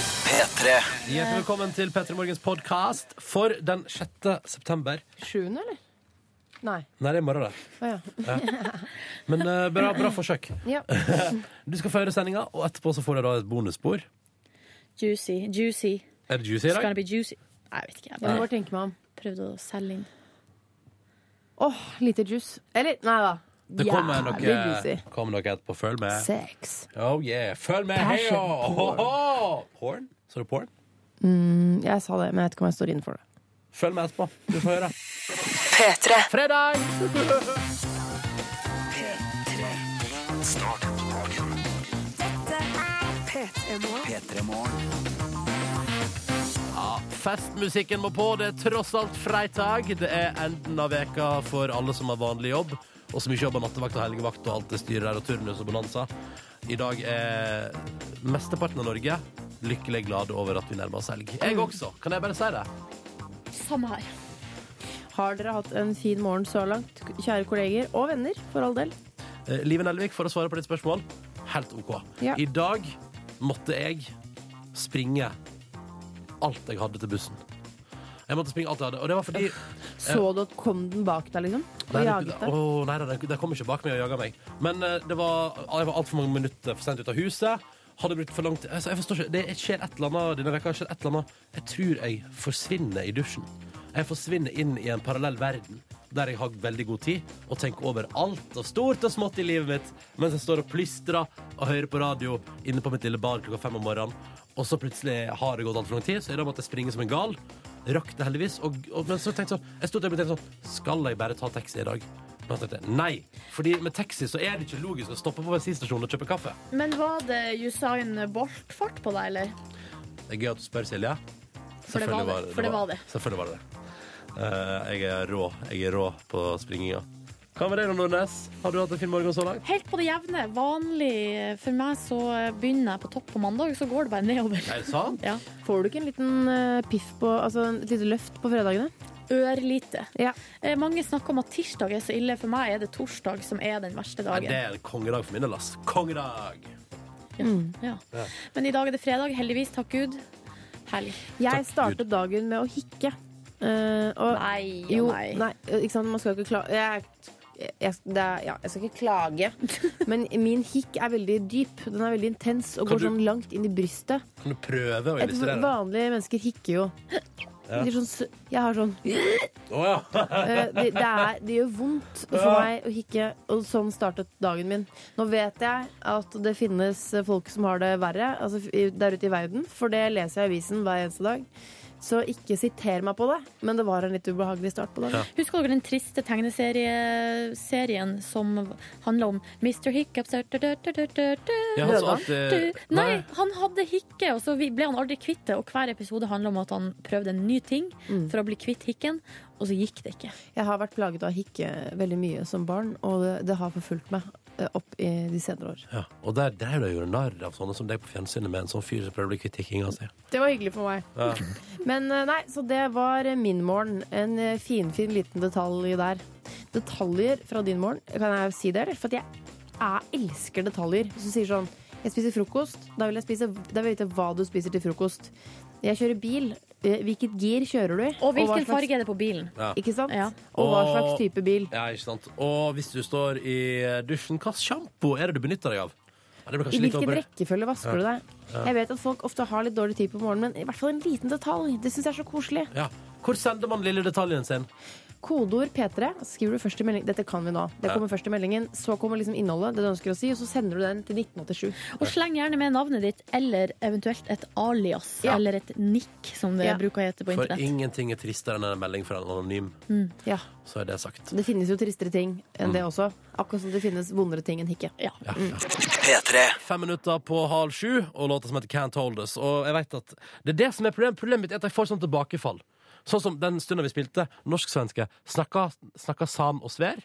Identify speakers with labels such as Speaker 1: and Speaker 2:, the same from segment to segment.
Speaker 1: P3.
Speaker 2: Hjertelig velkommen til Petter Morgens podkast for den 6. september.
Speaker 3: Sjuende, eller? Nei.
Speaker 2: Nei, det er i morgen, det.
Speaker 3: Å ja.
Speaker 2: Men eh, bra, bra forsøk.
Speaker 3: ja.
Speaker 2: Du skal få høre sendinga, og etterpå så får du da et bonusspor.
Speaker 4: Juicy. Juicy.
Speaker 2: Er det juicy i
Speaker 4: Skal
Speaker 2: dag?
Speaker 4: det bli juicy? Nei, jeg vet ikke. Jeg
Speaker 3: Jeg må
Speaker 4: bare
Speaker 3: bare tenke meg om.
Speaker 4: prøvde å selge inn.
Speaker 3: Åh, lite juice. Eller, nei da.
Speaker 2: Det kommer
Speaker 3: Jævlig
Speaker 2: noe,
Speaker 3: juicy.
Speaker 2: kommer noe etterpå. Følg med.
Speaker 3: Sex.
Speaker 2: Oh yeah, følg med! Hei,
Speaker 3: Passion
Speaker 2: oh,
Speaker 3: porn.
Speaker 2: Porn? Så du porn?
Speaker 3: Mm, Jeg sa det, men jeg vet ikke om jeg står inne for det.
Speaker 2: Følg med etterpå. Du får høre. Fredag!
Speaker 1: Start dagen. P3 Morgen.
Speaker 2: Festmusikken må på. Det er tross alt fredag. Det er enden av veka for alle som har vanlig jobb, og som ikke jobber nattevakt og helgevakt og alt det styret der, og turnus og bonanza. I dag er mesteparten av Norge lykkelig glad over at vi nærmer oss helg. Jeg også. Kan jeg bare si det?
Speaker 4: Samme her.
Speaker 3: Har dere hatt en fin morgen så langt, kjære kolleger og venner, for all del?
Speaker 2: Eh, Live Nelvik, for å svare på ditt spørsmål, helt OK.
Speaker 3: Ja.
Speaker 2: I dag måtte jeg springe alt jeg hadde til bussen. Jeg måtte springe alt jeg hadde, og det var fordi
Speaker 3: Så du at kom den bak deg, liksom? Og
Speaker 2: Nei, det,
Speaker 3: jaget deg?
Speaker 2: Åh, nei, nei, det kom ikke bak meg og jaga meg. Men eh, det var, jeg var altfor mange minutter for sent ut av huset. Hadde brukt for lang tid altså, Jeg forstår ikke, Det skjer et eller annet denne veka, skjer et eller annet. Jeg tror jeg forsvinner i dusjen. Jeg forsvinner inn i en parallell verden der jeg har veldig god tid og tenker over alt og stort og smått i livet mitt mens jeg står og plystrer og hører på radio inne på mitt lille bar klokka fem om morgenen. Og så plutselig har det gått altfor lang tid, så jeg da måtte jeg springe som en gal. Rakk det heldigvis. Og, og, men så tenkte jeg sånn Jeg stod der og tenkte sånn Skal jeg bare ta taxi i dag? Men så tenkte jeg nei. Fordi med taxi så er det ikke logisk å stoppe på bensinstasjonen og kjøpe kaffe.
Speaker 4: Men var det Usain Bolt-fart på deg, eller?
Speaker 2: Det er gøy at du spør, Silje.
Speaker 4: For det var
Speaker 2: Selvfølgelig
Speaker 4: det. For det var det.
Speaker 2: Selvfølgelig var det det. Eh, jeg er rå. Jeg er rå på springinga. Hva med deg, Nordnes? Har du hatt en fin morgen så langt?
Speaker 4: Helt på det jevne. Vanlig eh, for meg så begynner jeg på topp på mandag, så går det bare nedover.
Speaker 2: Er det sant?
Speaker 4: Ja.
Speaker 3: Får du ikke en liten eh, piff på Altså et lite løft på fredagene?
Speaker 4: Ørlite.
Speaker 3: Ja.
Speaker 4: Eh, Mange snakker om at tirsdag er så ille. For meg er det torsdag som er den verste
Speaker 2: Nei, det
Speaker 4: dagen.
Speaker 2: er en kongedag for min del, ass. Kongedag!
Speaker 4: Ja. Men i dag er det fredag. Heldigvis, takk Gud. Helg.
Speaker 3: Jeg
Speaker 2: Takk,
Speaker 3: startet dagen med å hikke. Eh, og
Speaker 4: Nei og
Speaker 3: jo,
Speaker 4: nei.
Speaker 3: nei. eh, Ikke sant, man skal ikke klage jeg, jeg, det er, ja, jeg skal ikke klage, men min hikk er veldig dyp. Den er veldig intens og
Speaker 2: Kan
Speaker 3: går
Speaker 2: du-
Speaker 3: sånn langt inn i brystet.
Speaker 2: Kan du prøve å
Speaker 3: Et
Speaker 2: illustrere? det?
Speaker 3: vanlige mennesker hikker jo.
Speaker 2: Ja.
Speaker 3: Det er Sånn, s- jeg har sånn
Speaker 2: Å ja.
Speaker 3: eh, det, det, er, det gjør vondt for
Speaker 2: Ja.
Speaker 3: meg å hikke, og sånn startet dagen min. Nå vet jeg at det finnes folk som har det verre altså, f- der ute i verden, for det leser jeg i avisen hver eneste dag. Så ikke siter meg på det, men det var en litt ubehagelig start på dagen.
Speaker 4: Husker dere den triste tegneserien som handla om Mr. Hiccups
Speaker 2: Jeg har eh, så alltid
Speaker 4: Nei, han hadde hikke, og så vi- ble han aldri kvitt det. Og hver episode handla om at han prøvde en ny ting for å bli kvitt hikken, og så gikk det ikke.
Speaker 3: Jeg har vært plaget av hikke veldig mye som barn, og det, det har forfulgt meg eh, opp i de senere år.
Speaker 2: Ja, og der drev de jo narr av sånne som deg på fjernsynet med en sånn fyr som prøvde å bli kvitt tikkinga si.
Speaker 3: Det var hyggelig for meg.
Speaker 2: Ja.
Speaker 3: Men eh, nei, så det var eh, min morgen. En eh, finfin liten detalj der. Detaljer fra din morgen, kan jeg si det, eller? For at jeg, jeg elsker detaljer. Hvis du sier sånn Jeg spiser frokost. Da vil jeg, spise, da vil jeg vite hva du spiser til frokost. Jeg kjører bil. eh, Hvilket gir kjører du i?
Speaker 4: Og
Speaker 3: hva
Speaker 4: hvilken
Speaker 3: slags-
Speaker 4: farge er det på bilen?
Speaker 2: Ja.
Speaker 3: Ikke sant?
Speaker 4: Ja.
Speaker 3: Og hva
Speaker 2: Og-
Speaker 3: slags type bil.
Speaker 2: ja, ikke sant. Og hvis du står i dusjen, hva slags sjampo er det du benytter deg av? Ja, det blir
Speaker 3: I
Speaker 2: kanskje litt
Speaker 3: hvilken
Speaker 2: over-
Speaker 3: rekkefølge vasker du deg? Jeg vet at folk ofte har litt dårlig tid på morgenen, men i hvert fall en liten detalj. Det syns jeg er så koselig.
Speaker 2: Ja. Hvor sender man lille detaljen sin?
Speaker 3: Kodeord P3. så Skriver du først i meldingen. Dette kan vi nå. Det
Speaker 2: Ja.
Speaker 3: kommer først i meldingen. Så kommer liksom innholdet, det du ønsker å si, og så sender du den til 1987.
Speaker 4: Og sleng gjerne med navnet ditt, eller eventuelt et alias,
Speaker 2: Ja.
Speaker 4: eller et nikk, som det
Speaker 3: Ja.
Speaker 4: bruker å hete på
Speaker 2: For
Speaker 4: internett.
Speaker 2: ingenting er tristere enn en melding fra en anonym.
Speaker 3: Ja.
Speaker 2: Så er det sagt.
Speaker 3: Det finnes jo tristere ting enn
Speaker 2: Mm.
Speaker 3: det også. Akkurat som det finnes vondere ting enn hikke.
Speaker 4: Ja.
Speaker 2: Ja, ja.
Speaker 1: P3.
Speaker 2: Fem minutter på halv sju, og låta som heter Can't Hold Us. Og jeg vet at det er det som er problemet. Problemet mitt er at jeg får sånn tilbakefall. Sånn som den stunden vi spilte norsk-svenske. Snakka, snakka sam og sver.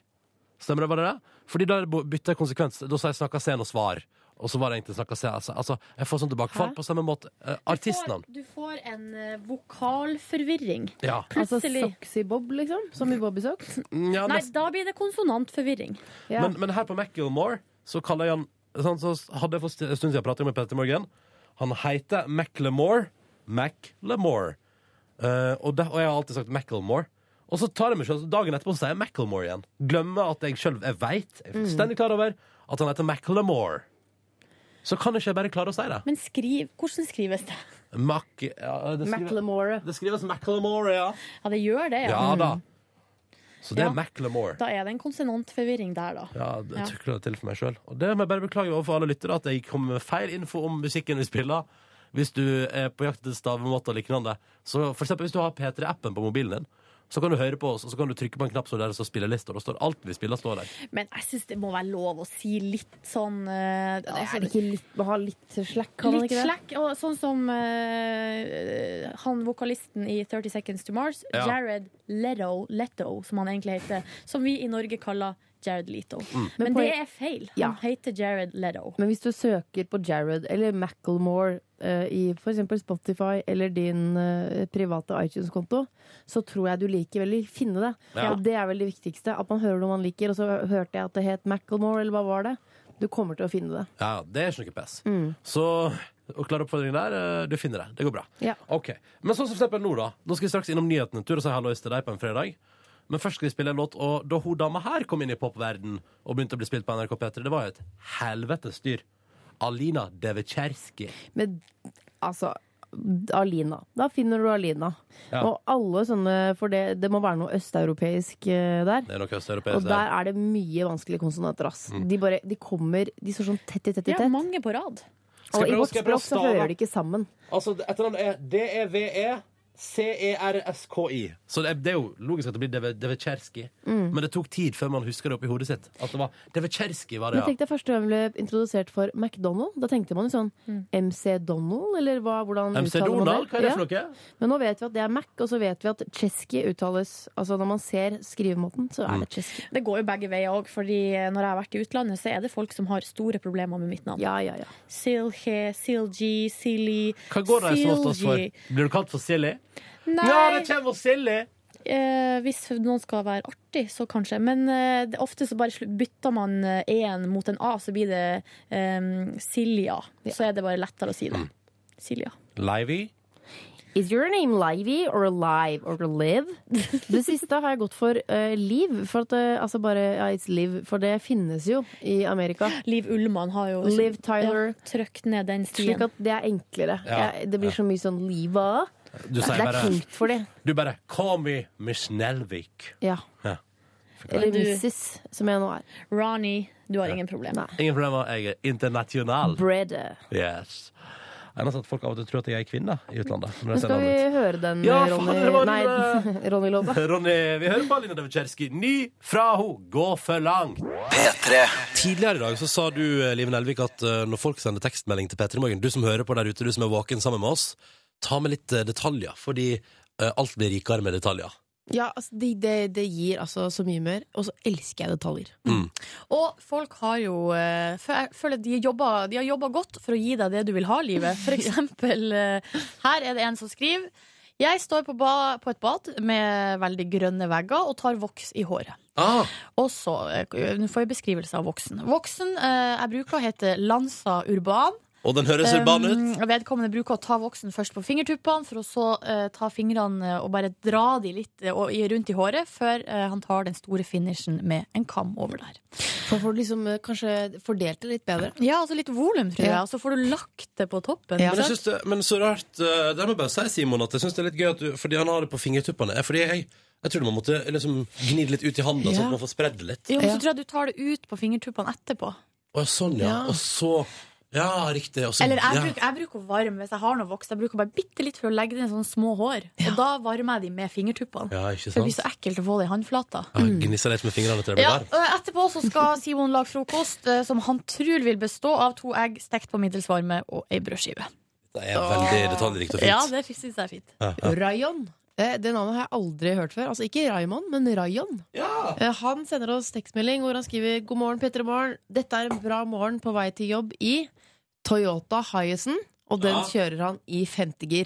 Speaker 2: Stemmer det, var det det? Fordi da bytta jeg konsekvens. Da sa jeg snakka sen og svar. Og så var det egentlig snakka se. Altså, altså, jeg får sånn tilbakefall
Speaker 3: Hæ?
Speaker 2: på samme måte.
Speaker 4: Du
Speaker 2: Eh,
Speaker 4: får,
Speaker 2: artistnavn.
Speaker 4: du får en eh, vokalforvirring.
Speaker 2: Ja. Mm,
Speaker 3: Altså
Speaker 4: Plutselig.
Speaker 3: Soxy Bob, liksom. Som i Bobby Socks.
Speaker 2: ja
Speaker 4: Nei,
Speaker 2: nesten.
Speaker 4: da blir det konsonantforvirring.
Speaker 3: Ja.
Speaker 2: Men, men her på Macklemore så kaller jeg han sånn, Så hadde jeg for en stund siden pratet med Petter Morgen. Han heter Macklemore, Macklemore. Eh, og, der- og jeg har alltid sagt Macklemore. Og så tar jeg meg selv, dagen etterpå så sier jeg Macklemore igjen. Glemmer at jeg sjøl jeg veit,
Speaker 1: Mm.
Speaker 2: jeg er fullstendig klar over, at han heter Macklemore. Så kan ikke jeg bare klare å si det.
Speaker 1: Men skriv, hvordan skrives det?
Speaker 2: Mac, ja, det, skrives,
Speaker 5: Macklemore.
Speaker 2: det skrives Macklemore, ja.
Speaker 1: Ja, det gjør det, ja. Mm.
Speaker 2: Ja da. Så det er
Speaker 1: Ja.
Speaker 2: Macklemore.
Speaker 1: Da er det en konsonantforvirring der, da.
Speaker 2: Ja, det
Speaker 1: Ja.
Speaker 2: tukler det til for meg sjøl. Og det må jeg bare beklage overfor alle lyttere, at jeg kom med feil info om musikken vi spiller. Hvis du er på jakt etter stavemåter og lignende. Så for eksempel hvis du har P3-appen på mobilen din, så kan du høre på oss, og så kan du trykke på en knapp som der så spiller lista, og da står alt vi spiller, står der.
Speaker 1: Men jeg syns det må være lov å si litt sånn eh, altså,
Speaker 5: Ikke litt, må ha litt slack, kan man
Speaker 1: Litt
Speaker 5: ikke det?
Speaker 1: slack, og sånn som eh, han vokalisten i 30 Seconds to Mars,
Speaker 2: Ja.
Speaker 1: Jared Leto, Leto, som han egentlig heter, som vi i Norge kaller Jared Leto.
Speaker 2: Mm.
Speaker 1: Men,
Speaker 5: Men
Speaker 1: det
Speaker 5: poen-
Speaker 1: er feil.
Speaker 5: Ja.
Speaker 1: Han heter Jared Leto.
Speaker 5: Men hvis du søker på Jared eller Macklemore eh, i f.eks. Spotify eller din eh, private iTunes-konto, så tror jeg du liker veldig finne det.
Speaker 2: Ja.
Speaker 5: Og det er vel det viktigste. At man hører noe man liker. Og så hørte jeg at det het Macklemore, eller hva var det? Du kommer til å finne det.
Speaker 2: Ja, det er ikke noe pess.
Speaker 5: Mm.
Speaker 2: Så og klar oppfordring der. eh, Du finner det. Det går bra.
Speaker 5: Ja.
Speaker 2: Ok, Men sånn som for eksempel nå, da. Nå skal vi straks innom nyhetene. Tur og si hallois til deg på en fredag. Men først skal vi spille en låt, og da hun dama her kom inn i popverden og begynte å bli spilt på NRK P3, det var jo et helvetes styr. Alina Devetsjerski.
Speaker 5: Men altså Alina. Da finner du Alina.
Speaker 2: Ja.
Speaker 5: Og alle sånne For det, det må være noe østeuropeisk eh, der.
Speaker 2: Det Mm. er noe
Speaker 5: Og
Speaker 2: østeuropeisk
Speaker 5: der
Speaker 2: der.
Speaker 5: er det mye vanskelige konsonanter. Ass. De, bare, de kommer De står sånn tett i tett i
Speaker 1: Ja,
Speaker 5: tett.
Speaker 1: mange på rad.
Speaker 2: Skal
Speaker 5: og i
Speaker 2: jeg prøve-
Speaker 5: vårt
Speaker 2: skal jeg prøve å
Speaker 5: språk så
Speaker 2: stave?
Speaker 5: hører de ikke sammen.
Speaker 2: Altså, etternavnet er E D-E-V-E-C-E-R-S-K-I. Så det er, det er jo logisk at det blir Deve- Devetsjerski.
Speaker 5: Mm.
Speaker 2: Men det tok tid før man husker det oppi hodet sitt. At det var Devetsjerski, var det,
Speaker 5: Men
Speaker 2: ja.
Speaker 5: tenk deg første gang vi ble introdusert for McDonald. Da tenkte man jo sånn MC Donald, eller hva, hvordan
Speaker 2: MC
Speaker 5: uttaler man
Speaker 2: Donald, hva er det for
Speaker 5: Ja.
Speaker 2: noe?
Speaker 5: Men nå vet vi at det er Mac, og så vet vi at Chesky uttales Altså når man ser skrivemåten, så er det
Speaker 2: Mm.
Speaker 5: Chesky.
Speaker 1: Det går jo begge veier òg, fordi eh, når jeg har vært i utlandet, så er det folk som har store problemer med mitt navn.
Speaker 5: Ja, ja, ja.
Speaker 1: Silje, Silji, Silly,
Speaker 2: Hva går det som oftest
Speaker 1: Silji.
Speaker 2: for? Blir du kalt for silly? Ja,
Speaker 1: Nei,
Speaker 2: det kommer for silly!
Speaker 1: eh, hvis noen skal være artig, så kanskje. Men eh, det, ofte så bare slu- bytter man eh, en mot en A, så blir det eh, Silja. Så er det bare lettere å si det. Silja.
Speaker 2: Livy?
Speaker 5: Is your name Livy or Alive or Live? Det siste har jeg gått for eh, Liv. For at, eh, altså bare ja, It's Liv, for det finnes jo i Amerika.
Speaker 1: Liv Ullmann har jo
Speaker 5: Liv Tyler.
Speaker 1: Ja, Trøkt ned den
Speaker 5: Slik
Speaker 1: stien.
Speaker 5: at det er enklere.
Speaker 2: Ja.
Speaker 5: Jeg, det blir så mye sånn Liva.
Speaker 2: Du
Speaker 5: Det
Speaker 2: sier
Speaker 5: er
Speaker 2: bare,
Speaker 5: tungt for de.
Speaker 2: du bare Call me Miss Nelvik.
Speaker 5: Ja.
Speaker 2: Ja.
Speaker 5: Eller
Speaker 1: Du-
Speaker 5: Mrs., som jeg nå er.
Speaker 1: Ronny, du har ingen problemer.
Speaker 5: Nei.
Speaker 2: Ingen problemer, jeg er internasjonal.
Speaker 5: Bread.
Speaker 2: Yes. Eneste at folk av og til tror at jeg er kvinne i utlandet. Når
Speaker 5: Nå
Speaker 2: jeg ser
Speaker 5: skal vi
Speaker 2: navnet
Speaker 5: høre den,
Speaker 2: Ja,
Speaker 5: Ronny,
Speaker 2: faen, det var eh.
Speaker 5: nei,
Speaker 2: det.
Speaker 5: Ronny Love.
Speaker 2: mitt. Ronny, vi hører på Alina Devitsjerski. Ny fra ho, gå for langt.
Speaker 6: P3.
Speaker 2: Tidligere i dag så sa du, eh, Liv Nelvik, at eh, når folk sender tekstmelding til Petter i morgen, du som hører på der ute, du som er våken sammen med oss, ta med litt eh, detaljer, fordi eh, alt blir rikere med detaljer.
Speaker 4: Ja, altså, det, det, det gir altså så mye mer, og så elsker jeg detaljer.
Speaker 2: Mm.
Speaker 4: Og folk har jo eh, fø- Jeg føler de, jobber, de har jobba godt for å gi deg det du vil ha i livet. For eksempel, eh, her er det en som skriver Jeg står på, ba, på et bad med veldig grønne vegger og tar voks i håret.
Speaker 2: Ah,
Speaker 4: Og så eh, Nå får jeg beskrivelse av voksen. Voksen eh, jeg bruker å hete Lanza Urban.
Speaker 2: og den høres urban ut.
Speaker 4: Um, vedkommende bruker å ta voksen først på fingertuppene, for å så eh, ta fingrene og bare dra de litt eh, og, i- rundt i håret, før eh, han tar den store finishen med en kam over der.
Speaker 3: For får du liksom eh, kanskje fordelt det litt bedre.
Speaker 4: Ja, altså litt volum, tror jeg,
Speaker 3: Ja.
Speaker 4: og så får du lagt det på toppen.
Speaker 3: Ja.
Speaker 2: Men, jeg synes det, men så rart eh, Det må jeg bare si, Simon, at jeg synes det er litt gøy at du Fordi han har det på fingertuppene. Eh, Fordi jeg, jeg trodde man måtte liksom gni det litt ut i handa, sånn
Speaker 3: Ja.
Speaker 2: at man får spredd det litt.
Speaker 4: Jo, men
Speaker 3: Ja.
Speaker 4: så tror jeg du tar det ut på fingertuppene etterpå.
Speaker 2: Å, ja, sånn, ja.
Speaker 3: Ja.
Speaker 2: Og så Ja, riktig. Og så,
Speaker 4: Eller jeg,
Speaker 2: ja.
Speaker 4: bruker, jeg bruker å varme hvis jeg har noe voks. Jeg bruker bare bitte litt for å legge det i sånne små hår. Og da varmer jeg de med fingertuppene.
Speaker 2: Ja, ikke
Speaker 4: For det blir
Speaker 2: sant?
Speaker 4: så ekkelt å få det i håndflata.
Speaker 2: Ja, Gnissa litt med fingrene til det blir
Speaker 4: Ja,
Speaker 2: varmt.
Speaker 4: ø, etterpå så skal Simon lage frokost eh, som han tror vil bestå av to egg stekt på middels varme og ei brødskive.
Speaker 2: Det er veldig detaljrikt og fint.
Speaker 4: Ja, det syns jeg er fint.
Speaker 3: Rayon. Eh, Det navnet har jeg aldri hørt før. Altså ikke Raymond, men Rayon. Eh, Han sender oss tekstmelding hvor han skriver 'God morgen, Petter i morgen'. Dette er en bra morgen på vei til jobb i Toyota Hiacen, og den
Speaker 2: Ja.
Speaker 3: kjører han i femtegir.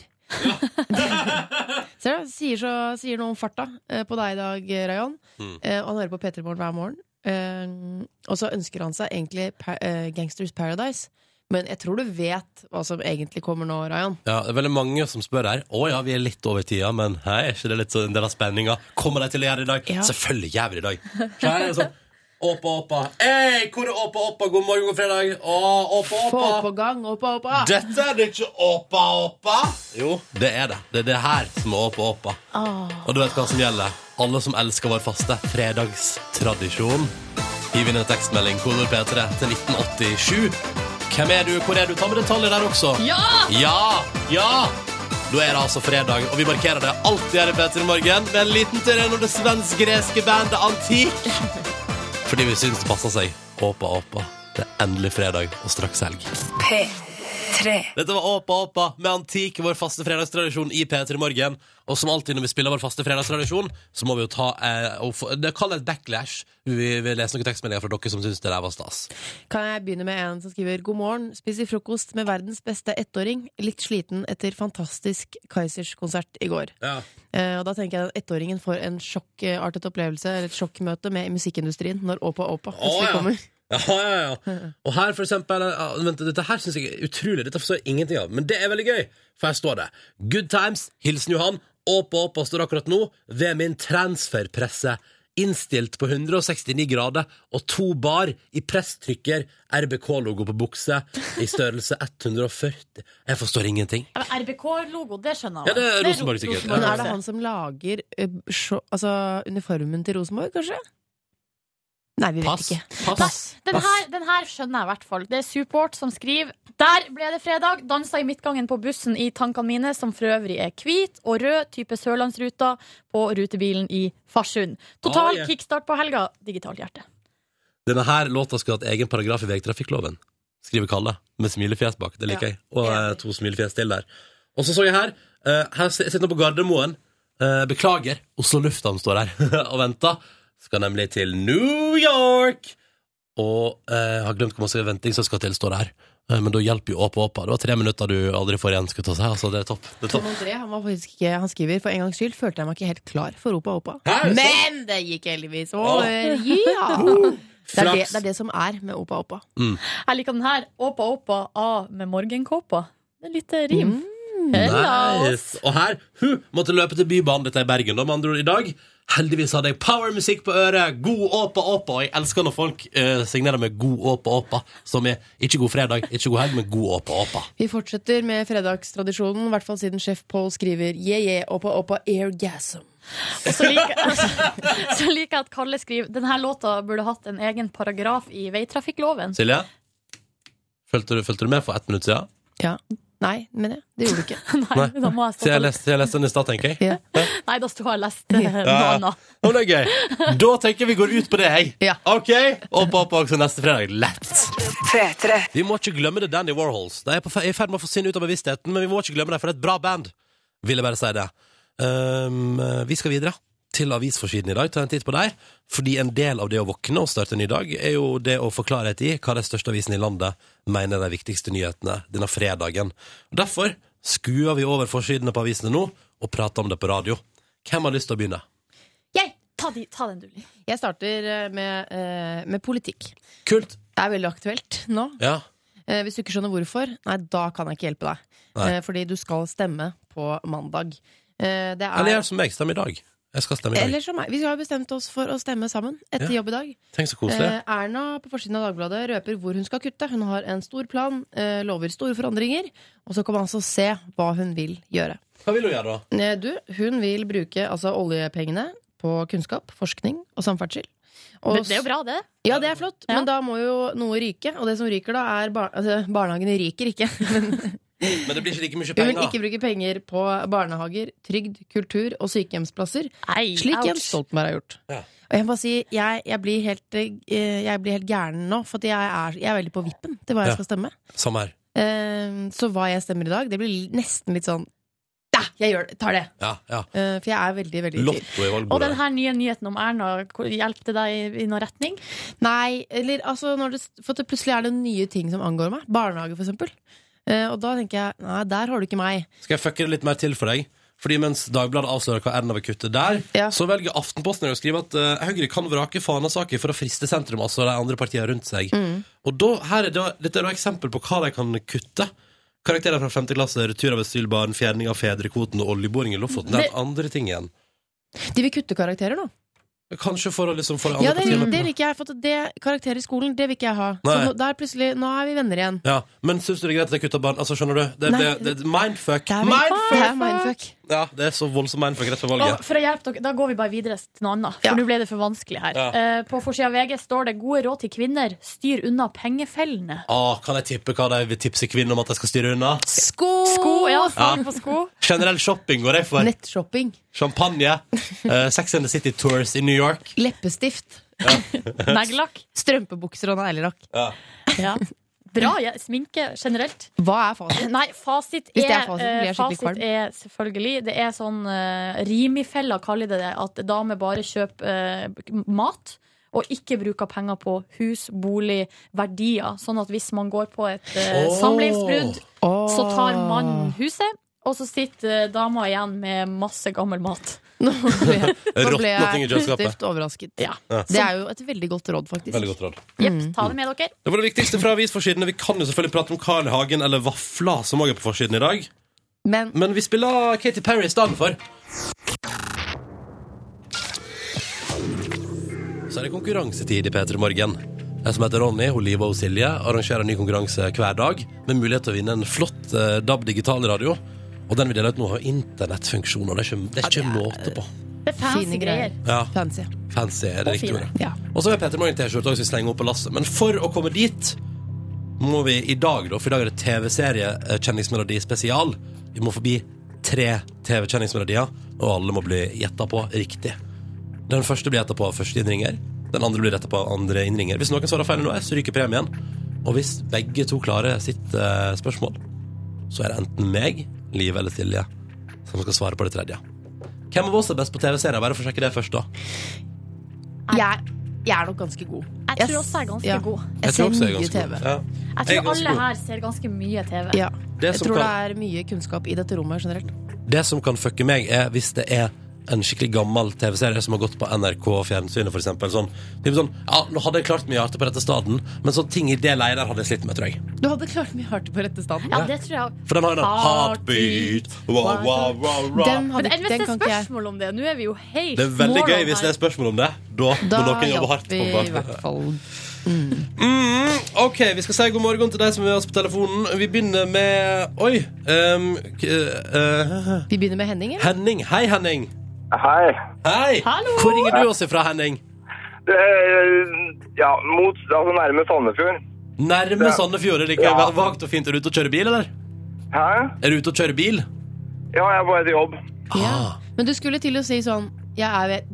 Speaker 3: Ser du? Sier, så, sier noe om farta eh, på deg i dag, eh, Rayon.
Speaker 2: Mm.
Speaker 3: Eh, Og han hører på Petter i morgen hver morgen. Eh, Og så ønsker han seg egentlig pa eh, Gangsters Paradise. Men jeg tror du vet hva som egentlig kommer nå, Rayan.
Speaker 2: Ja, det er veldig mange som spør her. Å ja, vi er litt over tida, men hei, er ikke det litt sånn en del av spenninga? Kommer de til å gjøre det i dag?
Speaker 3: Ja.
Speaker 2: Selvfølgelig gjør vi det i dag. Så her er det sånn Åpa, åpa. Hei, hvor er åpa, åpa? God morgen, god fredag. Å, åpa,
Speaker 3: Få
Speaker 2: åpa.
Speaker 3: på gang, opp og opp! ah!
Speaker 2: Dette er det ikke åpa, åpa. Jo, det er det. Det er det her som er åpa, åpa. Og du vet hva som gjelder. Alle som elsker vår faste fredagstradisjon. Hiv inn en tekstmelding, kodord P3 til 1987. Hvem er du, hvor er du? Ta med detaljer der også.
Speaker 4: Ja!
Speaker 2: Ja! Ja! Da er det altså fredag, og vi markerer det alltid her i Petter i Morgen med en liten turné når det svensk-greske bandet Antik. Fordi vi syns det passer seg. Åpa, åpa. Det er endelig fredag og straks helg.
Speaker 7: P3.
Speaker 2: Dette var Åpa Åpa med Antik, vår faste fredagstradisjon i P3 Morgen. Og som alltid når vi spiller vår faste fredagstradisjon, så må vi jo ta eh, og få, Det kalles backlash. Vi vil lese noen tekstmeldinger fra dere som syns det der var stas.
Speaker 3: Kan jeg begynne med en som skriver God morgen, spiser frokost med verdens beste ettåring. Litt sliten etter fantastisk Kaizers-konsert i går.
Speaker 2: Ja.
Speaker 3: Eh, og da tenker jeg at ettåringen får en sjokkartet opplevelse, eller et sjokkmøte med musikkindustrien når Åpa Åpa plutselig
Speaker 2: ja.
Speaker 3: kommer.
Speaker 2: Ja, ja, ja. Og her, for eksempel ja, vent, Dette her synes jeg er utrolig. Dette forstår jeg ingenting av. Men det er veldig gøy, for her står det Good times. Hilsen Johan. Åpa åpa står akkurat nå ved min transferpresse. Innstilt på 169 grader og to bar i presstrykker. RBK-logo på bukse i størrelse 140. Jeg forstår ingenting.
Speaker 4: RBK-logo, det skjønner
Speaker 2: Ja,
Speaker 4: jeg.
Speaker 2: det er
Speaker 4: Ro-
Speaker 2: Rosenborg sikkert.
Speaker 3: Men
Speaker 4: Rosenborg,
Speaker 3: er det han som lager eh, sjo- altså, uniformen til Rosenborg, kanskje? Nei, vi vet
Speaker 2: Pass.
Speaker 3: ikke.
Speaker 2: Pass.
Speaker 4: Den her, den her skjønner jeg i hvert fall. Det er Support som skriver Der ble det fredag. Dansa i midtgangen på bussen i tankene mine, som for øvrig er hvit og rød, type Sørlandsruta, på rutebilen i Farsund. Total
Speaker 2: Ah, yeah.
Speaker 4: kickstart på helga. Digitalt hjerte.
Speaker 2: Denne her låta skulle hatt egen paragraf i vegtrafikkloven, skriver Kalle, med smilefjes bak. Det liker jeg. Og eh, to smilefjes til der. Og så så jeg her. eh, her sit- sitter han på Gardermoen. Eh, beklager, Oslo lufthavn står her og venter. Skal nemlig til New York! Og eh, har glemt hvor masse venting som skal til, står det her. Eh, men da hjelper jo Åpa Åpa. Det var tre minutter du aldri får igjen, skal ta seg. Altså, det er topp. Det er
Speaker 3: Tom
Speaker 2: topp.
Speaker 3: André han var faktisk ikke Han skriver for en gangs skyld følte jeg meg ikke helt klar for Opa Opa.
Speaker 2: Hæ, er det sant?
Speaker 3: Men det gikk heldigvis over! Ja! Det er det, det er det som er med Opa Opa.
Speaker 4: Jeg liker den her. Åpa åpa A med morgenkåpa. Det er litt eh, rim.
Speaker 3: Mm.
Speaker 4: Hellas.
Speaker 2: Nice. Og her hun måtte løpe til Bybanen, dette er i Bergen, da, med andre ord i dag. Heldigvis hadde jeg powermusikk på øret. God åpa åpa. Og jeg elsker når folk eh, signerer med god åpa åpa, som er ikke god fredag, ikke god helg, men god åpa åpa.
Speaker 3: Vi fortsetter med fredagstradisjonen, i hvert fall siden sjef Paul skriver yeah, yeah, Opa Opa airgasm.
Speaker 4: Og så liker, så liker jeg at Kalle skriver Denne låta burde hatt en egen paragraf i veitrafikkloven.
Speaker 2: Silje? Fulgte du, fulgte du med for ett minutt siden?
Speaker 3: Ja. Nei, men jeg. Det gjorde du ikke.
Speaker 4: Nei, da må jeg
Speaker 2: Så
Speaker 4: stå
Speaker 2: jeg leste, jeg leste den i stad, tenker jeg.
Speaker 3: Ja.
Speaker 4: Nei, da sto jeg og leste eh, noe
Speaker 2: Ja.
Speaker 4: annet.
Speaker 2: Å, det er gøy. Da tenker jeg vi går ut på det, jeg.
Speaker 3: Ja.
Speaker 2: OK? Åpa åpa også neste fredag. Lett.
Speaker 7: P3.
Speaker 2: Vi må ikke glemme det Danny Warhols. De er på fe- i ferd med å få sinne ut av bevisstheten, men vi må ikke glemme dem, for det er et bra band. Vil jeg bare si det. Um, vi skal videre til avisforsiden i dag, ta en titt på deg. Fordi en del av det å våkne og starte en ny dag, er jo det å få klarhet i hva de største avisene i landet mener er de viktigste nyhetene denne fredagen. Derfor skuer vi over forsidene på avisene nå, og prater om det på radio. Hvem har lyst til å begynne?
Speaker 4: Jeg, ta, de, ta den, du. Liv.
Speaker 3: Jeg starter eh, med, eh, med politikk.
Speaker 2: Kult!
Speaker 3: Det er veldig aktuelt nå.
Speaker 2: Ja.
Speaker 3: Eh, Hvis du ikke skjønner hvorfor, nei, da kan jeg ikke hjelpe deg.
Speaker 2: Nei.
Speaker 3: Eh, Fordi du skal stemme på mandag. Eh, Det
Speaker 2: Eller
Speaker 3: er
Speaker 2: gjør som meg, stem i dag. Jeg skal stemme i dag.
Speaker 3: eller som meg. Vi har jo bestemt oss for å stemme sammen etter jobb i dag.
Speaker 2: Tenk så koselig.
Speaker 3: Eh, Erna på forsiden av Dagbladet røper hvor hun skal kutte. Hun har en stor plan, eh, lover store forandringer. Og så kan man altså se hva hun vil gjøre.
Speaker 2: Hva vil du gjøre, da?
Speaker 3: Eh, Du, hun vil bruke altså oljepengene på kunnskap, forskning og samferdsel. Og
Speaker 4: Men det er jo bra, det.
Speaker 3: Ja, det er flott,
Speaker 4: Ja.
Speaker 3: men da må jo noe ryke. Og det som ryker da, er bar altså, Barnehagene ryker ikke. Men
Speaker 2: Men det blir ikke like mye
Speaker 3: hun vil
Speaker 2: penger.
Speaker 3: ikke bruke penger på barnehager, trygd, kultur og sykehjemsplasser.
Speaker 4: Nei,
Speaker 3: Slik
Speaker 4: ouch.
Speaker 3: Jens Stoltenberg har gjort.
Speaker 2: Ja.
Speaker 3: Og jeg må bare si, jeg, jeg, blir helt, eh, jeg blir helt gæren nå, for at jeg, er, jeg er veldig på vippen til hva jeg
Speaker 2: Ja.
Speaker 3: skal stemme.
Speaker 2: Samme her.
Speaker 3: Eh, så hva jeg stemmer i dag, det blir nesten litt sånn Ja, jeg gjør det, tar det!
Speaker 2: Ja, ja.
Speaker 3: Eh, for jeg er veldig, veldig i tvil.
Speaker 2: Lotto i
Speaker 4: Og
Speaker 2: valgbordet.
Speaker 4: den her nye nyheten om Erna, hvor- hjelper det deg i- i noen retning?
Speaker 3: Nei, eller altså når det, For at det plutselig er det nye ting som angår meg. Barnehage, for eksempel. Eh, og da tenker jeg nei, der har du ikke meg.
Speaker 2: Skal jeg fucke det litt mer til for deg? Fordi mens Dagbladet avslører hva Erna vil kutte der,
Speaker 3: Ja.
Speaker 2: så velger Aftenposten å skrive at eh, Høyre kan vrake Fana-saker for å friste sentrum, altså de andre partiene rundt seg.
Speaker 3: Mm.
Speaker 2: Og da, her er da, dette er da eksempel på hva de kan kutte. Karakterer fra 5. klasse, retur av asylbarn, fjerning av fedrekvoten og oljeboring i Lofoten. Det
Speaker 3: Det-
Speaker 2: er andre ting igjen.
Speaker 3: De vil kutte karakterer, da.
Speaker 2: Kanskje for å liksom få de andre
Speaker 3: Ja, det,
Speaker 2: partiene
Speaker 3: det liker jeg. For at det Karakterer i skolen, det vil ikke jeg ha.
Speaker 2: Nei.
Speaker 3: Så nå- der plutselig, nå er vi venner igjen.
Speaker 2: Ja, Men syns du det er greit at jeg kutter barn? Altså, skjønner du? Det,
Speaker 3: Nei.
Speaker 2: det, det, mindfuck.
Speaker 3: Det er,
Speaker 2: mindfuck!
Speaker 3: det er mindfuck.
Speaker 2: Ja, det er så voldsom mindfuck rett før valget.
Speaker 4: Og for å hjelpe dere, Da går vi bare videre til noe annet, for
Speaker 3: Ja.
Speaker 4: nå ble det for vanskelig her.
Speaker 2: Ja.
Speaker 4: Eh, på forsida av VG står det 'Gode råd til kvinner. Styr unna pengefellene'.
Speaker 2: Ah, kan jeg tippe hva de vil tipse kvinner om at de skal styre unna?
Speaker 3: Sko!
Speaker 4: Sko, ja. Farge
Speaker 2: Ja.
Speaker 4: på sko.
Speaker 2: Generell shopping går jeg for.
Speaker 3: Nettshopping.
Speaker 2: Champagne. eh, Sex and the City Tours i New York.
Speaker 3: Leppestift.
Speaker 4: Neglelakk.
Speaker 3: Strømpebukser og neglelakk.
Speaker 2: Ja.
Speaker 4: Ja. Bra ja. sminke generelt.
Speaker 3: Hva er fasit?
Speaker 4: Nei, fasit
Speaker 3: Hvis det
Speaker 4: er,
Speaker 3: er fasiten, blir
Speaker 4: eh,
Speaker 3: jeg skikkelig
Speaker 4: fasit
Speaker 3: kvalm.
Speaker 4: er selvfølgelig Det er sånn eh, Rimifella kaller det det. At damer bare kjøper eh, mat. Og ikke bruker penger på hus, bolig, verdier. Sånn at hvis man går på et eh,
Speaker 2: Åh.
Speaker 4: samlivsbrudd, så tar mannen huset. Og så sitter eh, dama igjen med masse gammel mat.
Speaker 3: Nå ble jeg, nå ble
Speaker 2: Råtna ting i
Speaker 3: jeg
Speaker 2: kjøleskapet.
Speaker 3: positivt overrasket.
Speaker 4: Ja.
Speaker 3: Det er jo et veldig godt råd, faktisk.
Speaker 2: Veldig godt råd.
Speaker 4: Jepp,
Speaker 3: Mm.
Speaker 4: ta det med dere.
Speaker 2: Det var det viktigste fra avisforsidene. Vi kan jo selvfølgelig prate om Carl I. Hagen eller vafler, som også er på forsiden i dag.
Speaker 3: Men
Speaker 2: Men vi spiller Katy Perry i stedet for. Så er det konkurransetid i P3 Morgen. Jeg som heter Ronny, og Liva og Silje arrangerer en ny konkurranse hver dag med mulighet til å vinne en flott eh, DAB digitalradio. Og den vi deler ut nå, har internettfunksjoner. Det er ikke, det er ikke måte på.
Speaker 4: Det er fancy
Speaker 3: Fine greier.
Speaker 4: greier.
Speaker 2: Ja,
Speaker 3: fancy.
Speaker 2: fancy er det
Speaker 4: Og
Speaker 2: riktige
Speaker 4: fine.
Speaker 2: ordet.
Speaker 3: Ja.
Speaker 2: Og så er Peter Morgen T-skjorte også, vi slenger opp på lasset. Men for å komme dit må vi i dag, da, for i dag er det TV-serie eh, Kjenningsmelodi spesial. Vi må forbi tre TV-kjenningsmelodier, og alle må bli gjetta på riktig. Den første blir gjetta på av første innringer. Den andre blir gjetta på av andre innringer. Hvis noen svarer feil nå, så ryker premien. Og hvis begge to klarer sitt eh, spørsmål, så er det enten meg, Liv eller Silje som skal svare på det tredje. Hvem av oss er best på TV-serier? Bare for å sjekke det først, da.
Speaker 3: Jeg, jeg er nok ganske god.
Speaker 4: Jeg tror også jeg er ganske
Speaker 3: Ja.
Speaker 4: god.
Speaker 3: Jeg ser
Speaker 2: også jeg er
Speaker 3: mye
Speaker 2: ganske god.
Speaker 3: TV.
Speaker 2: Ja.
Speaker 4: Jeg
Speaker 2: Jeg er
Speaker 4: tror
Speaker 2: ganske
Speaker 4: alle
Speaker 2: god.
Speaker 4: her ser ganske mye TV.
Speaker 3: Ja.
Speaker 2: Det
Speaker 3: Jeg
Speaker 2: som,
Speaker 3: tror det
Speaker 2: kan,
Speaker 3: er mye kunnskap i dette rommet generelt.
Speaker 2: det som kan fucke meg, er hvis det er en skikkelig gammel TV-serie som har gått på NRK fjernsynet, for eksempel. Sånn, typ sånn, ja, nå hadde jeg klart mye hjerte på dette staden, men sånn ting i det leiet der hadde jeg slitt med, tror jeg.
Speaker 3: Du hadde klart mye hardt på rette staden.
Speaker 4: Ja, det tror jeg også.
Speaker 2: For den har jo den
Speaker 4: Heartbeat,
Speaker 2: Heartbeat, wow, wow, wow, wow.
Speaker 3: Den,
Speaker 4: Men
Speaker 3: hadde,
Speaker 4: ellers
Speaker 3: den
Speaker 4: det
Speaker 3: kan
Speaker 4: er
Speaker 3: ikke jeg.
Speaker 4: spørsmål om det. Nå er vi jo helt
Speaker 2: Det er veldig
Speaker 4: moron
Speaker 2: gøy hvis det
Speaker 4: her.
Speaker 2: er spørsmål om det. Da,
Speaker 3: Da
Speaker 2: må noen jobbe
Speaker 3: hjalp
Speaker 2: hardt.
Speaker 3: vi
Speaker 2: på
Speaker 3: i
Speaker 2: banen.
Speaker 3: hvert fall.
Speaker 2: Mm, ok, vi skal si god morgen til deg som er med oss på telefonen. Vi begynner med Oi! ehm, k- eh,
Speaker 3: Vi begynner med Henning, eller?
Speaker 2: Henning. Hei, Henning.
Speaker 8: Hei.
Speaker 2: Hei!
Speaker 4: Hallo!
Speaker 2: Hvor ringer du oss ifra, Henning?
Speaker 8: Det er, ja, mot, altså nærme Sandefjord.
Speaker 2: Nærme Sandefjord. Er det ikke
Speaker 8: Ja.
Speaker 2: vagt og fint? Er du ute og kjører bil, eller?
Speaker 8: Hæ?
Speaker 2: Er du ute og kjører bil?
Speaker 8: Ja, jeg er på vei til jobb.
Speaker 2: Ah.
Speaker 3: Men du skulle til å si sånn Jeg er ved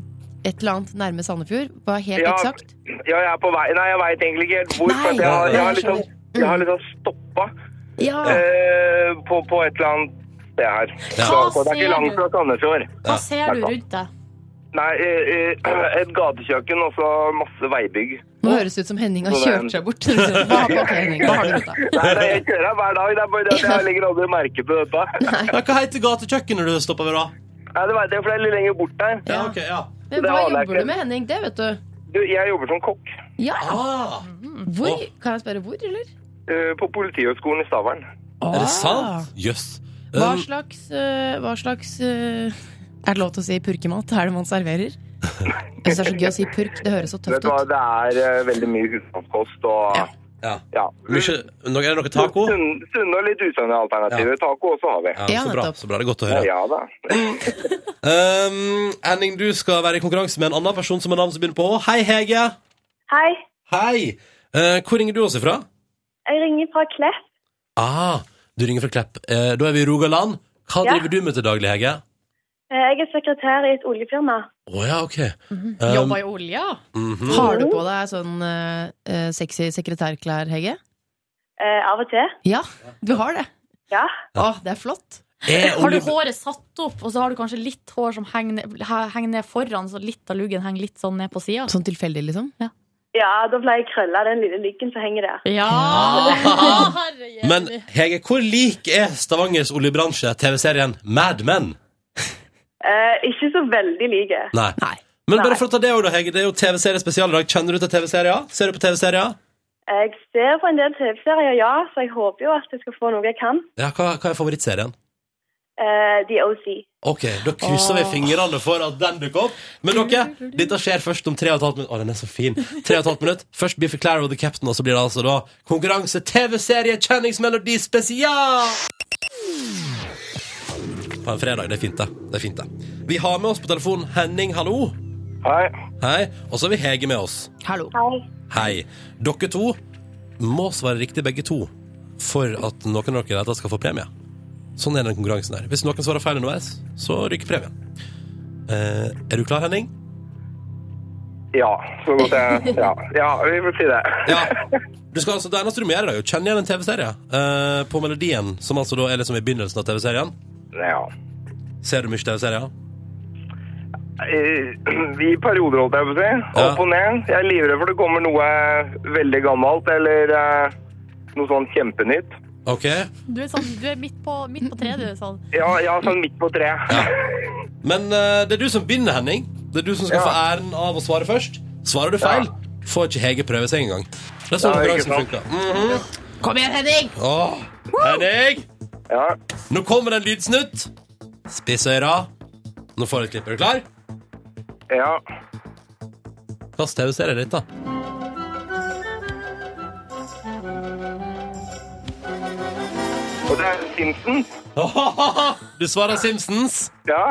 Speaker 3: et eller annet nærme Sandefjord. Var helt
Speaker 8: Ja.
Speaker 3: eksakt.
Speaker 8: Ja, jeg er på vei. Nei, jeg veit egentlig ikke helt hvor.
Speaker 3: Nei,
Speaker 8: for at jeg, har- jeg har
Speaker 3: jeg
Speaker 8: liksom, jeg har liksom stoppa eh, på, på et eller annet sted her.
Speaker 2: Ja.
Speaker 8: Så, så det er ikke
Speaker 4: Hva
Speaker 8: langt
Speaker 4: ser
Speaker 8: fra Sandefjord.
Speaker 4: Hva ser du rundt deg?
Speaker 8: Nei, eh, eh, et gatekjøkken og så masse veibygg.
Speaker 3: Nå høres det ut som Henning har kjørt seg bort. Hva har, ok, Henning, hva har du rundt deg?
Speaker 8: Nei, nei, jeg kjører her hver dag. Det er bare det at jeg legger aldri merke til dette.
Speaker 2: Ja, Hva heter gatekjøkkenet du stopper ved, da?
Speaker 8: Nei, det vet jeg, for det er litt lenger bort der.
Speaker 2: Ja, ok, ja.
Speaker 3: Men
Speaker 8: Det
Speaker 3: hva
Speaker 8: aner jeg
Speaker 3: jobber
Speaker 8: ikke.
Speaker 3: du med, Henning? Det vet du.
Speaker 8: Du, jeg jobber som kokk
Speaker 3: Ja.
Speaker 2: Ah,
Speaker 3: Hvor? Kan jeg spørre hvor, eller?
Speaker 8: eh, på Politihøgskolen i Stavern.
Speaker 2: er det sant? Jøss. Um,
Speaker 3: Ah. Hva slags, øh, hva slags øh, Er det lov til å si purkemat? Er det man serverer? Jeg syns det er så gøy å si purk. Det høres så
Speaker 8: Vet
Speaker 3: tøft
Speaker 8: du hva,
Speaker 3: ut.
Speaker 8: det er eh, veldig mye husmannskost og
Speaker 3: Ja.
Speaker 2: ja.
Speaker 8: Ja.
Speaker 2: Mye, no- er det noe taco?
Speaker 8: Sunn- Sunne og litt usunne alternativer. Taco også har vi.
Speaker 2: Ja,
Speaker 3: Ja,
Speaker 2: så bra.
Speaker 3: nettopp.
Speaker 2: så bra. Det er godt å
Speaker 8: Ja,
Speaker 2: høre.
Speaker 8: ja da.
Speaker 2: Um, Henning, du skal være i konkurranse med en annen person som har navn som begynner på H. Hei, Hege.
Speaker 9: Hei,
Speaker 2: Hei. Eh, hvor ringer du oss ifra?
Speaker 9: jeg ringer fra Klepp.
Speaker 2: Ah, du ringer fra Klepp. Eh, da er vi i Rogaland. Hva
Speaker 9: Ja.
Speaker 2: driver du med til daglig, Hege?
Speaker 9: Eh, Jeg er sekretær i et oljefirma.
Speaker 2: Å ja, OK. Um,
Speaker 4: Jobber i olja?
Speaker 2: mhm.
Speaker 3: Har
Speaker 9: Mm.
Speaker 3: du på deg sånn øh, øh, sexy sekretærklær, Hege?
Speaker 9: Eh, av og til.
Speaker 3: Ja, du har det.
Speaker 9: Ja.
Speaker 3: Å, det er flott.
Speaker 2: Er
Speaker 4: Har du
Speaker 2: Oliver-
Speaker 4: håret satt opp, og så har du kanskje litt hår som henger ned, he- henger ned foran, så litt av luggen henger litt sånn ned på sida?
Speaker 3: Sånn tilfeldig, liksom.
Speaker 9: ja, da ble jeg krølla den lille lyggen som henger der.
Speaker 4: Ja!
Speaker 2: Ah.
Speaker 4: Herre jævlig.
Speaker 2: Men Hege, hvor lik er Stavangers oljebransje TV-serien Mad Men?
Speaker 9: Eh, ikke så veldig like.
Speaker 2: Nei. Men bare for å ta det også, da, Hege. Det er jo TV-serie spesial i dag. Kjenner du til TV-serier? Ser du på TV-serier?
Speaker 9: Jeg ser på en del TV-serier, ja, så jeg håper jo at jeg skal få noe jeg kan.
Speaker 2: Ja, hva, hva er favorittserien?
Speaker 9: Eh, The OC.
Speaker 2: Ok, da krysser vi fingrene for at den dukker opp. Men dere, dette skjer først om tre og et halvt minutt. Å, den er så fin. Tre og et halvt minutt. Først Biffy Clara og The Captain, og så blir det altså da konkurranse TV-serie Kjenningsmelodi spesial! På en fredag. Det er fint, det. det er fint det. Vi har med oss på telefonen Henning, hallo.
Speaker 8: Hei.
Speaker 2: Hei. Og så har vi Hege med oss.
Speaker 3: Hallo.
Speaker 9: Hei.
Speaker 2: Hei. Dere to må svare riktig begge to for at noen av dere dette skal få premie. Sånn er den konkurransen her. Hvis noen svarer feil underveis, så ryker premien. Eh, er du klar, Henning?
Speaker 8: Ja, så godt jeg Ja, ja vi får si det.
Speaker 2: Ja. Du skal altså, det eneste du må gjøre, er å kjenne igjen en TV-serie eh, på melodien, som altså da er liksom i begynnelsen av TV-serien.
Speaker 8: Ja.
Speaker 2: Ser du mye TV-serier?
Speaker 8: Eh, I perioder, holdt jeg på å si.
Speaker 2: Ja.
Speaker 8: Opp og ned. Jeg er livredd for det kommer noe veldig gammelt eller eh, noe sånn kjempenytt.
Speaker 2: OK.
Speaker 4: Du er, sånn, du er midt, på, midt på treet, du. er Sånn.
Speaker 8: Ja, ja sånn midt på treet.
Speaker 2: Men eh, det er du som begynner, Henning. Det er du som skal
Speaker 8: Ja.
Speaker 2: få æren av å svare først. Svarer du feil, får ikke Hege prøve seg engang. Det er sånn
Speaker 8: Ja, ikke
Speaker 2: konkurransen
Speaker 8: sant.
Speaker 2: funker. Mhm.
Speaker 3: Kom igjen, Henning!
Speaker 2: Åh, Henning!
Speaker 8: Ja.
Speaker 2: Nå kommer det en lydsnutt. Spiss øra. Nå får du et klipp. Er du klar?
Speaker 8: ja.
Speaker 2: Kast TV-serien ditt, da.
Speaker 8: Og det er Simpsons.
Speaker 2: Du svarer Simpsons.
Speaker 8: Ja.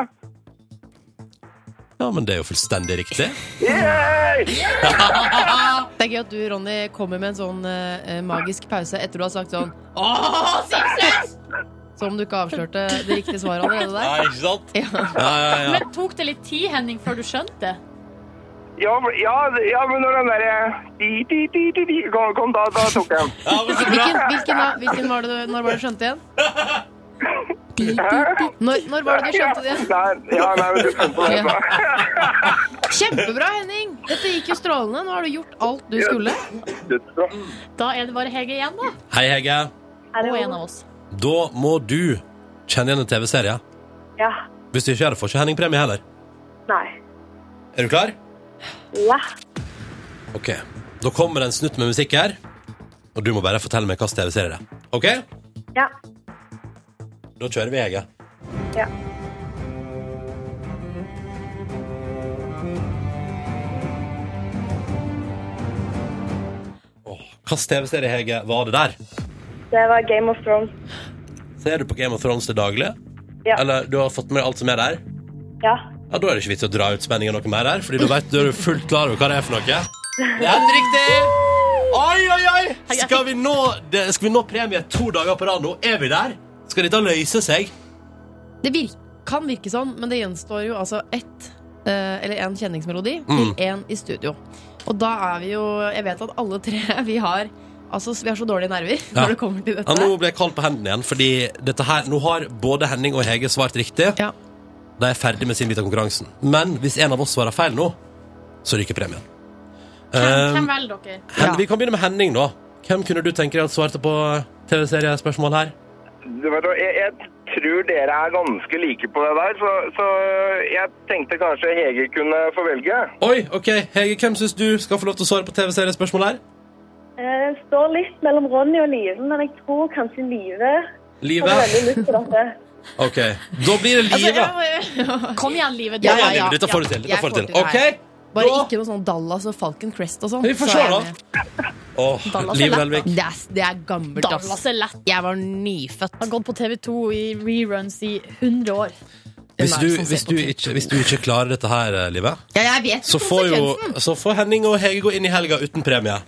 Speaker 2: Ja, men det er jo fullstendig riktig.
Speaker 8: Yay!
Speaker 3: Det er gøy at du, Ronny, kommer med en sånn eh, magisk pause etter du har sagt sånn Åh, Simpsons! Som om du ikke avslørte det riktige svaret allerede der.
Speaker 2: Nei, ikke sant? Ja, ja, ja.
Speaker 4: Men tok det litt tid, Henning, før du skjønte det?
Speaker 8: Ja, for- ja, ja, men når den derre di, di, di, di, di, kom, kom, da, da tok jeg den.
Speaker 2: ja men så bra.
Speaker 3: Hvilken, hvilken, var- hvilken var det du, når var det du skjønte igjen? Når, når var det du skjønte det igjen?
Speaker 8: Nei, ja, nei, men du skjønte det. da.
Speaker 3: Kjempebra, Henning! Dette gikk jo strålende. Nå har du gjort alt du skulle.
Speaker 8: Dødsbra.
Speaker 4: Da er det bare Hege igjen, da.
Speaker 2: Hei, Hege.
Speaker 4: Og en av oss.
Speaker 2: Da må du kjenne igjen en TV-serie.
Speaker 9: Ja.
Speaker 2: Hvis du ikke gjør det, får ikke Henning premie heller.
Speaker 9: Nei.
Speaker 2: Er du klar?
Speaker 9: Ja.
Speaker 2: OK. Da kommer det en snutt med musikk her, og du må bare fortelle meg hvilken TV-serie det er. OK?
Speaker 9: Ja.
Speaker 2: Da kjører vi, Hege.
Speaker 9: Ja.
Speaker 2: Åh, Hvilken TV-serie, Hege, var det der?
Speaker 9: Det var Game of Thrones.
Speaker 2: Ser du på Game of Thrones til daglig?
Speaker 9: Ja.
Speaker 2: Eller du har fått med deg alt som er der?
Speaker 9: Ja.
Speaker 2: Ja, Da er det ikke vits å dra ut spenningen noe mer her, Fordi du vet, du er du fullt klar over hva det er for noe. Det er helt riktig! Oi, oi, oi! Skal vi nå, det, skal vi nå premie to dager på rad nå? Er vi der? Skal dette løse seg?
Speaker 3: Det vir kan virke sånn, men det gjenstår jo altså ett eh, eller én kjenningsmelodi til
Speaker 2: Mm.
Speaker 3: én i studio. Og da er vi jo Jeg vet at alle tre vi har Altså, vi har så dårlige nerver
Speaker 2: Ja.
Speaker 3: når det kommer til
Speaker 2: Ja,
Speaker 3: dette.
Speaker 2: nå ble jeg kald på hendene igjen, fordi dette her, nå har både Henning og Hege svart riktig.
Speaker 3: Ja.
Speaker 2: De er ferdig med sin bit av konkurransen. Men hvis en av oss svarer feil nå, så ryker premien.
Speaker 4: Hvem,
Speaker 2: Eh,
Speaker 4: hvem velger dere?
Speaker 2: Hen-
Speaker 3: Ja.
Speaker 2: Vi kan begynne med Henning, da. Hvem kunne du tenke deg at svarte på TV-seriespørsmål her?
Speaker 8: Du vet, hva, jeg, jeg tror dere er ganske like på det der, så, så jeg tenkte kanskje Hege kunne få velge.
Speaker 2: Oi, ok, Hege, hvem syns du skal få lov til å svare på TV-seriespørsmål her?
Speaker 9: Eh, Det står litt mellom Ronny og Live, men jeg tror kanskje Live
Speaker 2: Live?
Speaker 9: har veldig lyst til dette.
Speaker 2: Ok, da blir det Live.
Speaker 4: Kom igjen, livet.
Speaker 3: Ja,
Speaker 2: Kom igjen,
Speaker 3: Altså, ja, ja.
Speaker 2: Live, dette får du til.
Speaker 3: Jeg
Speaker 2: Dette får du
Speaker 3: får
Speaker 2: til.
Speaker 3: til
Speaker 2: Ok,
Speaker 3: Bare
Speaker 2: da-
Speaker 3: ikke noe sånn Dallas og Falcon Crest og sånn.
Speaker 2: Vi får
Speaker 3: så
Speaker 2: se,
Speaker 3: er jeg
Speaker 2: da.
Speaker 3: med.
Speaker 2: Åh,
Speaker 4: Dallas er lett,
Speaker 2: Live
Speaker 4: da.
Speaker 2: Nelvik.
Speaker 3: Det er, det er gammelt,
Speaker 4: Dallas
Speaker 3: ass.
Speaker 4: er lett.
Speaker 3: Jeg var nyfødt.
Speaker 4: Har gått på TV2 i reruns i 100 år.
Speaker 2: Hvis
Speaker 3: Hvem er sånn
Speaker 2: du,
Speaker 3: det som ser
Speaker 2: hvis,
Speaker 3: på
Speaker 2: du
Speaker 3: TV?
Speaker 2: ikke, hvis du ikke klarer dette her, eh, Live,
Speaker 3: Ja, jeg vet
Speaker 2: så får, jo, så får Henning og Hege gå inn i helga uten premie.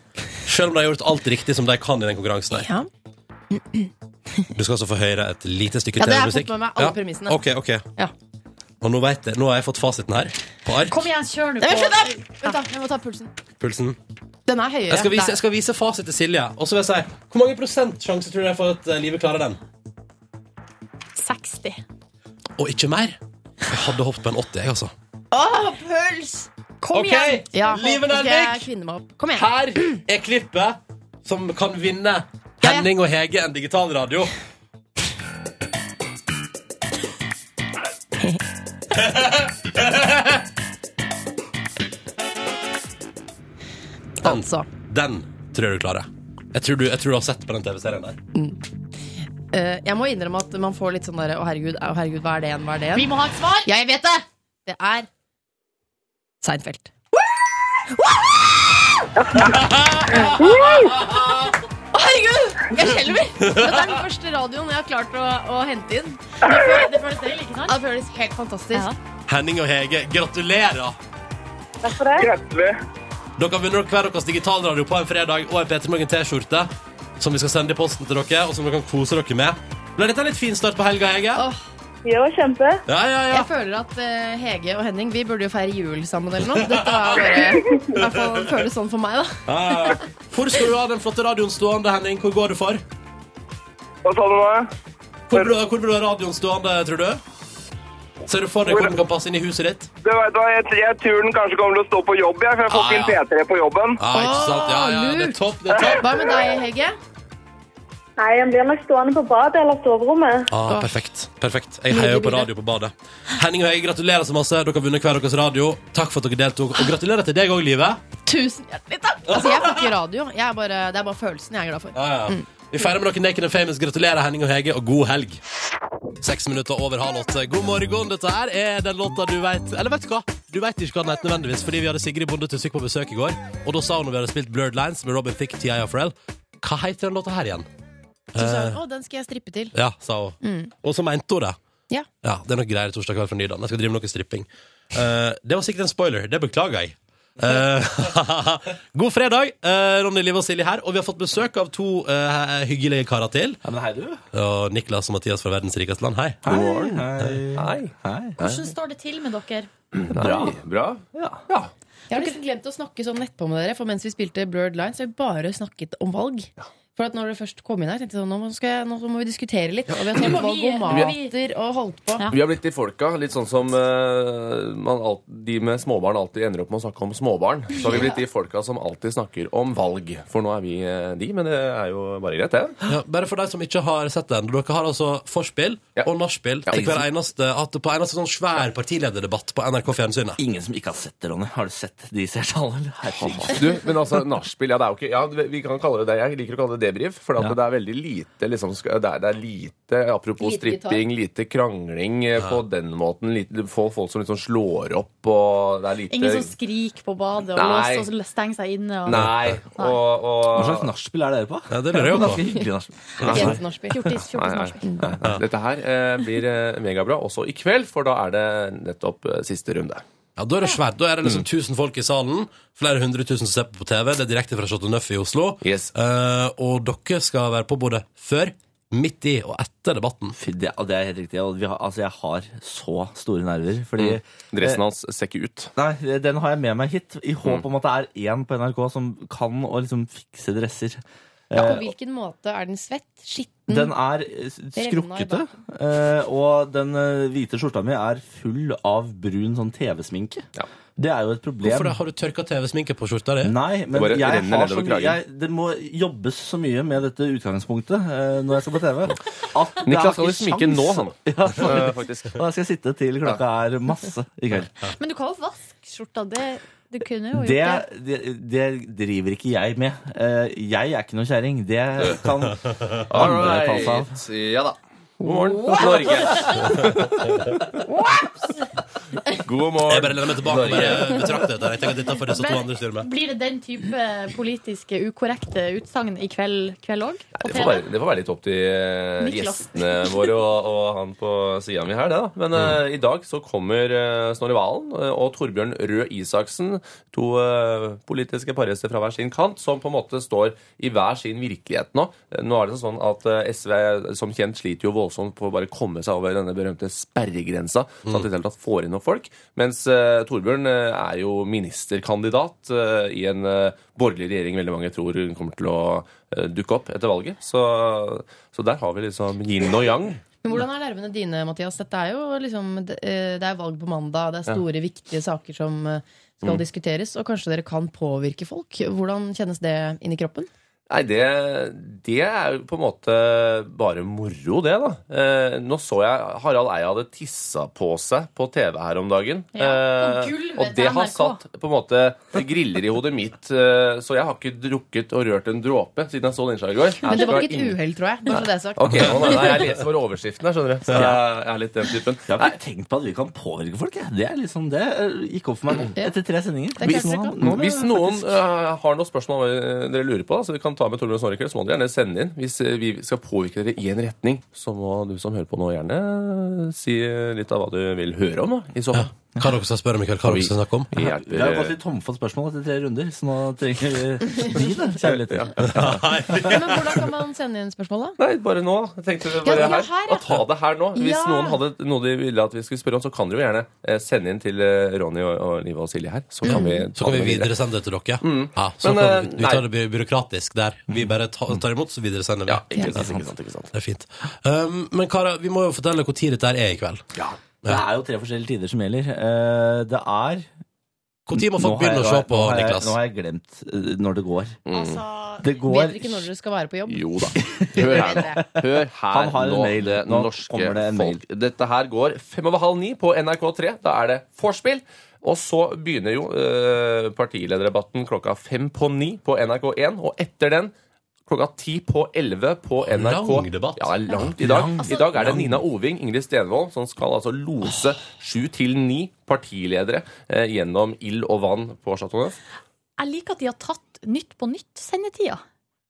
Speaker 2: Selv om de har gjort alt riktig som de kan i den konkurransen her.
Speaker 3: Ja.
Speaker 2: Du skal altså få høre et lite stykke
Speaker 3: Ja, det har jeg
Speaker 2: TV-musikk.
Speaker 3: fått med meg alle premissene.
Speaker 2: Ok, ok.
Speaker 3: Ja.
Speaker 2: Og nå vet jeg, nå har jeg fått fasiten her. På ark.
Speaker 4: Kom igjen, kjør nå
Speaker 3: Nei, men
Speaker 4: på.
Speaker 3: Slutt! da! Vent, da. Jeg må ta pulsen.
Speaker 2: Pulsen.
Speaker 3: Den er høyere.
Speaker 2: Jeg skal vise,
Speaker 3: Der.
Speaker 2: jeg skal vise fasit til Silje. Og så vil jeg si, hvor mange prosent sjanse tror du det er for at eh, Live klarer den?
Speaker 4: 60.
Speaker 2: Og ikke mer. Jeg hadde hoppet på en 80, jeg, altså.
Speaker 3: Åh, puls!
Speaker 4: Kom
Speaker 2: Ok,
Speaker 4: igjen!
Speaker 3: Ja,
Speaker 2: Live
Speaker 3: nå skal jeg
Speaker 2: Nelvik,
Speaker 3: kvinne meg opp. Kom igjen.
Speaker 2: her er klippet som kan vinne
Speaker 3: Ja, ja.
Speaker 2: Henning og Hege en digital radio.
Speaker 3: Altså.
Speaker 2: Den tror jeg du klarer. Jeg tror du, jeg tror du har sett på den TV-serien der.
Speaker 3: eh, jeg må innrømme at man får litt sånn derre Å, herregud, å, herregud, hva er det igjen? Hva er det igjen?
Speaker 4: Vi må ha et svar!
Speaker 3: Ja, jeg vet det! Det er Seinfeld.
Speaker 4: Å, herregud! Jeg skjelver! Dette er den første radioen jeg har klart å, å hente inn. Det føles, det føles deilig, ikke sant?
Speaker 3: Det føles helt fantastisk.
Speaker 4: Ja.
Speaker 2: Henning og Hege, gratulerer!
Speaker 9: Takk for det.
Speaker 8: Gratulerer.
Speaker 2: Dere har vunnet hver deres digitalradio på en fredag og en P3 Morgen T-skjorte, som vi skal sende i posten til dere, og som dere kan kose dere med. Ble dette en litt fin start på helga, Hege?
Speaker 9: Jo, kjempe.
Speaker 2: Ja, ja, ja.
Speaker 3: Jeg føler at eh, Hege og Henning Vi burde jo feire jul sammen eller noe. Dette var bare, i hvert fall føles sånn for meg, da.
Speaker 2: ja, ja, ja. Hvor skal du ha den flotte radioen stående, Henning? Hvor går du for?
Speaker 8: Hva sa du nå?
Speaker 2: Hvor vil du, hvor vil du ha radioen stående, tror du? Ser du for deg hvor den kan passe inn i huset ditt?
Speaker 8: Du vet hva, jeg, jeg tror den kanskje kommer til å stå på jobb, jeg, for jeg får
Speaker 2: Ah,
Speaker 8: ikke
Speaker 2: ja.
Speaker 8: inn P3 på jobben.
Speaker 2: Ja, ikke sant? Ja, ja, det er topp, det er topp.
Speaker 3: Hva med deg, Hege?
Speaker 9: Nei, han blir nok stående på badet eller soverommet.
Speaker 2: Ah, perfekt. perfekt. Jeg heier jo på radio på badet. Henning og jeg gratulerer så masse. Dere har vunnet hver deres radio. Takk for at dere deltok. Og gratulerer til deg òg, Live.
Speaker 3: Tusen hjertelig takk! Altså, jeg får ikke radio. Jeg er bare, det er bare følelsen jeg er glad for.
Speaker 2: Ja, ja. Vi feirer med dere Naked and Famous. Gratulerer, Henning og Hege, og god helg. Seks minutter over halv åtte. God morgen. Dette her er den låta du veit Eller vet du hva? Du veit ikke hva den heter nødvendigvis, fordi vi hadde Sigrid Bonde Tusvik på besøk i går, og da sa hun når vi hadde spilt Blurred Lines med Robin Thicke, T.I. og Pharrell Hva heter den låta her igjen?
Speaker 3: Så sa hun, å, den skal jeg strippe til.
Speaker 2: Ja, sa hun. Og så mente hun det.
Speaker 3: Ja.
Speaker 2: Det er nok greier torsdag kveld fra Nydalen. Jeg skal drive med noe stripping. Eh, det var sikkert en spoiler. Det beklager jeg. Eh, god fredag. eh, Ronny, Liv og Silje her. Og vi har fått besøk av to eh, hyggelige karer til.
Speaker 10: Ja, men hei, du.
Speaker 2: Og Niklas og Mathias fra verdens rikeste land. Hei.
Speaker 10: God morgen. Hei. Hei.
Speaker 4: Hvordan står det til med dere?
Speaker 10: Bra. Bra. Ja.
Speaker 3: Jeg har nesten glemt å snakke sånn nettpå med dere, for mens vi spilte Blurred Lines, har vi bare snakket om valg. For at når dere først kom inn her, tenkte jeg sånn, nå må, skal jeg, nå må vi diskutere litt. Og vi har tatt
Speaker 4: må
Speaker 3: valg
Speaker 4: vi-
Speaker 3: og
Speaker 4: vi-
Speaker 3: mater og holdt på.
Speaker 4: Ja.
Speaker 10: Vi har blitt de folka. Litt sånn som eh, man alt, de med småbarn alltid ender opp med å snakke om småbarn. Så har vi blitt de folka som alltid snakker om valg. For nå er vi eh, de, men det er jo bare greit, det.
Speaker 2: Ja, bare for deg som ikke har sett den. Dere har altså forspill
Speaker 10: Ja.
Speaker 2: og nachspiel
Speaker 10: Ja,
Speaker 2: til hver
Speaker 10: ikke
Speaker 2: eneste, at på eneste sånn svær partilederdebatt på NRK Fjernsynet.
Speaker 10: Ingen som ikke har sett det, Ronny. Har du sett de seertallene? Herregud. Du, men altså, nachspiel, ja, det er jo ikke Ja, vi kan kalle det det. Jeg liker å kalle det debrief, for at det er veldig lite liksom skal- det, er, det er lite Apropos
Speaker 3: Lite
Speaker 10: stripping, lite krangling eh, på den måten. Lite, få folk som liksom slår opp, og det er lite
Speaker 4: Ingen som skriker på badet og
Speaker 10: Nei.
Speaker 4: låser og stenger seg inne? Og...
Speaker 10: Nei. Og, og
Speaker 6: nachspiel er dere på?
Speaker 2: Ja, det lurer jeg jo på.
Speaker 3: Jentenorspill.
Speaker 4: Fjortis, fjortis,
Speaker 10: Nei,
Speaker 4: nachspiel.
Speaker 10: nei, nei. Dette her eh, blir eh, megabra også i kveld, for da er det nettopp eh, siste runde.
Speaker 2: Ja, Da er det svært. Da er det liksom tusen folk i salen. Flere hundre tusen som ser på på TV. Det er direkte fra Chateau Neuf i Oslo.
Speaker 10: Yes.
Speaker 2: Eh, og dere skal være på både før, midt i og etter debatten.
Speaker 6: Det, og det er helt riktig. Og vi har, altså, jeg har så store nerver. Fordi
Speaker 2: Mm.
Speaker 6: Eh,
Speaker 10: Dressen hans ser ikke ut.
Speaker 6: Nei, den har jeg med meg hit, i håp
Speaker 2: Mm.
Speaker 6: om at det er én på NRK som kan å liksom fikse dresser.
Speaker 3: På
Speaker 6: Eh,
Speaker 3: hvilken måte er den svett? Skitten?
Speaker 6: Den er eh,
Speaker 3: Revna i
Speaker 6: skrukkete, eh, og den eh, hvite skjorta mi er full av brun sånn TV-sminke.
Speaker 10: Ja.
Speaker 6: Det er jo et problem.
Speaker 2: Hvorfor det? Har du tørka TV-sminke på skjorta di?
Speaker 6: Nei, men
Speaker 10: bare
Speaker 6: det jeg
Speaker 10: renner
Speaker 6: har så
Speaker 10: nedover
Speaker 6: mye
Speaker 10: kragen.
Speaker 6: jeg, Det må jobbes så mye med dette utgangspunktet eh, når jeg skal på TV. At det er
Speaker 10: Niklas skal jo
Speaker 6: ikke
Speaker 10: sminke nå,
Speaker 6: sjans.
Speaker 10: han.
Speaker 6: Ja,
Speaker 10: Eh, faktisk.
Speaker 6: og jeg skal sitte til klokka er masse i kveld.
Speaker 4: Men du kan jo vaske skjorta. Det, du kunne jo
Speaker 6: Det,
Speaker 4: gjort det.
Speaker 6: det, det driver ikke jeg med. Eh, Jeg er ikke noe kjerring. Det kan andre ta seg av.
Speaker 10: Ja da. God morgen, Norge. God
Speaker 2: Jeg
Speaker 10: morgen.
Speaker 2: bare lener meg tilbake og bare betrakter dette. Jeg tenker at dette får disse to andre styre med.
Speaker 4: Blir det den type politiske ukorrekte utsagn i kveld kveld òg?
Speaker 10: Det får, være, det får være litt opp til eh,
Speaker 4: Niklas.
Speaker 10: gjestene våre og, og han på sida mi her, det, da. Men eh, i dag så kommer eh, Snorre Valen eh, og Torbjørn Røe Isaksen, to eh, politiske parhester fra hver sin kant, som på en måte står i hver sin virkelighet nå. Eh, Nå er det sånn at eh, SV som kjent sliter jo voldsomt på å bare komme seg over denne berømte sperregrensa, sånn at de i det hele tatt får inn noen folk. Mens eh, Torbjørn eh, er jo ministerkandidat eh, i en eh, borgerlig regjering veldig mange tror hun kommer til å eh, dukke opp etter valget. Så, så der har vi liksom yin og yang.
Speaker 3: Men hvordan er nervene dine, Mathias? Dette er jo liksom, det eh, det er valg på mandag, det er store, viktige saker som eh, skal diskuteres, og kanskje dere kan påvirke folk. Hvordan kjennes det inn i kroppen?
Speaker 10: Nei, det, det er jo på en måte bare moro, det, da. Eh, nå så jeg Harald Eia hadde tissa på seg på TV her om dagen.
Speaker 4: Ja, på
Speaker 10: Eh,
Speaker 4: gulvet
Speaker 10: og
Speaker 4: til
Speaker 10: det har
Speaker 4: NRK.
Speaker 10: satt på en måte griller i hodet mitt, eh, så jeg har ikke drukket og rørt en dråpe siden jeg så det innslaget i går.
Speaker 3: Men det var
Speaker 10: Skal
Speaker 3: ikke et
Speaker 10: ingen-
Speaker 3: uhell, tror jeg. Bare så det er sagt.
Speaker 10: Ok, nå, nei, nei, Jeg leser bare overskriftene, her, skjønner du. Så jeg er litt den typen.
Speaker 6: Jeg har ikke tenkt på at vi kan påvirke folk. Jeg. Det er liksom det eh, gikk opp for meg nå, etter tre sendinger.
Speaker 10: Det er klart dere
Speaker 6: Nå ble
Speaker 10: Hvis
Speaker 6: jeg
Speaker 10: noen
Speaker 6: faktisk-
Speaker 10: eh, har noen spørsmål eh, dere lurer på, da, så vi kan ta med Torbjørn Snorre i kveld, så må dere gjerne sende inn. Hvis eh, vi skal påvirke dere i en retning, så må du som hører på nå, gjerne eh, si eh, litt av hva du vil høre om. Da, i så fall.
Speaker 2: Hva dere skal spørre om i kveld? Hva dere skal snakke om?
Speaker 10: Vi
Speaker 6: Vi har gått
Speaker 10: hjelper
Speaker 6: litt tom for spørsmål etter tre runder, så nå trenger vi de, da. Kjærligheter.
Speaker 3: Men hvordan kan man sende inn spørsmål, da?
Speaker 10: Nei, bare nå. Jeg tenkte det bare
Speaker 3: Ja, ja,
Speaker 10: her.
Speaker 3: her, ja.
Speaker 10: Og ta det her nå. Hvis
Speaker 3: Ja.
Speaker 10: noen hadde noe de ville at vi skulle spørre om, så kan dere jo gjerne eh, sende inn til eh, Ronny og, og Live og Silje her. Så kan vi,
Speaker 2: Mm. Så kan vi
Speaker 10: ta det videre.
Speaker 2: videresende det til dere. Ja, så
Speaker 10: Men,
Speaker 2: kan vi,
Speaker 10: eh,
Speaker 2: vi
Speaker 10: nei.
Speaker 2: tar det by- byråkratisk der. Vi bare ta- tar imot, så videresender vi.
Speaker 10: Ja, ikke sant, ikke sant, ikke sant.
Speaker 2: Det er fint. Um, men Kara, vi må jo fortelle hvor tid dette her er i kveld.
Speaker 10: Ja.
Speaker 6: Det er jo tre forskjellige tider som gjelder. Eh, Det er
Speaker 2: Hvor tid må folk
Speaker 6: Nå har
Speaker 2: begynne å
Speaker 6: jeg-
Speaker 2: se på,
Speaker 6: nå har jeg-
Speaker 2: Niklas?
Speaker 6: Nå har jeg glemt eh, når det går. Det
Speaker 3: Vet
Speaker 6: går
Speaker 3: dere ikke når dere skal være på jobb?
Speaker 10: Mm. Jo da. Hør her nå. Hør
Speaker 6: Han
Speaker 10: her
Speaker 6: har en
Speaker 10: nå,
Speaker 6: mail.
Speaker 10: det
Speaker 6: Nå
Speaker 10: norske
Speaker 6: kommer det en
Speaker 10: folk. Dette her går fem over halv ni på NRK3. Da er det vorspiel. Og så begynner jo eh, partilederdebatten klokka fem på ni på NRK1. Og etter den klokka ti på elleve på NRK.
Speaker 2: Lang debatt.
Speaker 10: Ja, langt i dag.
Speaker 2: Lang.
Speaker 10: I dag er det Nina Oving, Ingrid Stenvold, som skal altså lose sju til ni partiledere eh, gjennom ild og vann på Chateau Neuf.
Speaker 4: Jeg liker at de har tatt Nytt på nytt-sendetida.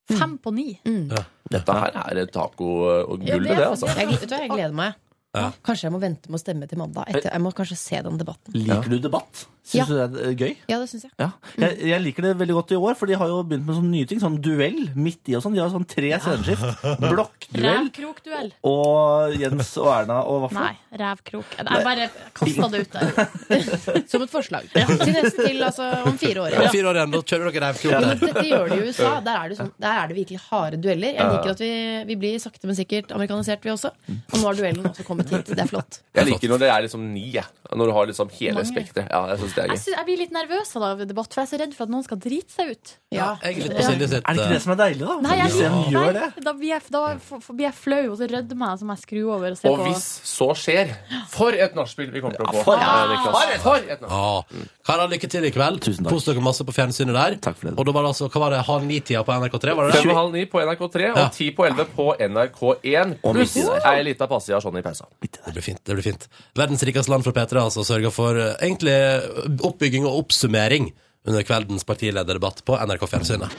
Speaker 4: Fem på ni.
Speaker 10: Dette her er taco og
Speaker 4: Ja,
Speaker 10: gullet,
Speaker 4: det
Speaker 10: det,
Speaker 4: er-
Speaker 10: altså.
Speaker 4: det er-
Speaker 3: Jeg, vet du hva, jeg gleder meg.
Speaker 2: Ja.
Speaker 3: Kanskje jeg må vente med å stemme til mandag. Etter. Jeg må kanskje se den debatten.
Speaker 6: Liker du debatt? Syns du det er eh, gøy?
Speaker 3: Ja, det syns jeg.
Speaker 6: Ja. Jeg, jeg liker det veldig godt i år, for de har jo begynt med sånne nye ting. Sånn duell midt i og sånn. De har sånn tre sceneskift. Blokkduell.
Speaker 4: Rævkrokduell.
Speaker 6: Og Jens og Erna og
Speaker 4: Nei,
Speaker 6: Vaffel.
Speaker 4: rævkrok. Jeg bare kasta det ut der.
Speaker 3: Som et forslag. Til neste til altså, om fire år.
Speaker 2: Ja.
Speaker 3: Ja.
Speaker 2: Fire år igjen, da kjører dere reivkrok.
Speaker 3: Dette gjør de i USA. Der er det, sånn, der er det virkelig harde dueller. Jeg liker at vi, vi blir sakte, men sikkert amerikanisert, vi også. Og nå har duellen også kommet hit. Det er flott.
Speaker 10: Jeg liker når det er liksom ni, jeg. Når du har liksom hele
Speaker 4: Mange. Altså,
Speaker 10: spekteret. Ja, jeg synes det er
Speaker 4: Jeg,
Speaker 10: gøy.
Speaker 4: synes, jeg blir litt nervøs av det, av debatt, for jeg er så redd for at noen skal drite seg ut.
Speaker 3: Ja.
Speaker 2: Jeg er litt på Silje sitt.
Speaker 6: Er det ikke det som er deilig, da?
Speaker 4: Nei, jeg,
Speaker 6: Hvis en gjør det.
Speaker 4: nei, da blir jeg, da f- f- blir jeg flau, og så rødmer jeg som jeg skrur over og ser
Speaker 10: Og
Speaker 4: på.
Speaker 10: hvis så skjer For et nachspiel vi kommer til å få!
Speaker 6: for-
Speaker 10: eh, Niklas. for et nachspiel!
Speaker 2: eh, Ja. Kara, lykke til i kveld.
Speaker 6: Tusen takk.
Speaker 2: Kos dere masse på fjernsynet der.
Speaker 6: Takk for det.
Speaker 2: Og da var det altså, hva var det, halv ni-tida på NRK3? Var det
Speaker 10: Fem
Speaker 2: det?
Speaker 10: og halv ni på NRK3
Speaker 2: Ja.
Speaker 10: og ti på elleve på NRK1.
Speaker 6: Og midt
Speaker 10: Pluss
Speaker 6: i der.
Speaker 10: ei lita passiasj sånn i pausa.
Speaker 2: Det blir fint. det blir fint Verdens rikeste land for P3 altså sørger for eh, egentlig oppbygging og oppsummering under kveldens partilederdebatt på NRK Fjernsynet.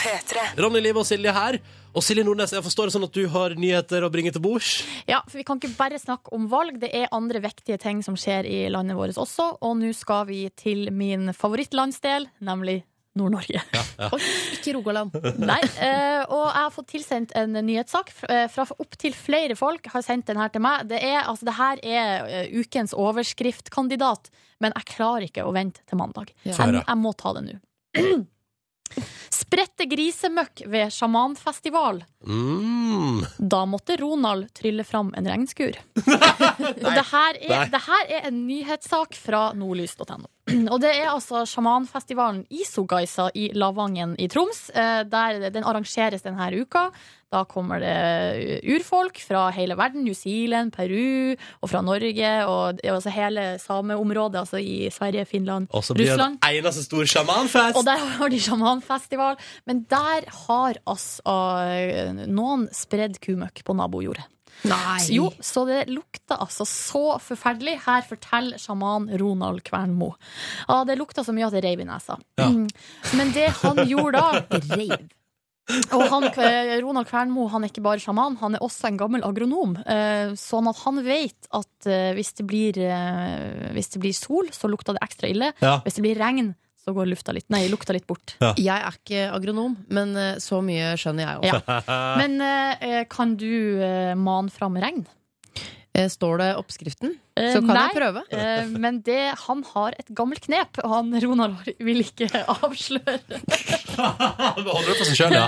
Speaker 7: P3.
Speaker 2: Ronny Live og Silje her. Og Silje Nordnes, jeg forstår det sånn at du har nyheter å bringe til bords?
Speaker 4: Ja, for Vi kan ikke bare snakke om valg, det er andre viktige ting som skjer i landet vårt også. Og nå skal vi til min favorittlandsdel, nemlig Nord-Norge.
Speaker 3: Oi, ikke Rogaland.
Speaker 4: Nei, eh, og jeg har fått tilsendt en nyhetssak fra, eh, fra opptil flere folk. har sendt den her til meg. Det, er, altså, det her er eh, ukens overskriftkandidat, men jeg klarer ikke å vente til mandag.
Speaker 3: Ja.
Speaker 2: Få
Speaker 4: Jeg,
Speaker 2: høre.
Speaker 4: jeg må ta det nå. Spredte grisemøkk ved sjamanfestival.
Speaker 2: Mm.
Speaker 4: Da måtte Ronald trylle fram en regnskur. Og det her, er, det her er en nyhetssak fra nordlys.no. Og det er altså sjamanfestivalen Isogaisa i Lavangen i Troms. eh, Der den arrangeres denne uka. Da kommer det eh, urfolk fra hele verden. New Zealand, Peru og fra Norge. Og det er altså hele sameområdet, altså i Sverige, Finland,
Speaker 2: Og så blir det
Speaker 4: Russland.
Speaker 2: en eneste stor sjamanfest!
Speaker 4: Og der har de sjamanfestival. Men der har altså eh, noen spredd kumøkk på nabojordet.
Speaker 3: Nei.
Speaker 4: Så, jo, så det lukta altså så forferdelig. Her forteller sjaman Ronald Kvernmo. Ja, det lukta så mye at det reiv i nesa.
Speaker 2: Ja.
Speaker 4: Mm. Men det han gjorde da Reiv. Og han, eh, Ronald Kvernmo han er ikke bare sjaman, han er også en gammel agronom. Eh, Sånn at han vet at eh, hvis det blir, eh, hvis det blir sol, så lukter det ekstra ille.
Speaker 2: Ja.
Speaker 4: Hvis det blir regn, så går lufta litt, nei, lukta litt bort.
Speaker 3: Jeg er ikke agronom, men eh, så mye skjønner jeg også.
Speaker 4: Ja. Men eh, kan du eh, mane fram eh, regn?
Speaker 3: Eh, Står det oppskriften?
Speaker 4: Eh,
Speaker 3: Så kan
Speaker 4: nei,
Speaker 3: jeg prøve.
Speaker 4: eh, men det, han har et gammelt knep, og han Ronar har- vil ikke avsløre.
Speaker 2: Holder det for seg sjøl, ja.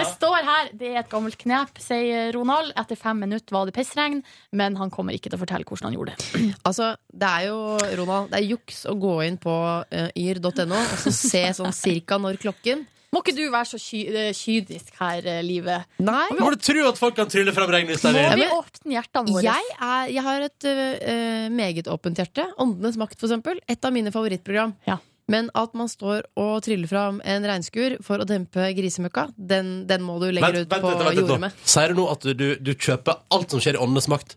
Speaker 4: Det står her det er et gammelt knep, sier Ronald. Etter fem minutter var det pissregn, men han kommer ikke til å fortelle hvordan han gjorde det.
Speaker 3: Altså, det er jo Ronald, det er juks å gå inn på eh, yr.no og så se sånn cirka når klokken
Speaker 4: Må ikke du være så ky eh, kynisk her, eh, Live?
Speaker 3: Nei.
Speaker 2: Må du tro at folk kan trylle frem regnet i
Speaker 4: Må
Speaker 2: stedet?
Speaker 4: vi åpne hjertene våre?
Speaker 3: Jeg, er, jeg har et eh, meget åpent hjerte. Åndenes makt, for eksempel. Et av mine favorittprogram.
Speaker 4: Ja.
Speaker 3: Men at man står og tryller fram en regnskur for å dempe grisemøkka, den, den må du legge ut på jordet
Speaker 2: nå.
Speaker 3: med.
Speaker 2: Sier du nå at du, du, du kjøper alt som skjer i åndenes makt,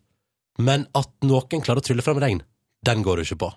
Speaker 2: men at noen klarer å trylle frem regn, den går du ikke på?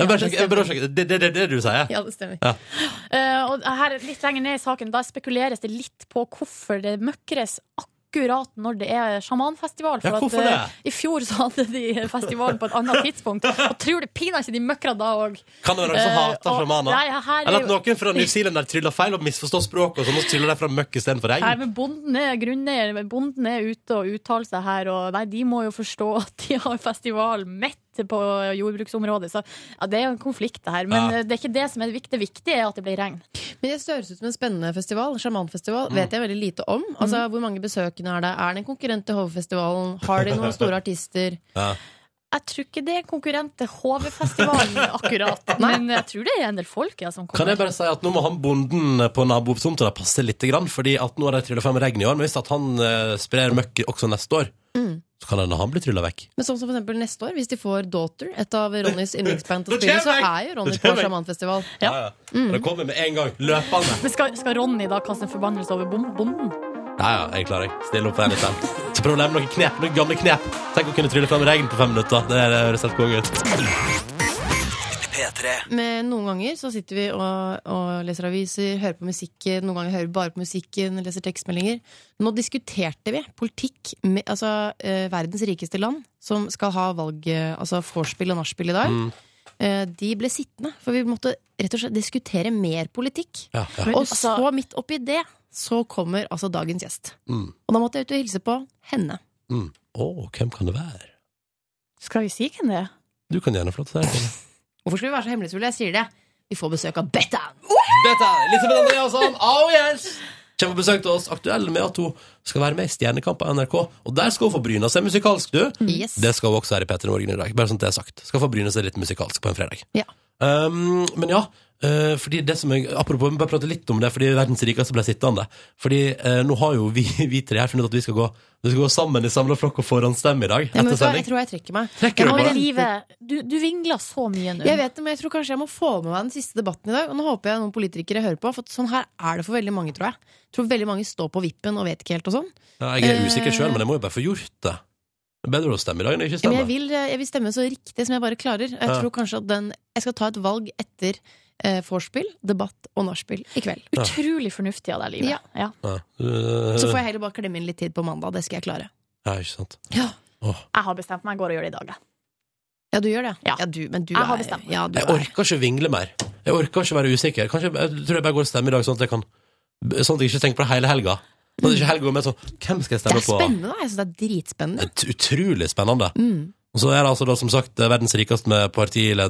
Speaker 2: Jeg bare sjekker- jeg bare sjekker. Det er det, det, det du sier?
Speaker 3: Ja, det stemmer.
Speaker 4: Eh, og her litt lenger ned i saken, da spekuleres det litt på hvorfor det møkkres akkurat når det er sjamanfestival.
Speaker 2: Ja, hvorfor
Speaker 4: eh,
Speaker 2: det?
Speaker 4: I fjor så hadde de festivalen på et annet tidspunkt. Og tror det pinadø ikke de møkra da òg.
Speaker 2: Kan det være noen som
Speaker 4: Eh,
Speaker 2: hater
Speaker 4: og-
Speaker 2: sjamaner?
Speaker 4: nei, her er
Speaker 2: Eller at
Speaker 4: jo-
Speaker 2: noen fra New Zealand der tryller feil og misforstår språket, og så nå tryller de fra møkk istedenfor
Speaker 4: Nei,
Speaker 2: regn?
Speaker 4: men bonden er grunneier, men bonden er ute og uttaler seg her, og nei, de må jo forstå at de har festival midt på jordbruksområdet, så ja, det er jo en konflikt det her. Men
Speaker 2: Ja.
Speaker 4: eh, det er ikke det som er det viktige. Det viktige er at det blir regn.
Speaker 3: Men det høres ut som en spennende festival. Sjamanfestival vet jeg veldig lite om. Altså, Hvor mange besøkende er det? Er det en konkurrent til Hovefestivalen? Har de noen store artister?
Speaker 4: Jeg tror ikke det er konkurrent til HV-festivalen akkurat, men jeg tror det er en del folk ja, som
Speaker 2: Kan
Speaker 4: kommer.
Speaker 2: jeg bare si at nå må han bonden på nabotomta der passe litt, grann, fordi at nå har de trylla frem regn i år, men hvis at han eh, sprer møkk også neste år,
Speaker 4: Mm.
Speaker 2: så kan hende han blir trylla vekk.
Speaker 3: Men sånn som for eksempel neste år, hvis de får Daughter, et av Ronnys yndlingsband til å spille, så er jo Ronny på sjamanfestival.
Speaker 4: Ja. Mm.
Speaker 2: Ja, ja. Det kommer med en gang, løpende.
Speaker 4: Men skal, skal Ronny da kaste en forbannelse over bom- bonden?
Speaker 2: Ja, ja, jeg klarer jeg. Stille opp for en liten. Så prøv å lære meg noen knep, noen gamle knep. Tenk å kunne trylle frem regn på fem minutter. Det er- det høres helt konge ut.
Speaker 3: Men noen ganger så sitter vi og, og leser aviser, hører på musikken, noen ganger hører vi bare på musikken, leser tekstmeldinger. Nå diskuterte vi politikk med altså, eh, verdens rikeste land, som skal ha valg, eh, altså vorspiel og nachspiel i dag. Eh, de ble sittende, for vi måtte rett og slett diskutere mer politikk.
Speaker 2: Ja, ja.
Speaker 3: Og
Speaker 4: altså
Speaker 3: så midt oppi det, så kommer altså dagens gjest.
Speaker 2: Mm.
Speaker 3: Og da måtte jeg ut og hilse på henne.
Speaker 2: Mm. Å, hvem kan det være?
Speaker 4: Skal vi si hvem det er?
Speaker 2: Du kan gjerne få lov til å si det.
Speaker 3: Hvorfor skal vi være så hemmelighetsfulle? Jeg sier det. Vi får besøk av Bettan!
Speaker 2: Dette er Elisabeth Andreasson. Oh yes! Kommer på besøk til oss, aktuell med at hun skal være med i Stjernekamp på NRK. Og der skal hun få bryna seg musikalsk, du.
Speaker 3: Yes.
Speaker 2: Det skal hun også være i P3 Morgen i dag. Bare sånn at det er sagt. Skal få bryne seg litt musikalsk på en fredag.
Speaker 3: Ja.
Speaker 2: Um, men ja, eh, fordi det som jeg, apropos, vi bare prate litt om det, fordi verdens rikeste ble sittende. Fordi eh, nå har jo vi, vi tre her funnet ut at vi skal gå, vi skal gå sammen i samla flokk og forhåndsstemme i dag.
Speaker 3: Ja, men vet du hva?
Speaker 2: Etter
Speaker 3: Jeg
Speaker 2: sending.
Speaker 3: tror jeg trekker meg.
Speaker 2: Trekker du
Speaker 3: Jeg må
Speaker 2: på
Speaker 3: vente.
Speaker 2: det?
Speaker 4: Livet, du, du vingler så mye nå.
Speaker 3: Jeg vet det, men jeg tror kanskje jeg må få med meg den siste debatten i dag. Og nå håper jeg noen politikere hører på, for sånn her er det for veldig mange, tror jeg. Jeg tror veldig mange står på vippen og vet ikke helt og sånn.
Speaker 2: Ja, jeg er usikker sjøl, men jeg må jo bare få gjort det. Det er Bedre å stemme i dag enn å ikke
Speaker 3: Men
Speaker 2: stemme.
Speaker 3: jeg vil, eh, jeg vil stemme så riktig som jeg bare klarer. Og jeg
Speaker 2: Ja.
Speaker 3: tror kanskje at den Jeg skal ta et valg etter eh, vorspiel, debatt og nachspiel i kveld.
Speaker 4: Utrolig fornuftig av deg, Livet.
Speaker 3: Ja.
Speaker 4: Ja.
Speaker 2: Ja. Eh,
Speaker 3: Så får jeg heller bare klemme inn litt tid på mandag. Det skal jeg klare.
Speaker 2: ja, ikke sant.
Speaker 3: Ja.
Speaker 2: Åh.
Speaker 4: Jeg har bestemt meg, jeg går og gjør det i dag. jeg.
Speaker 3: Ja, du gjør det?
Speaker 4: Ja.
Speaker 3: du, men du
Speaker 4: Jeg har
Speaker 3: er
Speaker 4: bestemt meg.
Speaker 3: ja, du
Speaker 2: Jeg
Speaker 3: er.
Speaker 2: orker ikke å vingle mer. Jeg orker ikke å være usikker. Kanskje, jeg tror jeg bare går og stemmer i dag, sånn at jeg kan Sånn at jeg ikke tenker på det hele helga. Sånn at ikke helga går med sånn Hvem skal
Speaker 3: Det
Speaker 2: jeg stemme
Speaker 3: er
Speaker 2: på?
Speaker 3: spennende, da. Jeg synes det er dritspennende. Mm.
Speaker 2: Et utrolig spennende. Og så er det altså da som sagt verdens rikeste med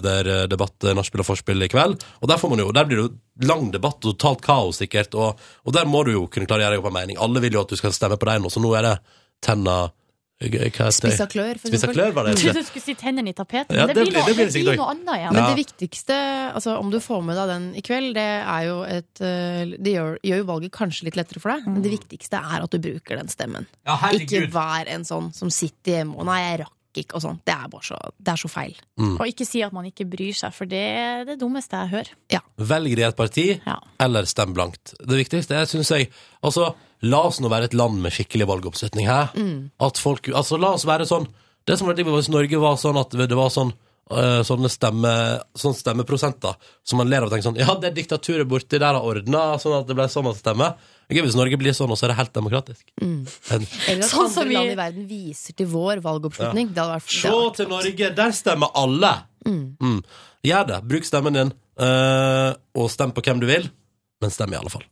Speaker 2: partilederdebatt, eh, nachspiel og forspill i kveld. Og der, får man jo, der blir det jo lang debatt og totalt kaos, sikkert. Og, og der må du jo kunne klarere deg opp en mening. Alle vil jo at du skal stemme på deg nå, så nå er det tenna eh, Hva heter det?
Speaker 3: Spissa klør, for
Speaker 2: Spissa
Speaker 3: eksempel.
Speaker 2: klør, var det
Speaker 4: Jeg
Speaker 2: det?
Speaker 4: trodde du skulle si tennene i tapetet,
Speaker 2: Ja,
Speaker 4: men det,
Speaker 2: det
Speaker 4: blir,
Speaker 2: blir-
Speaker 4: noe,
Speaker 2: det blir
Speaker 4: det
Speaker 2: sikkert
Speaker 4: blir
Speaker 2: dag.
Speaker 4: noe annet igjen.
Speaker 3: Men
Speaker 2: Ja.
Speaker 3: det viktigste, altså om du får med deg den i kveld, det er jo et eh, Det gjør, gjør jo valget kanskje litt lettere for deg, men det viktigste er at du bruker den stemmen.
Speaker 2: Ja,
Speaker 3: Ikke vær en sånn som sitter hjemme og 'nei, jeg rakk ikke' og sånn. Det er bare så, det er så feil.
Speaker 4: Og ikke si at man ikke bryr seg, for det er det dummeste jeg hører.
Speaker 2: Velg deg et parti,
Speaker 4: Ja.
Speaker 2: eller stem blankt. Det viktigste er, synes jeg Altså, la oss nå være et land med skikkelig valgoppslutning her. At folk Altså, la oss være sånn Det som var digg hvis Norge var sånn at det var sånn eh, Sånne, stemme, sånne stemmeprosenter som man ler av og tenker sånn Ja, det diktaturet borti der har ordna sånn at det ble sånn at det stemmer. Det er Gøy hvis Norge blir sånn, og så er det helt demokratisk. Men,
Speaker 3: Eller at
Speaker 4: Sånn som
Speaker 3: andre
Speaker 4: vi-
Speaker 3: land i verden viser til vår valgoppslutning. Det hadde vært det
Speaker 2: Se
Speaker 3: hadde vært-
Speaker 2: til Norge, der stemmer alle! Mm. Gjør det. Bruk stemmen din, eh, og stem på hvem du vil, men stem i alle fall.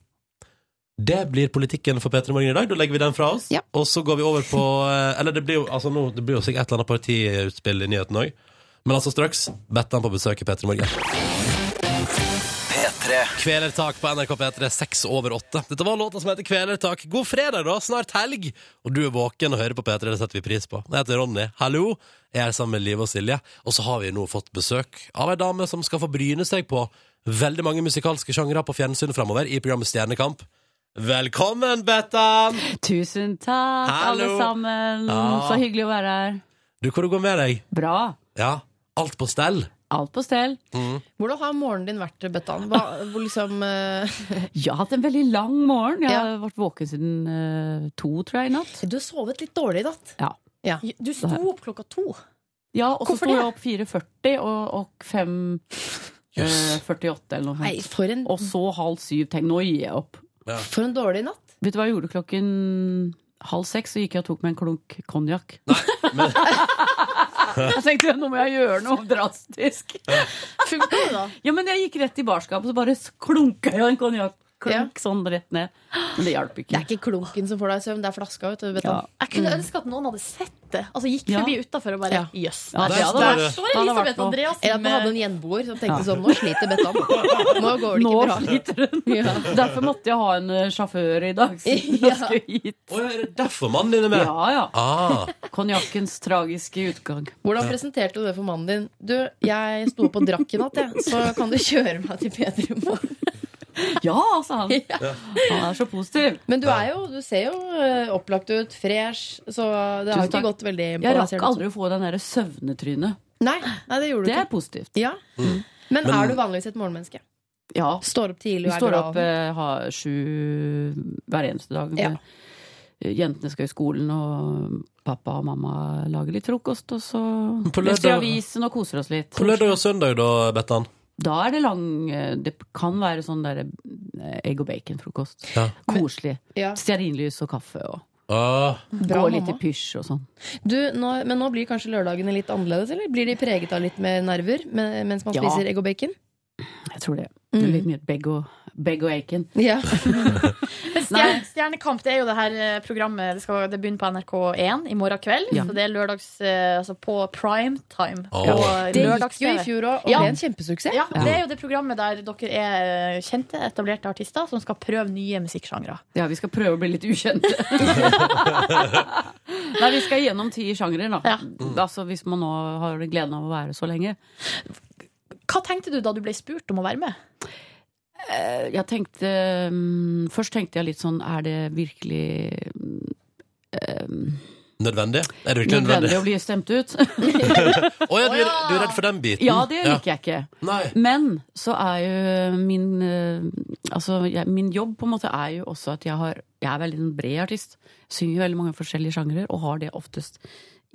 Speaker 2: Det blir politikken for P3 Morgen i dag. Da legger vi den fra oss. Og så går vi over på eh, Eller det blir jo, altså nå, det blir jo sikkert et eller annet partiutspill i nyheten òg. Men altså straks Bettan på besøk i P3 Morgen. Kvelertak på NRK P3, seks over åtte. Dette var låta som heter Kvelertak. God fredag, da! Snart helg! Og du er våken og hører på P3, det setter vi pris på. Jeg heter Ronny, hallo! Jeg er her sammen med Live og Silje, og så har vi nå fått besøk av ei dame som skal få bryne seg på veldig mange musikalske sjangre på fjernsynet framover i programmet Stjernekamp. Velkommen, Bettan!
Speaker 11: Tusen takk,
Speaker 2: Hallo.
Speaker 11: alle sammen.
Speaker 2: Ja.
Speaker 11: Så hyggelig å være her.
Speaker 2: Du, hvor det går med deg?
Speaker 11: Bra.
Speaker 2: Ja, alt på stell?
Speaker 11: Alt på stell.
Speaker 2: Mm.
Speaker 3: Hvordan har morgenen din vært, Bøttan? Hva, hvor liksom eh,
Speaker 11: Jeg har hatt en veldig lang morgen. Jeg har vært våken siden eh, to, tror jeg, i natt.
Speaker 3: Du har sovet litt dårlig i natt.
Speaker 11: Ja.
Speaker 4: Du sto opp klokka to.
Speaker 11: Ja, og så
Speaker 4: Hvorfor
Speaker 11: sto jeg
Speaker 4: det?
Speaker 11: opp 4.40 og, og 5 eh, 48 eller noe
Speaker 3: Nei,
Speaker 11: sånt.
Speaker 3: for en,
Speaker 11: Og så halv syv. Tenk, nå gir jeg opp.
Speaker 3: for en dårlig natt.
Speaker 11: Vet du hva jeg gjorde klokken halv seks? Så gikk jeg og tok meg en klunk konjakk. jeg tenkte nå må jeg gjøre noe drastisk.
Speaker 4: Funka det, da?
Speaker 11: Ja, men jeg gikk rett i barskapet, så bare klunka jeg en konjakk. Klunk, Sånn rett ned. Men det hjalp
Speaker 3: Det
Speaker 11: ikke.
Speaker 3: er ikke klunken som får deg i søvn, det er flaska. Vet du, Bettan.
Speaker 11: Ja.
Speaker 4: Jeg kunne ønske at noen hadde sett det. Altså gikk
Speaker 11: Ja.
Speaker 4: forbi utenfor og bare Jøss.
Speaker 11: Ja,
Speaker 4: der
Speaker 11: det hadde
Speaker 4: står-
Speaker 11: vært-
Speaker 4: der står
Speaker 11: det hadde vært
Speaker 4: Elisabeth
Speaker 11: noe.
Speaker 4: Andreas
Speaker 3: Eller at man hadde en gjenboer som tenkte sånn Nå sliter Bettan. Nå går det
Speaker 11: Nå
Speaker 3: ikke bra.
Speaker 11: sliter hun.
Speaker 3: Ja.
Speaker 11: Derfor måtte jeg ha en eh, sjåfør i dag. Siden jeg skulle hit.
Speaker 2: Å, er det derfor mannen din er med?
Speaker 11: Ja, ja.
Speaker 2: Ah,
Speaker 11: Konjakkens tragiske utgang.
Speaker 3: Hvordan presenterte du det for mannen din? Du, jeg sto opp og drakk i natt, jeg. Så kan du kjøre meg til P3 i morgen.
Speaker 11: Ja, sa han. Han er så positiv.
Speaker 3: Men du er jo, du ser jo eh, opplagt ut, fresh, så det
Speaker 11: Tusen
Speaker 3: har jo ikke
Speaker 11: takk.
Speaker 3: gått veldig
Speaker 11: Jeg
Speaker 3: bra,
Speaker 11: rakk
Speaker 3: ser det ut som.
Speaker 11: aldri å få den derre søvnetrynet.
Speaker 3: Nei, nei, det gjorde
Speaker 11: Det
Speaker 3: du
Speaker 11: er
Speaker 3: ikke.
Speaker 11: positivt.
Speaker 3: Ja. Mm. Men,
Speaker 2: Men-
Speaker 3: er du vanligvis et morgenmenneske?
Speaker 11: Ja.
Speaker 3: Står opp tidlig
Speaker 11: Vi
Speaker 3: og er
Speaker 11: står
Speaker 3: glad?
Speaker 11: opp eh, ha, sju hver eneste dag.
Speaker 3: Ja.
Speaker 11: Eh, Jentene skal i skolen, og pappa og mamma lager litt frokost. Og så
Speaker 2: på
Speaker 11: leser
Speaker 2: lørdag-
Speaker 11: avisen og koser oss litt.
Speaker 2: på lørdag og søndag, da, Bettan?
Speaker 11: Da er det lang eh, Det kan være sånn der eh, egg og bacon-frokost.
Speaker 2: Ja.
Speaker 11: Koselig.
Speaker 3: Ja.
Speaker 11: Stearinlys og kaffe og
Speaker 2: Ah.
Speaker 3: Bra,
Speaker 11: gå litt i
Speaker 3: mamma.
Speaker 11: pysj og sånn.
Speaker 3: Du, nå, men nå blir kanskje lørdagene litt annerledes, eller? Blir de preget av litt mer nerver men- mens man
Speaker 11: Ja.
Speaker 3: spiser egg og bacon?
Speaker 11: Jeg tror det.
Speaker 3: Mm.
Speaker 11: Det blir litt mye begg og, begg og bacon.
Speaker 3: Ja.
Speaker 4: Men Stjerne, Stjernekamp det er jo det her eh, programmet. Det, skal, det begynner på NRK1 i morgen kveld. Så det er lørdags eh, altså på primetime.
Speaker 2: Åh.
Speaker 4: på
Speaker 3: Det gikk jo i
Speaker 4: lørdags-TV.
Speaker 3: fjor òg, og
Speaker 4: Ja.
Speaker 3: ble en kjempesuksess.
Speaker 4: Ja, Det er jo det programmet der dere er eh, kjente, etablerte artister som skal prøve nye musikksjangre.
Speaker 11: Ja, vi skal prøve å bli litt ukjente. Nei, vi skal gjennom ti sjangre, da.
Speaker 4: Ja.
Speaker 11: Altså, hvis man nå har gleden av å være så lenge.
Speaker 4: Hva tenkte du da du ble spurt om å være med?
Speaker 11: Eh, Jeg tenkte mm, Først tenkte jeg litt sånn Er det virkelig mm,
Speaker 2: Nødvendig? Er det virkelig nødvendig?
Speaker 11: nødvendig å bli stemt ut?
Speaker 2: Å ja, du, er- du er redd for den biten?
Speaker 11: ja, det liker jeg ikke.
Speaker 2: Nei.
Speaker 11: Men så er jo min eh, Altså, jeg, min jobb på en måte er jo også at jeg har Jeg er veldig en bred artist. Synger veldig mange forskjellige sjangre, og har det oftest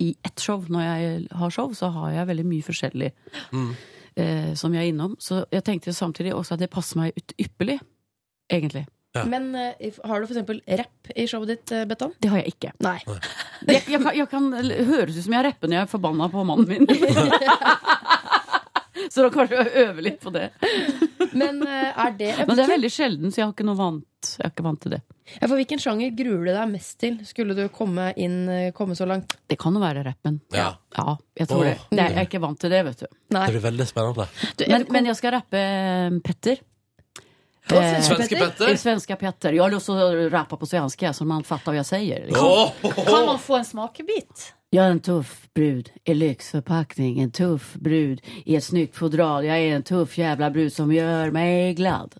Speaker 11: i ett show. Når jeg har show, så har jeg veldig mye forskjellig eh, som jeg er innom. Så jeg tenkte samtidig også at det passer meg ut ypperlig. Egentlig.
Speaker 3: Men eh, har du for eksempel rapp i showet ditt, eh, Bettan?
Speaker 11: Det har jeg ikke.
Speaker 3: Nei.
Speaker 11: Jeg, jeg, kan, jeg kan høres ut som jeg rapper når jeg er forbanna på mannen min. så da kanskje jeg øver litt på det.
Speaker 3: Men eh, er det,
Speaker 11: Men det er veldig sjelden, så jeg har ikke noe vant. Jeg er ikke vant til det.
Speaker 3: Ja, For hvilken sjanger gruer du deg mest til, skulle du komme, inn, eh, komme så langt?
Speaker 11: Det kan jo være rappen.
Speaker 2: Ja.
Speaker 11: Ja, jeg tror
Speaker 2: Åh.
Speaker 11: det. det. Jeg er ikke vant til det, vet du.
Speaker 2: Det blir veldig spennende.
Speaker 11: Men, men jeg skal rappe eh, Petter. Eh,
Speaker 2: Svenske
Speaker 11: eh,
Speaker 2: Petter?
Speaker 11: Svenska Petter. Jag vill också rappa på svenska så man fattar vad jag säger. Liksom.
Speaker 2: Åh!
Speaker 4: Kan man få en smakebit?
Speaker 11: Jag är en tuff brud i lyxförpackning, en tuff brud i ett snyggt fodral. Jag är en tuff jävla brud som gör mig glad.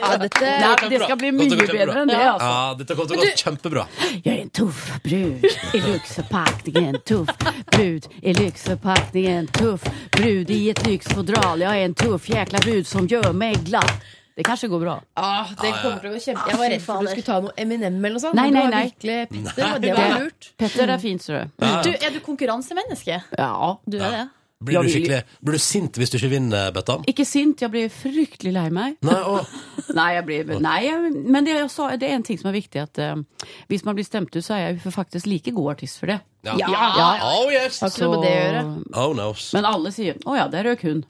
Speaker 3: Ja, dette,
Speaker 11: Nej, det ska bli
Speaker 2: Låter
Speaker 11: mycket
Speaker 2: jättebra.
Speaker 11: bättre än det. altså. Alltså.
Speaker 2: Ja, dette kommer til å gå kjempebra.
Speaker 11: Jag är en tuff brud i lyxförpackningen, tuff brud i lyxförpackningen, tuff brud i ett lyxfodral. Jag är en tuff jäkla brud som gör mig glad. Det kanskje går bra.
Speaker 3: ah, det kommer til å gå kjempe... Jeg var redd for at du skulle ta noe Eminem eller noe sånt.
Speaker 11: Nei,
Speaker 3: men
Speaker 11: nei,
Speaker 3: det var
Speaker 11: nei.
Speaker 3: virkelig Petter, og det var lurt.
Speaker 11: Petter er fint, ser du.
Speaker 4: Du, er du konkurransemenneske?
Speaker 11: Ja.
Speaker 4: Du er det.
Speaker 2: Blir du
Speaker 11: Jeg vil-
Speaker 2: skikkelig Blir du sint hvis du ikke vinner, Bettan?
Speaker 11: Ikke sint, jeg blir fryktelig lei meg.
Speaker 2: Nei, å.
Speaker 11: nei, jeg blir, nei jeg, men det er, også, det er en ting som er viktig, at eh, hvis man blir stemt ut, så er jeg faktisk like god artist for det.
Speaker 2: Ja. Oh, yes.
Speaker 11: Har ikke noe med det å gjøre.
Speaker 2: Oh, no.
Speaker 11: Men alle sier 'Å ja, der røk hun'.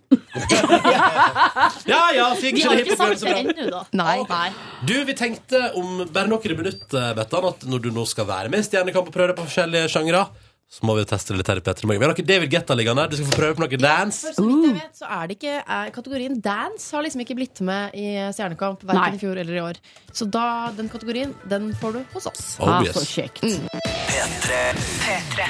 Speaker 2: Ja, ja, fikk
Speaker 11: Vi
Speaker 2: ikke
Speaker 11: har
Speaker 2: det
Speaker 11: ikke
Speaker 2: hiphop-greiene
Speaker 11: sagt
Speaker 2: så bra.
Speaker 11: det ennå, da.
Speaker 5: Nei.
Speaker 2: Du, vi tenkte om bare noen minutter, Bettan, at når du nå skal være med i Stjernekamp og prøve deg på forskjellige sjangre, så må vi jo teste det litt her i Petter Morgen. Vi har noe David Guetta liggende her. Du skal få prøve på noe dance.
Speaker 3: For så vidt jeg vet, så er det ikke er, Kategorien dance har liksom ikke blitt med i eh, Stjernekamp, verken i fjor eller i år. Så da, den kategorien, den får du hos oss.
Speaker 2: Oh, Ah, yes. så
Speaker 11: kjekt.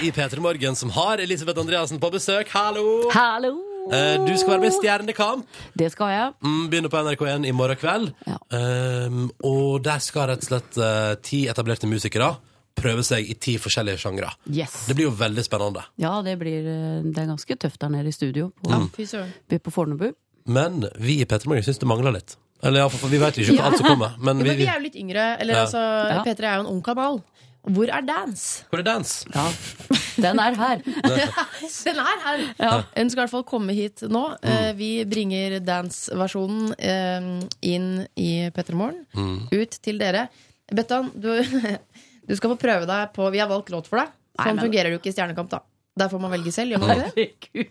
Speaker 2: I P3 Morgen, som har Elisabeth Andreassen på besøk. Hallo!
Speaker 11: Hallo!
Speaker 2: Eh, Du skal være med i Stjernekamp.
Speaker 11: Det skal jeg.
Speaker 2: Mm, Begynner på NRK1 i morgen kveld. Um, og der skal rett og slett eh, ti etablerte musikere prøve seg i ti forskjellige sjangre.
Speaker 11: Yes.
Speaker 2: Det blir jo veldig spennende.
Speaker 11: Ja, det, blir, eh, det er ganske tøft der nede i studio på, på, Fornebu.
Speaker 2: Men vi i P3 Morgen syns det mangler litt. Eller i alle fall, vi vet jo ikke
Speaker 3: Ja.
Speaker 2: alt som kommer. Men
Speaker 3: ja,
Speaker 2: vi,
Speaker 3: men vi er jo litt yngre. Eller
Speaker 2: Ja.
Speaker 3: altså,
Speaker 2: Ja.
Speaker 3: P3 er jo en ung kanal. Hvor er dance?
Speaker 2: Hvor er dance?
Speaker 11: Den er her.
Speaker 3: Den er her! Ja. Den skal i hvert fall komme hit nå. Eh, Vi bringer dance-versjonen eh, inn i P3 Morgen.
Speaker 12: Mm.
Speaker 3: Ut til dere. Bettan, du, du skal få prøve deg på Vi har valgt låt for deg.
Speaker 12: Nei,
Speaker 3: Sånn
Speaker 12: men-
Speaker 3: fungerer det jo ikke i Stjernekamp, da. Der får man velge selv, gjør man ikke det?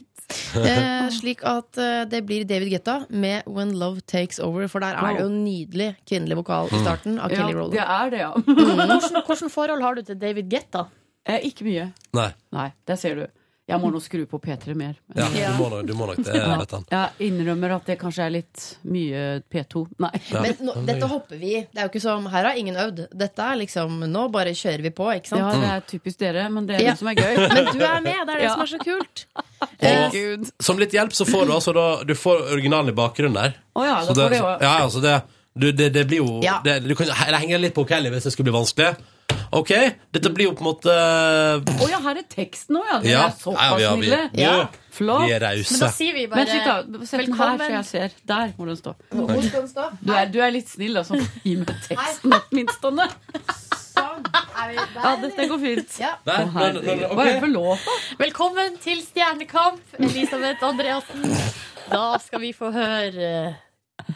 Speaker 3: Eh, slik at eh, det blir David Guetta med When Love Takes Over. For der er det jo en nydelig kvinnelig vokal i starten av
Speaker 11: Ja,
Speaker 3: Kelly Rowland.
Speaker 11: det er det, ja.
Speaker 4: Hvordan, hvordan forhold har du til David Guetta?
Speaker 11: Eh, ikke mye.
Speaker 2: Nei.
Speaker 11: Nei, der ser du. Jeg må nå skru på P3 mer.
Speaker 2: Ja, du må nok- du må nok det,
Speaker 11: Ja.
Speaker 2: Bettan.
Speaker 11: Jeg innrømmer at det kanskje er litt mye P2. Nei.
Speaker 3: Men nå, dette hopper vi i. Det er jo ikke som Her har ingen øvd. Dette er liksom Nå bare kjører vi på, ikke sant?
Speaker 11: Ja, det
Speaker 2: Mm.
Speaker 11: er typisk dere, men det er
Speaker 3: Ja.
Speaker 11: det som er gøy.
Speaker 3: Men du er med, det er det
Speaker 11: Ja.
Speaker 3: som er så kult.
Speaker 2: Og som litt hjelp så får du altså da, Du får originalen i bakgrunnen der.
Speaker 11: Å ja, da
Speaker 2: Så
Speaker 11: får vi
Speaker 2: så,
Speaker 11: jo-
Speaker 2: ja, altså det, du, det, det blir jo
Speaker 11: Ja.
Speaker 2: det, Du kan det henger litt på Kelly hvis det skulle bli vanskelig. OK, dette blir jo på en måte
Speaker 11: Å ja, her er teksten òg, ja. Dere
Speaker 2: Ja.
Speaker 11: er såpass
Speaker 2: Ja, vi er- vi-
Speaker 11: snille.
Speaker 2: du,
Speaker 11: Flott.
Speaker 2: vi er rause. Men da sier
Speaker 4: vi bare
Speaker 11: Men slipp av. Sett den her, så jeg ser. Der må den stå.
Speaker 3: Hvor skal den stå?
Speaker 11: Du er, du er litt snill, altså. Gi meg teksten, minst, Anne. Sånn. Ja, dette går fint.
Speaker 2: Der,
Speaker 11: Å,
Speaker 2: der, der,
Speaker 11: herregud.
Speaker 2: ok.
Speaker 11: Hva er det for låt, da?
Speaker 4: Velkommen til Stjernekamp, Elisabeth Andreassen. Da skal vi få høre eh,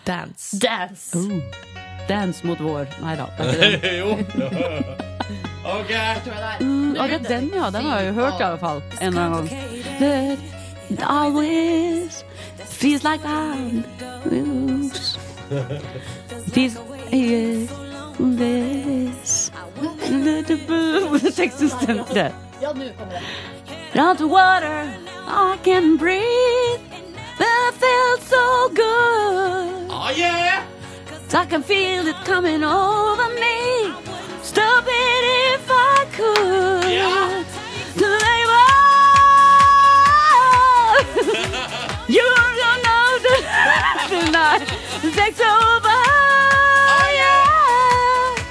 Speaker 3: Dance.
Speaker 4: Dance.
Speaker 11: Oh. Dance mot vår. Nei da. det er ikke den.
Speaker 2: Jo. OK.
Speaker 11: Mm, å, det er den, ja. Den har jeg jo hørt, i alle fall. En eller annen gang. But it always feels like I'm loose. Feels yeah, this. Teksten stemte.
Speaker 4: Ja, nå kommer det.
Speaker 11: er Not water I can breathe. That felt so good.
Speaker 2: Oh yeah!
Speaker 11: I can feel it coming over me. Stop it if I could. Yeah. you don't know the tonight. Takes over. Oh, yeah.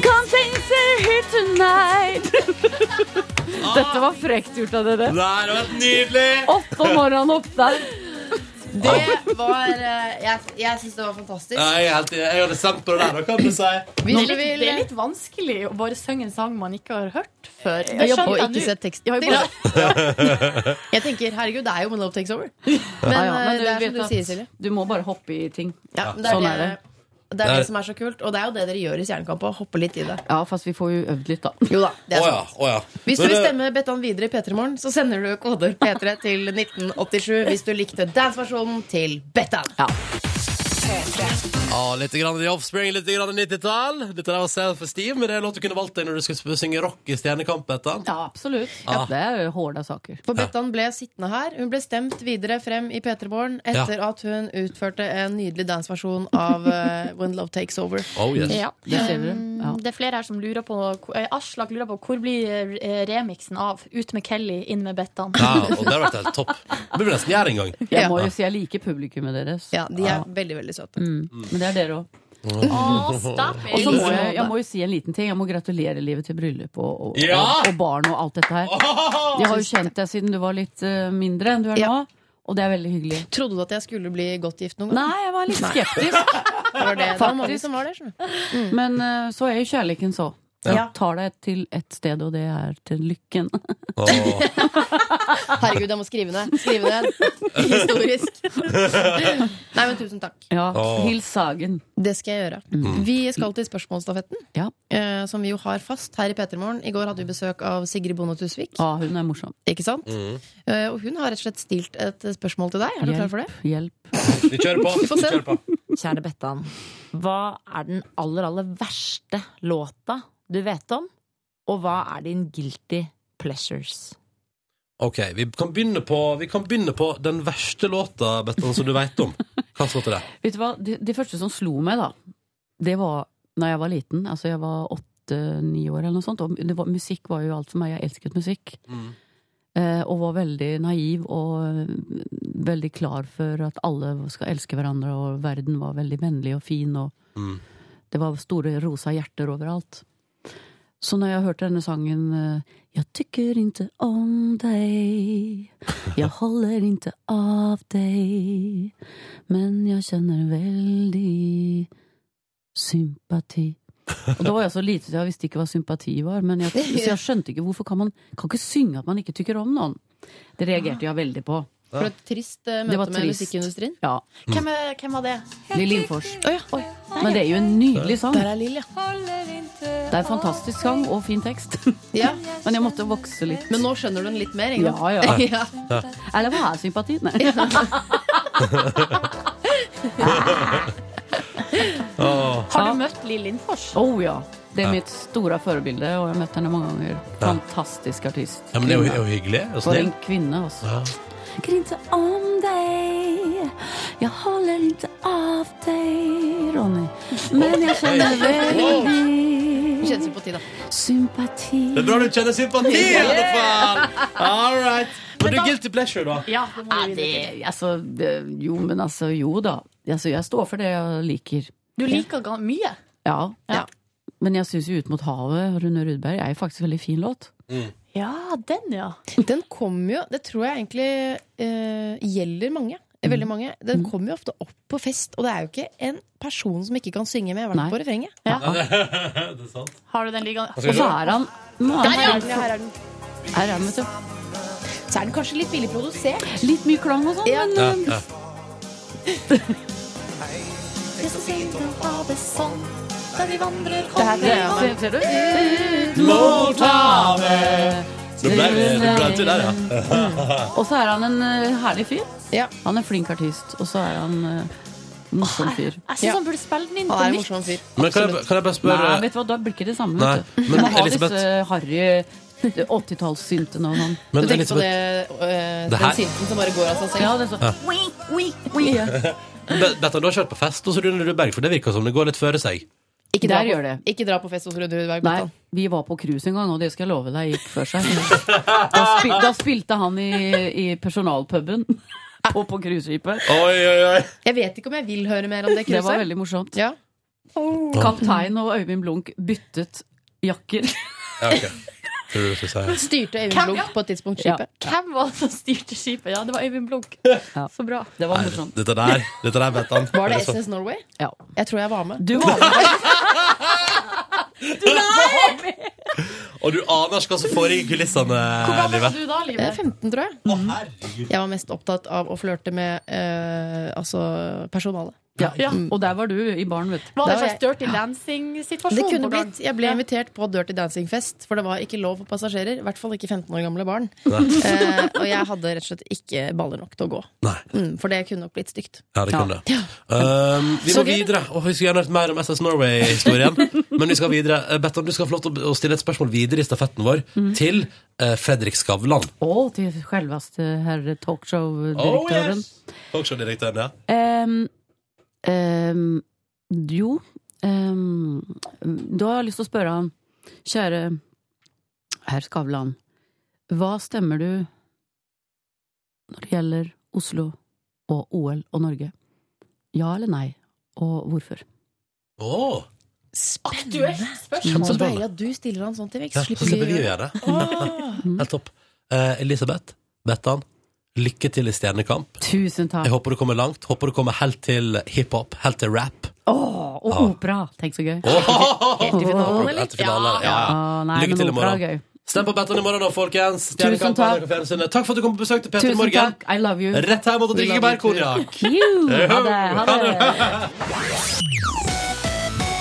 Speaker 11: Come things are here tonight. Dette var frekt gjort av dere.
Speaker 2: Nei, det var nydelig!
Speaker 11: Opp om morgenen, opp der.
Speaker 3: Det var eh, Jeg, jeg syns det var fantastisk.
Speaker 2: Nei, jeg, er helt, jeg hadde stemt på det der, da, kan du si.
Speaker 4: Det er, litt, det er litt vanskelig å bare synge en sang man ikke har hørt før.
Speaker 3: Jeg
Speaker 4: skjønner
Speaker 3: har jo
Speaker 4: jeg
Speaker 3: ikke
Speaker 4: nå.
Speaker 3: sett teksten
Speaker 4: Ja, jeg
Speaker 3: til.
Speaker 4: bare-
Speaker 3: Jeg tenker, herregud, det er jo When Love Takes Over. Men,
Speaker 11: Ja, ja,
Speaker 3: eh,
Speaker 11: men du
Speaker 3: det er
Speaker 11: vet
Speaker 3: som du
Speaker 11: at
Speaker 3: sier, Silje.
Speaker 11: Du må bare hoppe i ting.
Speaker 3: Ja, det er
Speaker 11: sånn
Speaker 3: det-
Speaker 11: er det.
Speaker 3: Det er
Speaker 2: Nei.
Speaker 3: det som er så kult, og det er jo det dere gjør i Stjernekamp. Å hoppe litt i det.
Speaker 11: Ja, fast vi får jo øvd litt, da.
Speaker 3: Jo da, det er
Speaker 2: Å
Speaker 3: sant.
Speaker 2: ja. Å ja.
Speaker 3: Hvis du
Speaker 2: Men,
Speaker 3: vil
Speaker 2: eh,
Speaker 3: stemme Bettan videre i P3 Morgen, så sender du koder P3 til 1987 hvis du likte danseversjonen til Bettan.
Speaker 2: Ja, litt grann The Offspring, litt grann 90-tall. Dette der var self-esteem, men det er låt du kunne valgt deg når du skulle sp- synge rock i Stjernekamp. Etter.
Speaker 11: Ja, absolutt.
Speaker 2: Ja.
Speaker 11: Det er jo hårda saker.
Speaker 3: For Bettan ble sittende her. Hun ble stemt videre frem i P3 Morgen etter at hun utførte en nydelig danseversjon av eh, When Love Takes Over.
Speaker 2: Oh, yes.
Speaker 4: Ja.
Speaker 11: Det ser dere. Ja.
Speaker 4: Um, Det er flere her som lurer på eh, Aslak lurer på hvor blir eh, remixen av Ut med Kelly, inn med Bettan.
Speaker 2: Ja, og det har vært helt topp. Det burde vi nesten gjøre en gang.
Speaker 11: Jeg må jo si jeg liker publikummet deres.
Speaker 3: Ja, de er veldig, veldig søte.
Speaker 11: Mm. Men det er dere òg.
Speaker 4: Å, stop it.
Speaker 11: Og så må jeg, jeg må jo si en liten ting. Jeg må gratulere livet til bryllup og, og,
Speaker 4: Ja!
Speaker 11: og, og barn og alt dette her. De har jo kjent deg siden du var litt eh, mindre enn du er nå, og det er veldig hyggelig.
Speaker 3: Trodde du at jeg skulle bli godt gift noen gang?
Speaker 11: Nei, jeg var litt
Speaker 3: Nei.
Speaker 11: skeptisk.
Speaker 3: Det var det. Det var mange som var det. skjønner du.
Speaker 11: Men eh, så er jo kjærligheten så. Mm. Ja. Tar deg til et sted, og det er til lykken.
Speaker 3: Herregud, jeg må skrive ned. Skrive ned. Historisk. Nei, men tusen takk.
Speaker 11: Ja, Åh. hils Sagen.
Speaker 3: Det skal jeg gjøre.
Speaker 11: Mm.
Speaker 3: Vi skal til spørsmålsstafetten, eh, som vi jo har fast her i P3morgen. I går hadde vi besøk av Sigrid Bonde Tusvik.
Speaker 11: hun er morsom.
Speaker 3: Ikke sant?
Speaker 11: Mm.
Speaker 2: Mm.
Speaker 3: Eh, og hun har rett og slett stilt et spørsmål til deg. Er du klar for det?
Speaker 11: Hjelp.
Speaker 2: Vi kjører på.
Speaker 3: Vi får se.
Speaker 2: Vi kjører på.
Speaker 12: Kjære Bettan, hva er den aller, aller verste låta du vet om? Og hva er din guilty pleasures?
Speaker 2: OK, vi kan begynne på, vi kan begynne på den verste låta, Bettan, som du veit om. Hva slags låt er det?
Speaker 11: Vet du hva, de, de første som slo meg da Det var når jeg var liten Altså jeg var åtte-ni år eller noe sånt Og det var, musikk var jo alt for meg Jeg elsket musikk
Speaker 2: Mm.
Speaker 11: eh, Og var veldig naiv Og eh, veldig klar for at alle skal elske hverandre Og verden var veldig vennlig og fin Og
Speaker 2: Mm.
Speaker 11: det var store rosa hjerter overalt. Så når jeg hørte denne sangen eh, Jeg tykker ikke om deg, jeg holder ikke av deg, men jeg kjenner veldig sympati. Og da var jeg så lite, så jeg visste ikke hva sympati var. Men jeg, så jeg skjønte ikke hvorfor kan man kan ikke synge at man ikke tykker om noen. Det reagerte jeg veldig på.
Speaker 3: For et trist eh,
Speaker 11: Det var
Speaker 3: møte med
Speaker 11: trist.
Speaker 3: musikkindustrien.
Speaker 11: Ja.
Speaker 4: Hvem, er, hvem var det?
Speaker 11: Lill Lindfors.
Speaker 3: Oi.
Speaker 11: Men det er jo en nydelig sang.
Speaker 3: Der er Lill, ja.
Speaker 11: Det er en fantastisk sang og fin tekst.
Speaker 3: Ja.
Speaker 11: Men jeg måtte vokse litt.
Speaker 3: Men nå skjønner du den litt mer, ikke
Speaker 11: Ja,
Speaker 3: sant?
Speaker 11: ja.
Speaker 3: ja.
Speaker 11: Eller hva er sympati? Nei.
Speaker 2: Åh.
Speaker 4: Har du møtt Lill Lindfors?
Speaker 11: Oh ja. Det er
Speaker 2: Ja.
Speaker 11: mitt store forbilde, og jeg har møtt henne mange ganger. Fantastisk artist.
Speaker 2: Ja, men det er jo- er sånn jo hyggelig og
Speaker 11: For en
Speaker 2: snill.
Speaker 11: kvinne, altså.
Speaker 2: Ja.
Speaker 11: Grinte om deg, jeg holder ikke av deg, Ronny. Men jeg kjenner veldig
Speaker 3: Kjennes på tid, da.
Speaker 11: sympati.
Speaker 2: Det er bra du kjenner sympati, i alle fall! All right. Men du, guilty pleasure, da?
Speaker 11: Ja, det må vi det, altså, det- Jo, men altså, jo da. Altså, jeg står for det jeg liker.
Speaker 4: Du liker ga- mye.
Speaker 11: Ja. Men jeg syns jo Ut mot havet, Rune Rudberg, er jo faktisk en veldig fin låt.
Speaker 4: Ja, den, ja.
Speaker 3: Den kommer jo Det tror jeg egentlig eh, gjelder mange.
Speaker 11: Mm.
Speaker 3: Veldig mange. Den kommer jo ofte opp på fest, og det er jo ikke en person som ikke kan synge med, i hvert fall på refrenget.
Speaker 2: det er sant.
Speaker 4: Har du den liggende?
Speaker 11: Og så er han nå er
Speaker 3: Der
Speaker 11: han-
Speaker 3: er den, ja, her er den.
Speaker 11: Her er han, vet du.
Speaker 3: Så er den kanskje litt billig produsert.
Speaker 11: Litt mye klang og sånn,
Speaker 3: Ja.
Speaker 11: men
Speaker 2: Ja,
Speaker 11: eh,
Speaker 2: ja.
Speaker 4: Det
Speaker 11: det er- ser- Ser du?
Speaker 2: Mot havet. Det ble det ble til der, ja.
Speaker 11: Og så er han en eh, herlig fyr.
Speaker 3: Ja.
Speaker 11: Han er flink artist, og så er han eh,
Speaker 3: Ah,
Speaker 11: morsom fyr.
Speaker 4: Jeg syns han burde spille den inn
Speaker 3: Han
Speaker 4: på
Speaker 3: er en
Speaker 4: nytt.
Speaker 3: morsom fyr.
Speaker 2: Men kan jeg, kan jeg bare spørre
Speaker 11: Nei, vet du hva, da blir ikke det samme.
Speaker 2: eh, Nei,
Speaker 11: Vet du.
Speaker 2: men
Speaker 11: Men ha
Speaker 2: Elisabeth-
Speaker 11: disse harry 80-tallssyntene og sånn.
Speaker 3: Du
Speaker 2: men,
Speaker 3: tenker på det,
Speaker 2: Elisabeth,
Speaker 3: eh,
Speaker 2: Det her-
Speaker 3: den synten som bare går av seg selv.
Speaker 11: Ja, det er så.
Speaker 2: Be- Bettan, du har kjørt på fest hos Rune Rudberg, for det virker som det går litt føre seg.
Speaker 3: Ikke dra,
Speaker 11: Der gjør
Speaker 3: på,
Speaker 11: det.
Speaker 3: ikke dra på fest hos Rune Rudberg.
Speaker 11: Nei,
Speaker 3: Bettan.
Speaker 11: vi var på cruise en gang, og det skal jeg love deg gikk for seg. Da, spil, da spilte han i, i personalpuben og på cruiseskipet.
Speaker 2: Oi, oi, oi.
Speaker 3: Jeg vet ikke om jeg vil høre mer om det
Speaker 11: Det var
Speaker 3: kruset.
Speaker 11: veldig morsomt.
Speaker 3: Ja.
Speaker 11: Kaptein og Øyvind Blunk byttet jakker.
Speaker 2: Ja, ok. Tror du du skulle si.
Speaker 3: Styrte Øyvind
Speaker 4: Hvem,
Speaker 3: Blunk
Speaker 4: ja?
Speaker 3: på et tidspunkt skipet.
Speaker 4: Hvem var det som styrte skipet? Ja, det var Øyvind Blunk. Så bra.
Speaker 11: Det var
Speaker 2: Nei,
Speaker 11: morsomt.
Speaker 2: dette der, dette der, Bettan.
Speaker 3: Var det
Speaker 2: Er sånn?
Speaker 3: SS Norway?
Speaker 11: Ja.
Speaker 3: Jeg tror jeg var med.
Speaker 11: Du var med.
Speaker 2: Og du aner ikke hva som foregår i kulissene,
Speaker 4: Hvor gammel var
Speaker 2: livet.
Speaker 4: du da,
Speaker 3: Jeg
Speaker 4: Live?
Speaker 3: er 15, tror jeg.
Speaker 2: Å, herregud.
Speaker 3: Jeg var mest opptatt av å flørte med eh, altså personalet.
Speaker 11: Ja. Mm. Og der var du i baren, vet du.
Speaker 4: Var det en
Speaker 3: Da var
Speaker 4: slags Dirty Dancing-situasjon?
Speaker 3: Det kunne
Speaker 4: på gang?
Speaker 3: blitt. Jeg ble invitert på Dirty Dancing-fest, for det var ikke lov for passasjerer. I hvert fall ikke 15 år gamle barn. Eh, og jeg hadde rett og slett ikke baller nok til å gå.
Speaker 2: Nei.
Speaker 3: Mm, for det kunne nok blitt stygt.
Speaker 2: Ja, det kunne det. Um, vi må
Speaker 3: Så gøy.
Speaker 2: videre. Åh, vi skulle gjerne hørt mer om SS Norway-historien. men vi skal videre. Eh, Bettan, du skal få lov til å- å stille et spørsmål videre i stafetten vår til eh, Fredrik Skavlan.
Speaker 11: Og til selveste herre talkshow-direktøren.
Speaker 2: Oh, Talkshow-direktøren, ja.
Speaker 11: Ehm, ehm, jo ehm, Da har jeg lyst til å spørre han Kjære herr Skavlan. Hva stemmer du når det gjelder Oslo og OL og Norge? Ja eller nei? Og hvorfor?
Speaker 2: Åh,
Speaker 4: Aktuelt spørsmål.
Speaker 3: Så
Speaker 2: Kjempespennende.
Speaker 3: deilig at du stiller han sånn til vekst.
Speaker 2: Ja, så slipper vi å gjøre det. Helt topp. Eh, Elisabeth, Bettan, lykke til i Stjernekamp.
Speaker 11: Tusen
Speaker 2: Jeg
Speaker 11: takk.
Speaker 2: håper du kommer langt. Håper du kommer helt til hiphop, helt til rap.
Speaker 11: Åh, Og
Speaker 2: Ah.
Speaker 11: opera. Tenk så gøy.
Speaker 2: Helt
Speaker 11: i finalen,
Speaker 2: Helt i finalen, ja.
Speaker 11: Ah, nei,
Speaker 2: Lykke
Speaker 11: men
Speaker 2: til i
Speaker 11: opera er
Speaker 2: morgen.
Speaker 11: gøy.
Speaker 2: Stem på Betland i morgen, da, folkens.
Speaker 11: Tusen
Speaker 2: Stjernekamp på
Speaker 11: takk.
Speaker 2: NRK Fjernsynet. Takk for at du kom på besøk til Peter i
Speaker 11: Tusen
Speaker 2: morgen.
Speaker 11: takk. I love you.
Speaker 2: Rett hjem og
Speaker 11: We
Speaker 2: drikke
Speaker 11: love you too.
Speaker 2: bærkonjakk.
Speaker 11: Phew. Ha det. Ha det.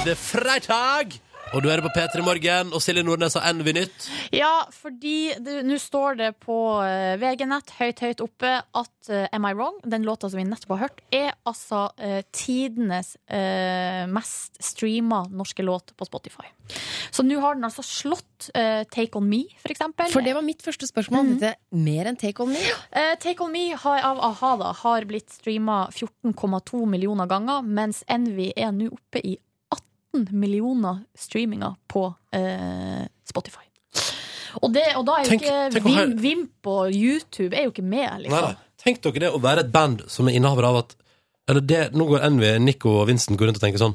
Speaker 2: Det er fredag, og du er på P3 Morgen. Og Silje Nordnes har Envy-nytt.
Speaker 4: Ja, fordi det- nå står det på eh, VG-nett høyt, høyt oppe at eh, Am I Wrong, den låta som vi nettopp har hørt, er altså eh, tidenes eh, mest streama norske låt på Spotify. Så nå har den altså slått eh, Take On Me, for eksempel.
Speaker 5: For det var mitt første
Speaker 2: Mm.
Speaker 5: spørsmål. Dette er mer enn Take On Me.
Speaker 4: Eh, Take On Me har, av a-ha da, har blitt streama 14,2 millioner ganger, mens Envy er nå oppe i 18 millioner streaminger på eh, Spotify. Og, det, og da er jo
Speaker 2: Tenk-
Speaker 4: ikke
Speaker 2: tenk å
Speaker 4: Vim,
Speaker 2: høre-
Speaker 4: Vimp og YouTube er jo ikke med,
Speaker 2: Nei,
Speaker 4: liksom.
Speaker 2: nei. Tenk dere det å være et band som er innehaver av at Eller det, nå går Envy, Nico og Vincent går rundt og tenker sånn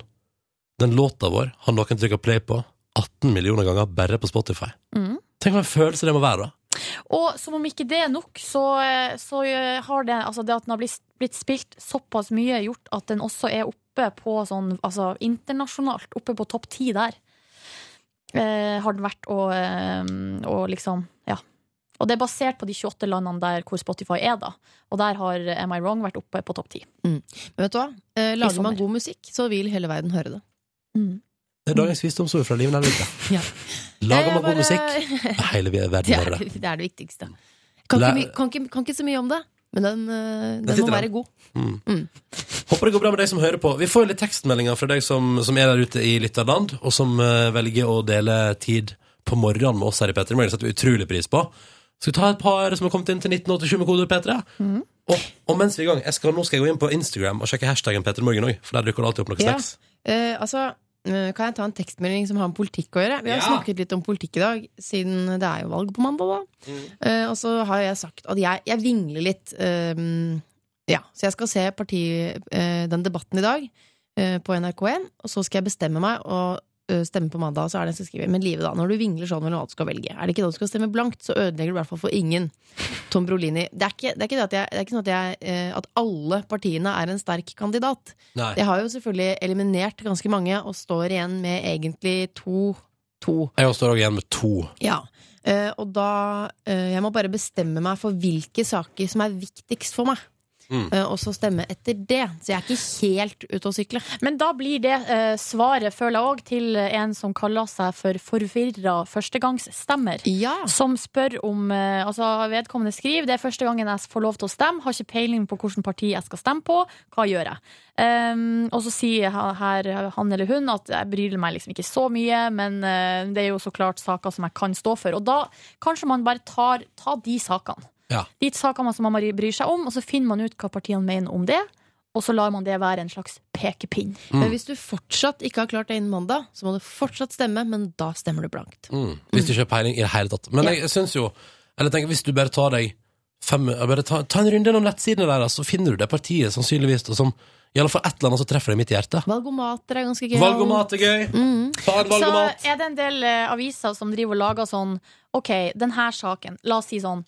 Speaker 2: Den låta vår har noen trykka play på 18 millioner ganger bare på Spotify.
Speaker 4: Mm.
Speaker 2: Tenk hva en følelse det må være, da.
Speaker 4: Og som om ikke det er nok, så, eh, så eh, har det, altså det at den har blitt, blitt spilt såpass mye, gjort at den også er oppe på sånn, altså internasjonalt, oppe på topp ti der. Eh, har den vært og, eh, og liksom, ja. Og det er basert på de 28 landene der hvor Spotify er, da. Og der har eh, Am I Wrong vært oppe på topp ti.
Speaker 3: Men vet du hva? Eh,
Speaker 4: I
Speaker 3: Lager
Speaker 4: sommer.
Speaker 3: man god musikk, så vil hele verden høre det.
Speaker 4: Mm.
Speaker 2: Det er dagens visdomsord fra Liv Nelvik.
Speaker 3: Ja.
Speaker 2: Lager man
Speaker 3: Det er
Speaker 2: god musikk,
Speaker 3: bare-
Speaker 2: hele verden
Speaker 3: Det
Speaker 2: hører
Speaker 3: er
Speaker 2: det.
Speaker 3: det, det er det viktigste. Kan
Speaker 2: Læ-
Speaker 3: ikke, my- kan, ikke, kan ikke så mye om det, men den, eh,
Speaker 2: Den
Speaker 3: den
Speaker 2: sitter
Speaker 3: må
Speaker 2: der.
Speaker 3: være god.
Speaker 2: Mm. Håper det går bra med deg som hører på. Vi får jo litt tekstmeldinger fra deg som, som er der ute i lytterland, og som eh, velger å dele tid på morgenen med oss her i P3. Det setter vi utrolig pris på. Skal vi ta et par som har kommet inn til 1987 med kodeord P3?
Speaker 3: Mm.
Speaker 2: Og, og mens vi er i gang, jeg skal, nå skal jeg gå inn på Instagram og sjekke hashtaggen P3 Morgen òg, for der dukker det alltid opp noe
Speaker 3: Ja.
Speaker 2: snacks.
Speaker 3: Eh, altså, eh, kan jeg ta en tekstmelding som har med politikk å gjøre? Vi har
Speaker 2: Ja.
Speaker 3: snakket litt om politikk i dag, siden det er jo valg på mandag, da. Eh, og så har jeg sagt at jeg, jeg vingler litt. ehm, ja, så jeg skal se parti, eh, den debatten i dag eh, på NRK1, og så skal jeg bestemme meg og eh, stemme på mandag. Så er det en som skriver Men Live, da, når du vingler sånn mellom hva du skal velge, er det ikke da du skal stemme blankt, så ødelegger du i hvert fall for ingen. Tom Brolini. Det er ikke, det er ikke, det at jeg, det er ikke sånn at, jeg, eh, at alle partiene er en sterk kandidat.
Speaker 2: Nei.
Speaker 3: Jeg har jo selvfølgelig eliminert ganske mange, og står igjen med egentlig to To.
Speaker 2: Jeg står òg igjen med to.
Speaker 3: ja. Eh, og da eh, Jeg må bare bestemme meg for hvilke saker som er viktigst for meg.
Speaker 2: Mm.
Speaker 3: Eh, og så stemme etter det. Så jeg er ikke helt ute å sykle.
Speaker 4: Men da blir det eh, svaret, føler jeg òg, til en som kaller seg for forvirra førstegangsstemmer. Som spør om eh, Altså, vedkommende skriver det er første gangen jeg får lov til å stemme, har ikke peiling på hvilket parti jeg skal stemme på, hva gjør jeg? Ehm, og så sier ha- her han eller hun at jeg bryr meg liksom ikke så mye, men eh, det er jo så klart saker som jeg kan stå for. Og da kanskje man bare tar, tar de sakene.
Speaker 2: Ja.
Speaker 4: De sakene som man bryr seg om, og så finner man ut hva partiene mener om det. Og så lar man det være en slags pekepinn.
Speaker 2: Mm.
Speaker 3: Men hvis du fortsatt ikke har klart det innen mandag, så må du fortsatt stemme, men da stemmer du blankt.
Speaker 2: Mm. Hvis du ikke har peiling i det hele tatt. Men jeg syns jo Eller jeg tenker, hvis du bare tar deg fem ja, bare ta, ta en runde gjennom nettsidene deres, så finner du det partiet sannsynligvis og som i alle fall et eller annet som treffer deg midt i hjertet.
Speaker 3: Valgomater er ganske gøy. Mm.
Speaker 2: Valgomat er gøy! Ta en
Speaker 4: Så
Speaker 2: valgomat!
Speaker 4: er det en del eh, aviser som driver og lager sånn OK, denne saken, la oss si sånn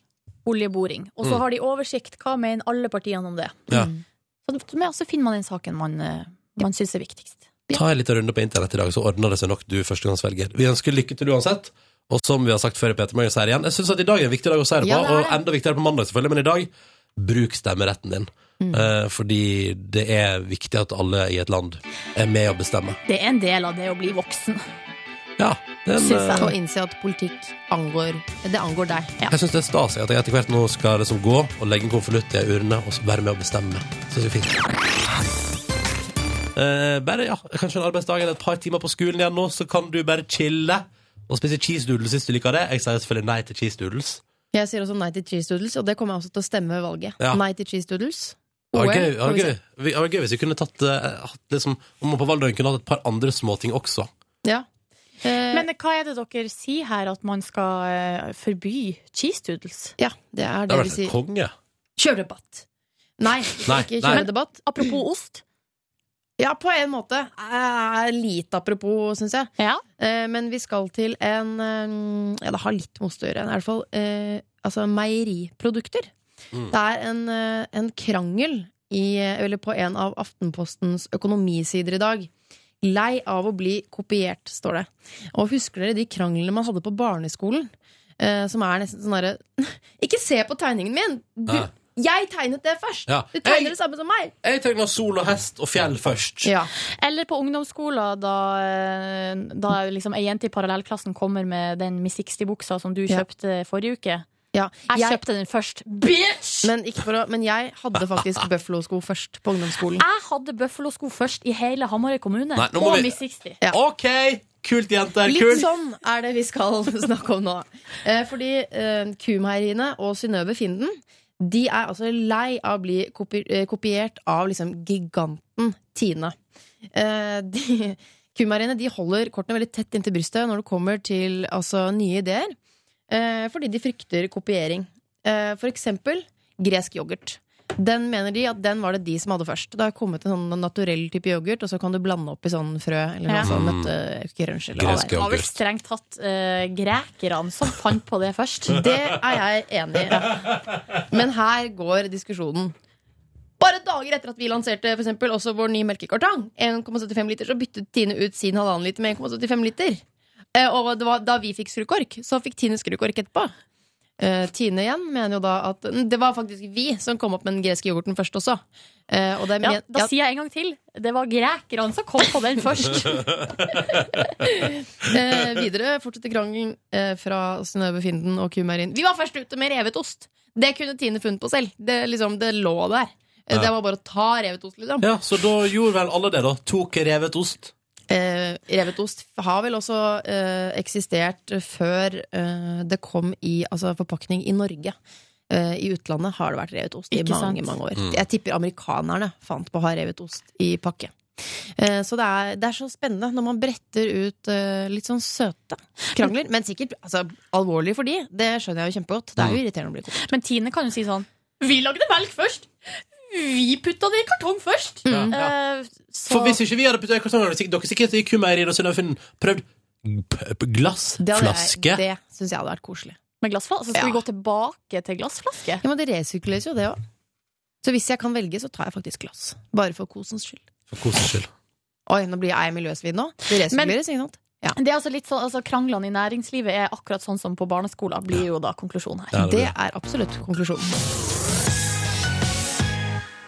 Speaker 4: oljeboring. Og så
Speaker 2: Mm.
Speaker 4: har de oversikt. Hva mener alle partiene om det?
Speaker 2: Ja.
Speaker 10: mm.
Speaker 4: Så, men så finner man den saken man, eh, man syns er viktigst.
Speaker 2: Ta en liten runde på internett i dag, så ordner det seg nok du førstegangsvelger. Vi ønsker lykke til uansett. Og som vi har sagt før i Peter Morgen, så er det igjen. Jeg syns at i dag er en viktig dag å si det på,
Speaker 10: Ja, det er det.
Speaker 2: og enda viktigere på mandag, selvfølgelig, men i dag bruk stemmeretten din.
Speaker 10: Mm.
Speaker 2: Eh, fordi det er viktig at alle i et land er med å bestemme.
Speaker 4: Det er en del av det å bli voksen.
Speaker 2: Ja, det er en,
Speaker 3: Synes jeg.
Speaker 2: eh,
Speaker 3: Og innse at politikk angår Det angår deg.
Speaker 2: Jeg syns det er stas jeg, at jeg etter hvert nå skal liksom gå og legge en konvolutt i ei urne og så være med å bestemme. Synes jeg er fint. Eh, bare, ja, Kanskje en arbeidsdag eller et par timer på skolen igjen nå, så kan du bare chille og spise cheese doodles hvis du liker det. Jeg sier selvfølgelig nei til cheese doodles.
Speaker 3: Jeg sier også nei til cheese doodles, og det kommer jeg også til å stemme ved valget.
Speaker 2: Ja.
Speaker 3: Nei til cheese doodles.
Speaker 2: Det var
Speaker 3: OL,
Speaker 2: gøy, det
Speaker 3: får
Speaker 2: var
Speaker 3: vi
Speaker 2: gøy.
Speaker 3: se.
Speaker 2: Vi- Det var gøy hvis vi kunne tatt eh, hatt liksom, Om man på valgdagen kunne hatt et par andre småting også.
Speaker 3: Eh,
Speaker 4: Men eh, hva er det dere sier her, at man skal eh, forby cheese doodles?
Speaker 3: Ja, det er
Speaker 2: Det hadde vært konge.
Speaker 3: Kjøredebatt. Nei,
Speaker 2: Nei,
Speaker 3: ikke
Speaker 2: nei.
Speaker 3: kjøredebatt.
Speaker 4: Apropos ost.
Speaker 3: Ja, på en måte. Eh, Litt apropos, syns jeg. Eh, Men vi skal til en eh, Ja, det har litt med ost å gjøre. I hvert fall eh, altså meieriprodukter.
Speaker 13: Mm.
Speaker 3: Det er en, eh, en krangel i, eller på en av Aftenpostens økonomisider i dag. Lei av å bli kopiert, står det. Og husker dere de kranglene man hadde på barneskolen? Eh, som er nesten sånn derre Ikke se på tegningen min! Du,
Speaker 2: Ja.
Speaker 3: Jeg tegnet det først!
Speaker 2: Ja.
Speaker 3: Du tegner det samme som meg!
Speaker 2: Jeg tegna sol og hest og fjell først.
Speaker 4: Eller på ungdomsskolen, da, eh, da liksom ei jente i parallellklassen kommer med den Miss 60-buksa som du kjøpte forrige uke. Jeg,
Speaker 3: jeg-
Speaker 4: kjøpte den først. Bitch!
Speaker 3: Men, ikke for å, men jeg hadde faktisk bøffelosko først på ungdomsskolen.
Speaker 4: Jeg hadde bøffelosko først i hele Hamarøy kommune.
Speaker 3: Nei, nå må
Speaker 4: og
Speaker 3: vi-
Speaker 4: Miss 60.
Speaker 2: OK! Kult, jenter.
Speaker 3: Litt
Speaker 2: Kult.
Speaker 3: sånn er det vi skal snakke om nå. Eh, fordi eh, Kumheieriene og Synnøve Finden De er altså lei av å bli kopi eh, kopiert av liksom giganten Tine. Eh, de- Kumheieriene de holder kortene veldig tett inntil brystet når det kommer til altså, nye ideer, eh, fordi de frykter kopiering. Eh, for eksempel gresk yoghurt. Den mener de at den var det de som hadde først. Det har kommet en sånn naturell type yoghurt, og så kan du blande opp i sånn frø eller noe
Speaker 4: Ja.
Speaker 3: sånn
Speaker 4: Mm.
Speaker 3: nøttekrunch eller hva det
Speaker 4: Det
Speaker 3: er.
Speaker 4: var vel strengt tatt eh, grekerne som fant på det først.
Speaker 3: Det er jeg enig i. Men her går diskusjonen. Bare dager etter at vi lanserte for eksempel, også vår nye melkekartong, 1,75 liter, så byttet Tine ut sin halvannen liter med 1,75 liter. Eh, Og det var da vi fikk skrukork, så fikk Tine skrukork etterpå. Eh, Tine igjen mener jo da at mm, det var faktisk vi som kom opp med den greske yoghurten først også. Eh, og det
Speaker 4: Ja,
Speaker 3: men-
Speaker 4: da
Speaker 3: ja.
Speaker 4: sier jeg en gang til. Det var grekerne som kom på den først.
Speaker 3: Eh, videre fortsetter krangelen eh, fra Synnøve Finden og Kumerin. Vi var først ute med revet ost! Det kunne Tine funnet på selv. Det, liksom, det lå der. Eh,
Speaker 2: Ja.
Speaker 3: Det var bare å ta revet ost, liksom.
Speaker 2: Ja, Så da gjorde vel alle det, da. Tok revet ost.
Speaker 3: Eh, revet ost har vel også eh, eksistert før eh, det kom i altså, forpakning i Norge. Eh, I utlandet har det vært revet ost i
Speaker 4: Ikke sant?
Speaker 3: mange mange år.
Speaker 4: Mm.
Speaker 3: Jeg tipper amerikanerne fant på å ha revet ost i pakke. Eh, Så det er, det er så spennende når man bretter ut eh, litt sånn søte krangler. Men sikkert altså, alvorlig for de, det skjønner jeg jo kjempegodt. Det er jo irriterende å bli kokt.
Speaker 4: Men Tine kan jo si sånn Vi lagde melk først! Vi putta det i kartong først!
Speaker 3: Mm,
Speaker 4: Eh, så
Speaker 2: For hvis ikke vi hadde puttet i kartongen, hadde sikk- dere sikkert i Kumeirin og Synnøve Finden prøvd p- p- glass,
Speaker 3: Det hadde jeg-
Speaker 2: flaske.
Speaker 3: Det syns jeg hadde vært koselig.
Speaker 4: med glassflaske, så skal vi gå tilbake til glassflaske?
Speaker 3: Ja, men det resirkuleres jo, det òg. Så hvis jeg kan velge, så tar jeg faktisk glass. Bare for kosens skyld.
Speaker 2: For kosens skyld.
Speaker 3: Oi, nå blir jeg miljøsvidd nå. Det resirkuleres, ikke sant?
Speaker 4: Det er altså litt sånn, altså Kranglene i næringslivet er akkurat sånn som på barneskolen, blir jo da konklusjonen her.
Speaker 3: Ja, det blir det. er absolutt konklusjonen.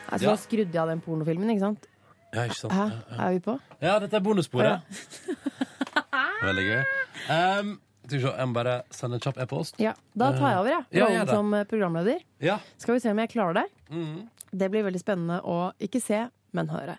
Speaker 3: Altså,
Speaker 2: Ja.
Speaker 3: Nå skrudde jeg av den pornofilmen, ikke sant?
Speaker 2: Ja, ikke sant?
Speaker 3: Hæ? Er vi på?
Speaker 2: Ja, dette er bonussporet. Veldig gøy. Um, skal vi se, jeg må bare sende en kjapp e-post.
Speaker 3: Ja, Da tar jeg over, jeg.
Speaker 2: Ja, gjør
Speaker 3: Rollen
Speaker 2: det.
Speaker 3: som eh, programleder.
Speaker 2: Ja.
Speaker 3: Skal vi se om jeg klarer det?
Speaker 2: Mhm.
Speaker 3: Det blir veldig spennende å ikke se, men høre.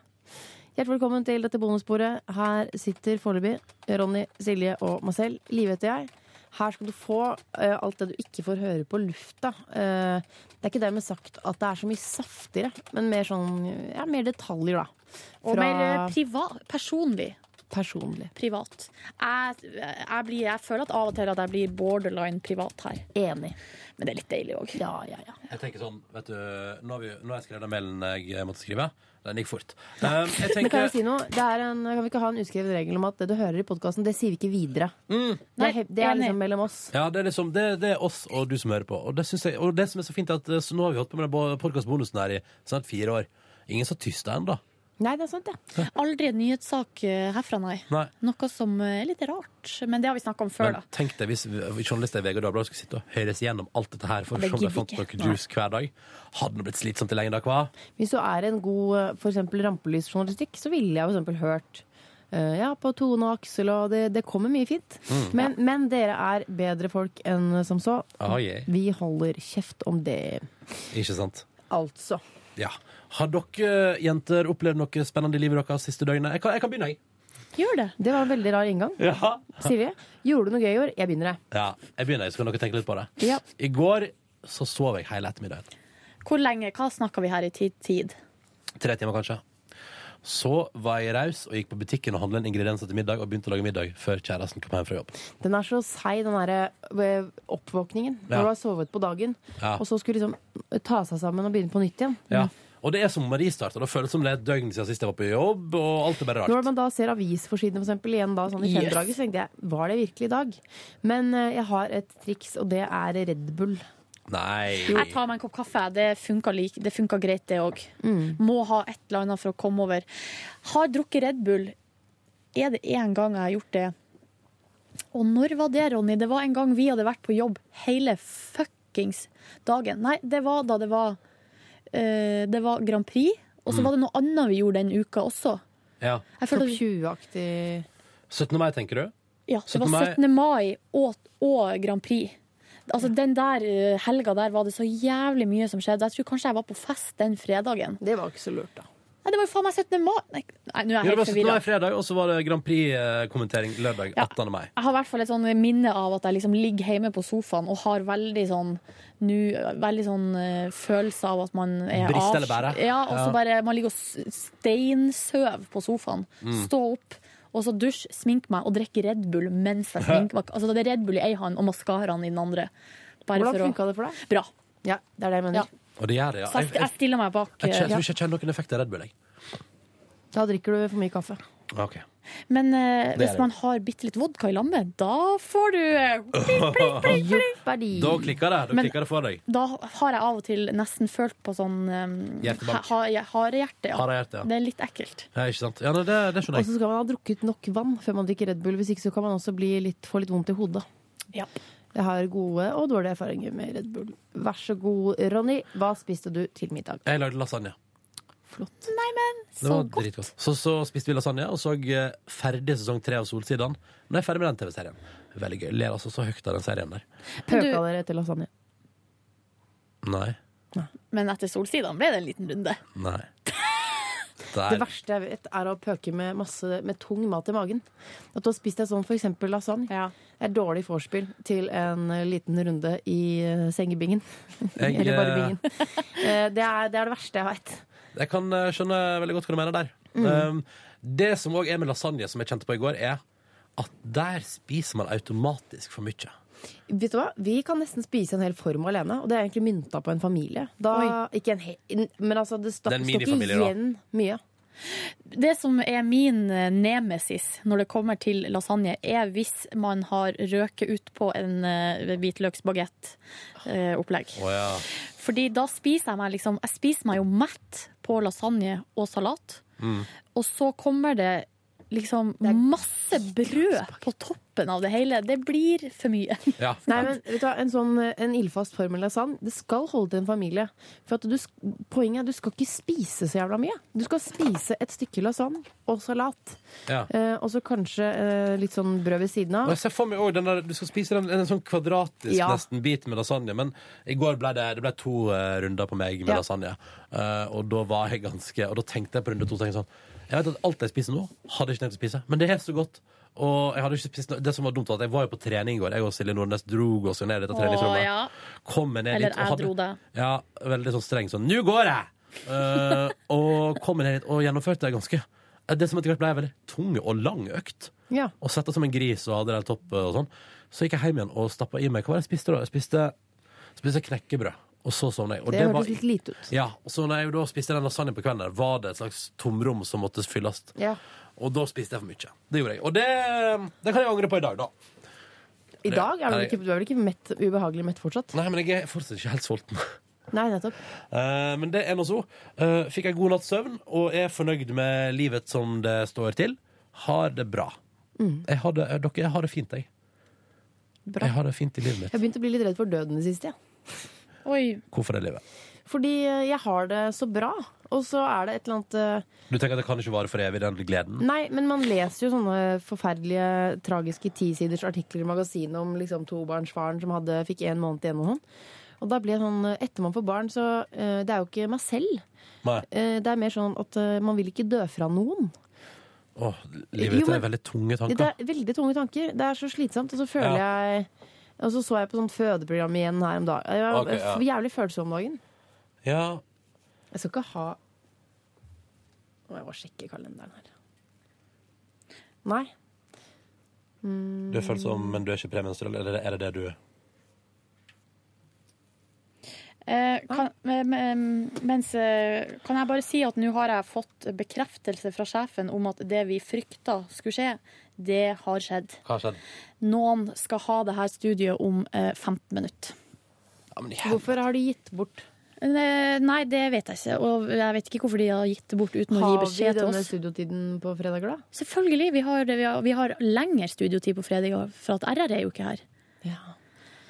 Speaker 3: Hjertelig velkommen til dette bonussporet. Her sitter foreløpig Ronny, Silje og meg selv. Live heter jeg. Her skal du få eh, alt det du ikke får høre på lufta. Eh, det er ikke dermed sagt at det er så mye saftigere, men mer sånn ja, mer detaljer, da.
Speaker 1: Og mer eh, privat, personlig.
Speaker 3: personlig.
Speaker 1: Privat. Jeg, jeg, blir, jeg føler at av og til at jeg blir borderline privat her.
Speaker 3: Enig.
Speaker 1: Men det er litt deilig òg.
Speaker 3: Ja, ja, ja.
Speaker 2: Jeg tenker sånn, vet du, nå har, vi, nå har jeg skrevet den mailen jeg måtte skrive. Den gikk fort. Um, jeg
Speaker 3: Men kan
Speaker 2: tenker
Speaker 3: jeg si noe? Det er en, kan vi ikke ha en uskrevet regel om at det du hører i podkasten, det sier vi ikke videre? Det,
Speaker 1: Nei,
Speaker 3: er, he- det er
Speaker 1: enig.
Speaker 3: liksom mellom oss.
Speaker 2: Ja, det er liksom det, det er oss og du som hører på. Og det, synes jeg, og det som er så fint, er at eh, så nå har vi holdt på med den podkastbonusen her i snart fire år. Ingen så tyst ennå.
Speaker 3: Nei, det er sant, det.
Speaker 1: Aldri en nyhetssak eh, herfra, nei.
Speaker 2: Nei.
Speaker 1: Noe som eh, er litt rart. Men det har vi snakka om før,
Speaker 2: Men
Speaker 1: da.
Speaker 2: tenk deg hvis vi- journalister i VG og Dagbladet skulle sitte og høres gjennom alt dette her for å
Speaker 1: Det
Speaker 2: se om de
Speaker 1: gidder
Speaker 2: fant
Speaker 1: ikke.
Speaker 2: noe juice hver dag. Hadde det blitt slitsomt i lengda, hva?
Speaker 3: Hvis du er en god eh, for eksempel rampelysjournalistikk, så ville jeg for eksempel hørt eh, ja, på Tone og Aksel, og det, det kommer mye fint.
Speaker 2: Mm.
Speaker 3: Men, men dere er bedre folk enn som så.
Speaker 2: Ah, yeah.
Speaker 3: Vi holder kjeft om det,
Speaker 2: Ikke sant?
Speaker 3: altså.
Speaker 2: Ja. Har dere eh, jenter opplevd noe spennende i livet deres siste døgnet? Jeg kan, jeg kan begynne, jeg.
Speaker 1: Gjør det.
Speaker 3: Det var en veldig rar inngang.
Speaker 2: Ja.
Speaker 3: Silje, gjorde du noe gøy i år? Jeg begynner, jeg.
Speaker 2: Ja, jeg begynner, så kan dere tenke litt på det.
Speaker 3: Ja.
Speaker 2: I går så sov jeg hele ettermiddagen.
Speaker 1: Hvor lenge? Hva snakka vi her i tid? tid?
Speaker 2: Tre timer, kanskje. Så var jeg raus og gikk på butikken og handla inn ingredienser til middag og begynte å lage middag før kjæresten kom hjem fra jobb.
Speaker 3: Den er så seig, den derre eh, oppvåkningen.
Speaker 2: Ja.
Speaker 3: Når du har sovet på dagen,
Speaker 2: Ja.
Speaker 3: og så skulle liksom ta seg sammen og begynne på nytt igjen.
Speaker 2: Ja. Og det er som om ristart, og det føles som det er et døgn siden sist jeg var på jobb, og alt er bare rart.
Speaker 3: Når man da ser avisforsidene for eksempel, igjen da, sånn i
Speaker 2: Yes.
Speaker 3: kjempedraget, så tenkte jeg var det virkelig i dag? Men eh, jeg har et triks, og det er Red Bull.
Speaker 2: Nei.
Speaker 1: Jeg tar meg en kopp kaffe. Det funka, lik, det funka greit, det òg. Må ha et eller annet for å komme over. Har drukket Red Bull
Speaker 4: er det én gang jeg har gjort det. Og når var det, Ronny? Det var en gang vi hadde vært på jobb hele fuckings dagen. Nei, det var da det var eh, Det var Grand Prix, og så
Speaker 2: Mm.
Speaker 4: var det noe annet vi gjorde den uka også.
Speaker 2: Ja.
Speaker 4: Jeg føler-
Speaker 14: 20-aktig
Speaker 2: 17. mai, tenker du?
Speaker 4: Ja, det var
Speaker 2: 17. mai.
Speaker 4: 17. mai og, og Grand Prix. Altså Den der eh, helga der var det så jævlig mye som skjedde. Jeg tror kanskje jeg var på fest den fredagen.
Speaker 3: Det var ikke så lurt, da.
Speaker 4: Nei, det var jo faen meg 17. mai Nei, nei, nå
Speaker 2: Ja,
Speaker 4: er jeg
Speaker 2: det var
Speaker 4: helt
Speaker 2: 17. mai
Speaker 4: forvirra.
Speaker 2: fredag, og så var det Grand Prix-kommentering lørdag 18. mai.
Speaker 4: Jeg har i hvert fall et sånn minne av at jeg liksom ligger hjemme på sofaen og har veldig sånn nu, Veldig sånn eh, følelse av at man er
Speaker 2: Briste
Speaker 4: avs-
Speaker 2: eller bære?
Speaker 4: Ja, og så
Speaker 2: Ja.
Speaker 4: bare Man ligger og s- steinsøv på sofaen.
Speaker 2: Mm.
Speaker 4: Stå opp. Og så dusj, smink meg og drikke Red Bull mens jeg sminker meg. Altså, det er Red Bull i ei hånd og maskaraen i den andre.
Speaker 3: Hvordan funka det for deg?
Speaker 4: Bra.
Speaker 3: Ja, det er det jeg mener.
Speaker 2: Og det gjør det, ja.
Speaker 4: Så jeg, jeg stiller meg bak.
Speaker 2: Jeg, kjenner- jeg
Speaker 4: eh,
Speaker 2: tror ikke jeg kjenner noen effekt av Red Bull, jeg.
Speaker 3: Da drikker du for mye kaffe.
Speaker 2: Ok.
Speaker 4: Men eh,
Speaker 2: Det er
Speaker 4: hvis
Speaker 2: det.
Speaker 4: man har bitte litt vodka i lammet, da får du eh,
Speaker 2: Da klikker det. Da
Speaker 4: Men-
Speaker 2: klikker det for deg.
Speaker 4: Da har jeg av og til nesten følt på sånn um,
Speaker 2: Hjertebank.
Speaker 4: ha- ha- Harehjerte. Ja.
Speaker 2: Harehjerte, ja.
Speaker 4: Det er litt ekkelt.
Speaker 2: Ja, ikke sant? Ja, nei, det, det
Speaker 3: Og
Speaker 2: skjønner
Speaker 3: så
Speaker 2: jeg.
Speaker 3: skal man ha drukket nok vann før man drikker Red Bull. Hvis ikke så kan man også bli litt, få litt vondt i hodet.
Speaker 4: Ja.
Speaker 3: Jeg har gode og dårlige erfaringer med Red Bull. Vær så god, Ronny. Hva spiste du til middag?
Speaker 2: Jeg lagde lasagne.
Speaker 4: Nei, men
Speaker 2: Det var dritgodt. Så, så spiste vi lasagne og så eh, ferdig sesong tre av Solsidan. Nå er jeg ferdig med den TV-serien. Veldig gøy. Ler altså så høyt av den serien der.
Speaker 3: Pøka dere etter lasagne?
Speaker 2: Nei.
Speaker 4: Men etter solsidene ble det en liten runde.
Speaker 2: Nei.
Speaker 3: Det
Speaker 2: Der.
Speaker 3: verste jeg vet, er å pøke med, masse, med tung mat i magen. At du har spist deg sånn, f.eks. lasagne. Det er dårlig vorspiel til en eh, liten runde i eh, sengebingen.
Speaker 2: Jeg,
Speaker 3: Eller bare
Speaker 2: eh,
Speaker 3: bingen. Eh, Det er, det er det verste jeg veit.
Speaker 2: Jeg kan eh, skjønne veldig godt hva du mener der.
Speaker 3: Mm.
Speaker 2: Um, det som òg er med lasagne, som jeg kjente på i går, er at der spiser man automatisk for mye.
Speaker 3: Vet du hva? Vi kan nesten spise en hel form alene, og det er egentlig mynta på en familie. Da, ikke en he men altså, det står
Speaker 2: Det er en
Speaker 3: står ikke
Speaker 2: minifamilie, da.
Speaker 3: igjen mye.
Speaker 4: Det som er min eh, nemesis når det kommer til lasagne, er hvis man har røket ut på en uh, hvitløksbagett-opplegg.
Speaker 2: Å ja.
Speaker 4: Fordi da spiser jeg meg liksom Jeg spiser meg jo mett på lasagne og salat.
Speaker 2: Mm.
Speaker 4: Og så kommer det liksom masse brød på toppen av det hele. Det blir for mye.
Speaker 3: Nei, men vet du hva, En sånn en ildfast form eller lasagne, det skal holde til en familie. For at du, sk- Poenget er at du skal ikke spise så jævla mye. Du skal spise et stykke lasagne og salat.
Speaker 2: Ja.
Speaker 3: Eh, og så kanskje eh, litt sånn brød ved siden
Speaker 2: Og
Speaker 3: av.
Speaker 2: jeg ser for meg også den der, Du skal spise den, en sånn kvadratisk
Speaker 3: Ja.
Speaker 2: nesten bit med lasagne, men i går ble det, det ble to eh, runder på meg med
Speaker 3: Ja.
Speaker 2: lasagne. Eh, og da var jeg ganske Og da tenkte jeg på runde to tenkte jeg sånn Jeg vet at alt jeg spiser nå, hadde jeg ikke tenkt å spise, men det er så godt. Og jeg hadde ikke spist noe- Det som var dumt, var at jeg var jo på trening i går. Jeg og Silje Nordnes drog oss jo ned i dette
Speaker 4: Å,
Speaker 2: treningsrommet.
Speaker 4: ja.
Speaker 2: Kom meg ned
Speaker 4: Eller
Speaker 2: dit og
Speaker 4: jeg dro deg.
Speaker 2: Ja, veldig sånn streng sånn 'Nå går jeg!' Eh, og kom meg ned dit og gjennomførte det ganske. Eh, Det som etter hvert ble en veldig tung og lang økt
Speaker 3: Ja.
Speaker 2: og svetta som en gris og hadde det helt topp og sånn. Så gikk jeg hjem igjen og stappa i meg Hva var det jeg spiste da? Jeg spiste, spiste knekkebrød. Og så sovna jeg. Og
Speaker 3: det
Speaker 2: var-
Speaker 3: hørtes litt lite ut.
Speaker 2: Ja, og så når jeg da spiste den lasagnen på kvelden, der, var det et slags tomrom som måtte fylles.
Speaker 3: Ja.
Speaker 2: Og da spiste jeg for mye. Det gjorde jeg. Og det, det kan jeg angre på i dag, da.
Speaker 3: I dag er du,
Speaker 2: Nei.
Speaker 3: ikke, du er vel ikke mett, ubehagelig mett fortsatt?
Speaker 2: Nei, men jeg er fortsatt ikke helt sulten.
Speaker 3: Nei, nettopp.
Speaker 2: Eh, men det er nå så. Eh, fikk jeg god natts søvn og er fornøyd med livet som det står til. Har det bra.
Speaker 3: Mm.
Speaker 2: Jeg har det, eh, dere, jeg har det fint, jeg.
Speaker 3: Bra.
Speaker 2: Jeg har det fint i livet mitt.
Speaker 3: Jeg begynte å bli litt redd for døden i det siste.
Speaker 4: Ja. Oi.
Speaker 2: Hvorfor det livet?
Speaker 3: Fordi eh, jeg har det så bra, og så er det et eller annet eh,
Speaker 2: Du tenker at det kan ikke vare for evig, den gleden?
Speaker 3: Nei, men man leser jo sånne forferdelige, tragiske tisiders artikler i magasinet om liksom, tobarnsfaren som hadde, fikk én måned igjen og sånn. Og da blir jeg sånn Etter man får barn, så eh, Det er jo ikke meg selv.
Speaker 2: Nei.
Speaker 3: Eh, det er mer sånn at eh, man vil ikke dø fra noen.
Speaker 2: Åh, livet ditt
Speaker 3: Jo,
Speaker 2: er
Speaker 3: men-
Speaker 2: veldig tunge tanker.
Speaker 3: Det er veldig tunge tanker. Det er så slitsomt. Og så føler jeg Og så så jeg på sånn fødeprogram igjen her om dagen. Jeg var
Speaker 2: Ok, ja.
Speaker 3: jævlig følsom om dagen.
Speaker 2: Ja.
Speaker 3: Jeg skal ikke ha Må jeg bare sjekke kalenderen her. Nei. Mm.
Speaker 2: Du er følsom, men du er ikke premenstruell. Er det er det, det du er?
Speaker 4: Eh, kan, men- men- mens, eh, kan jeg bare si at nå har jeg fått bekreftelse fra sjefen om at det vi frykta skulle skje, det har skjedd.
Speaker 2: Hva har skjedd?
Speaker 4: Noen skal ha det her studiet om eh, 15 minutter.
Speaker 2: Ja, men i
Speaker 3: Hvorfor har de gitt bort
Speaker 4: Eh, Nei, det vet jeg ikke. Og jeg vet ikke hvorfor de har gitt det bort uten å gi
Speaker 3: Har vi
Speaker 4: beskjed til
Speaker 3: denne
Speaker 4: oss.
Speaker 3: studiotiden på fredager, da?
Speaker 4: Selvfølgelig. Vi har, vi har, vi har lengre studiotid på fredag, for at RR er jo ikke her.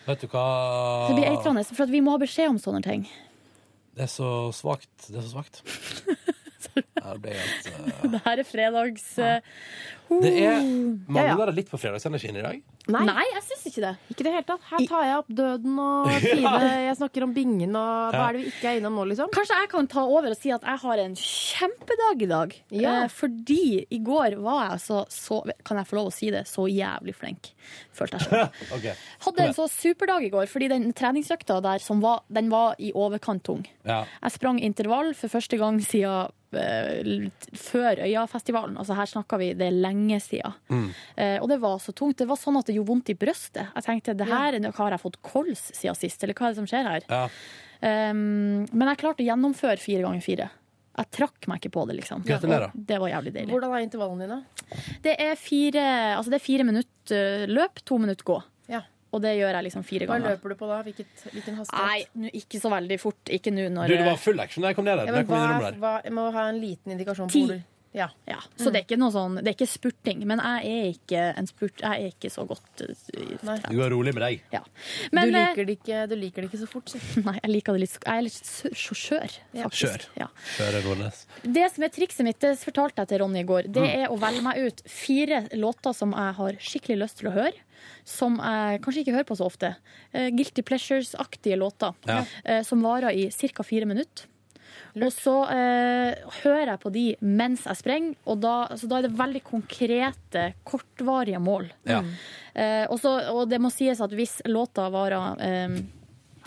Speaker 2: Vet du hva
Speaker 4: Så det blir
Speaker 3: Ah.
Speaker 4: eitrende, for at vi må ha beskjed om sånne ting.
Speaker 2: Det er så svakt. Det er så svakt. Ja, det ble helt eh,
Speaker 3: Ah.
Speaker 4: Det her er fredags... eh,
Speaker 2: Det er Mangler det litt på fredagsenergien i dag?
Speaker 4: Nei. jeg syns ikke det.
Speaker 3: Ikke det hele tatt. Her tar jeg opp døden og Sive. Jeg snakker om bingen og hva
Speaker 2: Ja.
Speaker 3: er det vi ikke er innom nå, liksom?
Speaker 4: Kanskje jeg kan ta over og si at jeg har en kjempedag i dag.
Speaker 3: Ja.
Speaker 4: Eh, fordi i går var jeg altså så Kan jeg få lov å si det? Så jævlig flink, følte jeg sjøl.
Speaker 2: Ok.
Speaker 4: Hadde en så superdag i går, fordi den treningsøkta der som var, den var i overkant tung.
Speaker 2: Ja.
Speaker 4: Jeg sprang intervall for første gang siden eh, litt før Øyafestivalen. Altså her snakker vi det er lenge siden. Eh, og det var så tungt. Det var sånn at det gjorde vondt i brøstet. Jeg tenkte det her er noe- har jeg fått kols siden sist, eller hva er det som skjer her? Um, men jeg klarte å gjennomføre fire ganger fire. Jeg trakk meg ikke på det, liksom.
Speaker 2: Gratulerer.
Speaker 4: Og Det var jævlig deilig.
Speaker 3: Hvordan er intervallene dine?
Speaker 4: Det er fire, altså det er fire minutter løp, to minutter gå.
Speaker 3: Ja.
Speaker 4: Og det gjør jeg liksom fire
Speaker 3: Hva
Speaker 4: ganger.
Speaker 3: løper du på da? Hvilket, hvilken
Speaker 4: Nei,
Speaker 3: hastighet?
Speaker 4: nå ikke så veldig fort. Ikke nå når
Speaker 2: Du, det var full action da jeg kom ned der.
Speaker 3: Ja,
Speaker 2: da
Speaker 3: men
Speaker 2: jeg kom
Speaker 3: hva,
Speaker 2: inn i
Speaker 3: er-
Speaker 2: rommet der.
Speaker 3: hva, jeg må ha en liten indikasjon på
Speaker 4: Ti.
Speaker 3: hvor du ja.
Speaker 4: Ja, Så det er ikke noe sånn, det er ikke spurting. Men jeg er ikke en spurt, jeg er ikke så godt eh,
Speaker 2: Du er rolig med deg.
Speaker 4: Ja. Men,
Speaker 3: du,
Speaker 4: eh,
Speaker 3: liker det ikke, du liker det ikke så fort, si.
Speaker 4: Nei, jeg liker det litt sk- Jeg er litt s- sjåfør, faktisk.
Speaker 2: Kjør.
Speaker 4: Ja.
Speaker 2: Kjør, Nordnes.
Speaker 4: Det som er trikset mitt, det fortalte jeg til Ronny i går, det er å velge meg ut fire låter som jeg har skikkelig lyst til å høre. Som jeg kanskje ikke hører på så ofte. Eh, Guilty Pleasures-aktige låter
Speaker 13: Ja.
Speaker 4: eh, som varer i ca. fire minutter. Og så eh, hører jeg på de mens jeg sprenger, og da, så da er det veldig konkrete, kortvarige mål.
Speaker 2: Ja.
Speaker 4: Eh, og så- og det må sies at hvis låta varer eh,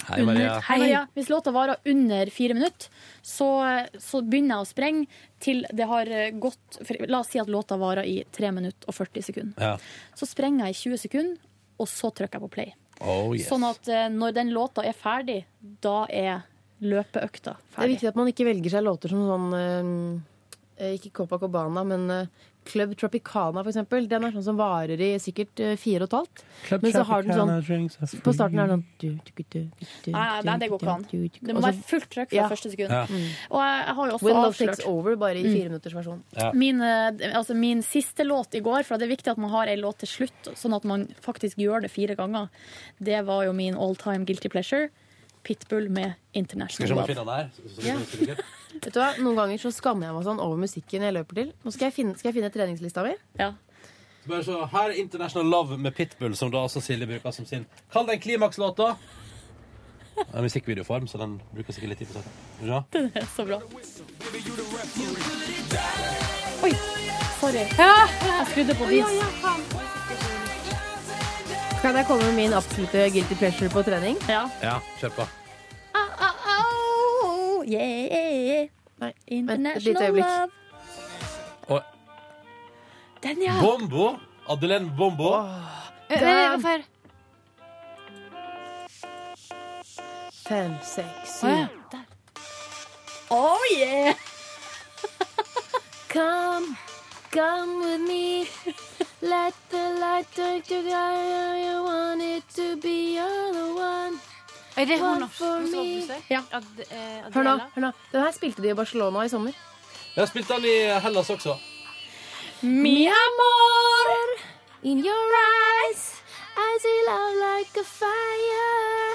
Speaker 2: Hei, Maria.
Speaker 4: Hei, Maria. Hvis låta varer under fire minutter, så, så begynner jeg å sprenge til det har eh, gått for, La oss si at låta varer i 3 minutter og 40 sekunder.
Speaker 2: Ja.
Speaker 4: Så sprenger jeg i 20 sekunder, og så trykker jeg på play.
Speaker 2: Oh, yes.
Speaker 4: Sånn at eh, når den låta er ferdig, da er løpeøkta
Speaker 3: Det er
Speaker 4: ferdig.
Speaker 3: viktig at man ikke velger seg låter som sånn eh, eh, Ikke Copacabana, men eh, Club Tropicana, for eksempel. Den er sånn som varer i sikkert eh, fire og et halvt. Men så har den sånn På starten er den sånn
Speaker 4: Nei, Ah, nei, det går ikke an. Det må
Speaker 3: Og så-
Speaker 4: være fullt trykk fra
Speaker 3: Altså- Ja.
Speaker 4: første sekund.
Speaker 3: Ja.
Speaker 4: Og jeg, jeg har jo også
Speaker 3: When Love
Speaker 4: avslørt
Speaker 3: Takes Over, bare i
Speaker 4: Mm.
Speaker 3: fire minutters versjon.
Speaker 4: Min, eh, altså min siste låt i går, for det er viktig at man har ei låt til slutt, sånn at man faktisk gjør det fire ganger, det var jo min all time guilty pleasure. Pitbull med
Speaker 2: Skal vi se om
Speaker 4: International
Speaker 2: vi
Speaker 4: Love.
Speaker 2: finner den her? Så- så-
Speaker 3: Ja.
Speaker 2: så- så- så-
Speaker 3: Vet du hva, Noen ganger så skammer jeg meg sånn over musikken jeg løper til. Nå skal jeg finne, skal jeg finne treningslista mi.
Speaker 2: så Bare så, her er International Love med Pitbull, som da også Silje bruker som sin. Kall den klimakslåta. Det er musikkvideoform, så den bruker sikkert litt tid på saken. Skal vi se?
Speaker 4: Den er så bra. Oi! Sorry. Jeg skrudde på vis.
Speaker 3: Kan jeg komme med min absolutte guilty pleasure på trening?
Speaker 4: Ja.
Speaker 2: Ja, kjør på.
Speaker 4: Au, au, au. ah, oh, Yeah.
Speaker 3: et lite
Speaker 4: International
Speaker 3: øyeblikk.
Speaker 4: Love.
Speaker 2: Og
Speaker 4: Den, ja.
Speaker 2: Bombo! Adelén Bombo.
Speaker 3: Den-
Speaker 13: Hvorfor?
Speaker 3: Fem, seks,
Speaker 13: Å, ja.
Speaker 3: syv.
Speaker 4: Oh yeah!
Speaker 3: Come, come with me. Let the light take you there. You want it to be all the one.
Speaker 13: Er altså. det hun
Speaker 3: One
Speaker 13: norsk?
Speaker 3: for
Speaker 13: norsk
Speaker 3: me.
Speaker 13: oppussig? Ad, eh,
Speaker 3: Hør nå,
Speaker 13: Adela?
Speaker 3: hør nå. Den her spilte de i Barcelona i sommer.
Speaker 2: Jeg har spilt den i Hellas også.
Speaker 4: Mi amor.
Speaker 3: In your eyes, I see love like a fire.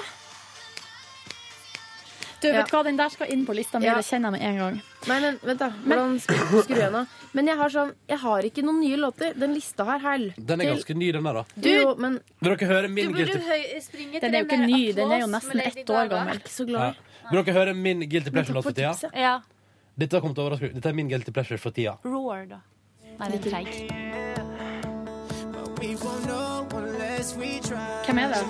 Speaker 4: Du,
Speaker 3: Ja.
Speaker 4: vet hva, den der skal inn på lista mi.
Speaker 3: Ja.
Speaker 4: Det kjenner jeg med en gang.
Speaker 3: Nei, men vent da, hvordan skru, skru jeg nå? Men jeg har sånn, jeg har ikke noen nye låter. Den lista her, hell.
Speaker 2: Den er ganske ny, den der, da.
Speaker 3: Du, jo, men
Speaker 2: Vil dere høre min
Speaker 13: Du burde
Speaker 2: guilty
Speaker 13: høy- springe til
Speaker 4: Den er jo
Speaker 13: den
Speaker 4: ikke
Speaker 13: der
Speaker 4: ny, den er jo
Speaker 13: Applause
Speaker 4: nesten
Speaker 13: med Lady
Speaker 4: ett år
Speaker 13: Gaga.
Speaker 4: gammel.
Speaker 3: ikke så
Speaker 2: ja.
Speaker 3: glad.
Speaker 2: Vil dere høre min guilty pleasure-låt for tida?
Speaker 13: Ja.
Speaker 2: Dette kommer til å overraske. Dette er min guilty pleasure for tida.
Speaker 13: Roar, da. Nei, den er treig.
Speaker 4: Hvem er det?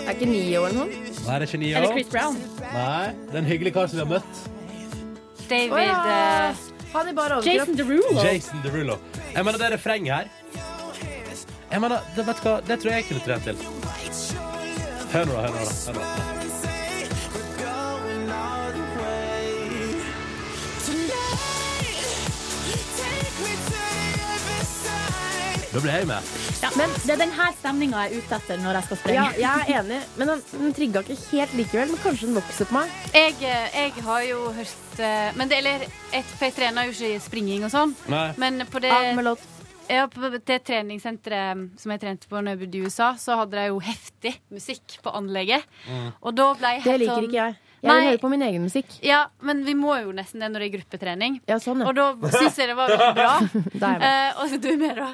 Speaker 3: Er ikke ni år eller noe?
Speaker 2: Nei, det er ikke ny,
Speaker 4: Er det Chris Brown?
Speaker 2: Nei, det er en hyggelig kar som vi har møtt.
Speaker 13: David
Speaker 3: Å ja.
Speaker 13: eh,
Speaker 3: Han er bare
Speaker 4: Jason
Speaker 3: overkropp.
Speaker 4: Derulo?
Speaker 2: Jason Derulo. Jeg mener, det er refrenget her. Jeg mener, det, vet du hva? det tror jeg jeg kunne trent til. Hør nå, da, hør nå. da, Hør nå.
Speaker 1: Take me to every side.
Speaker 2: Da ble jeg med.
Speaker 4: Ja, men det er denne stemninga jeg er ute etter når jeg skal
Speaker 3: Ja,
Speaker 4: sprenge.
Speaker 3: jeg er enig, men den, den trigga ikke helt likevel. Men kanskje den vokser på meg.
Speaker 13: Jeg, jeg har jo hørt eh, Men det, eller, et, for jeg trener jo ikke springing og sånn.
Speaker 3: Nei.
Speaker 13: Ah, Men på det,
Speaker 3: Ja, med låt.
Speaker 13: ja, på det treningssenteret eh, som jeg trente på når jeg bodde i USA, så hadde de jo heftig musikk på anlegget.
Speaker 4: Mm.
Speaker 13: Og da ble jeg
Speaker 3: Det
Speaker 13: helt
Speaker 3: liker
Speaker 13: sånn-
Speaker 3: ikke jeg. Jeg
Speaker 13: Nei.
Speaker 3: vil høre på min egen musikk.
Speaker 13: Ja, men vi må jo nesten det når det er gruppetrening.
Speaker 3: sånn, ja.
Speaker 13: Og da syns jeg det var veldig bra.
Speaker 3: Da er jeg med.
Speaker 13: Eh, og du er med, da.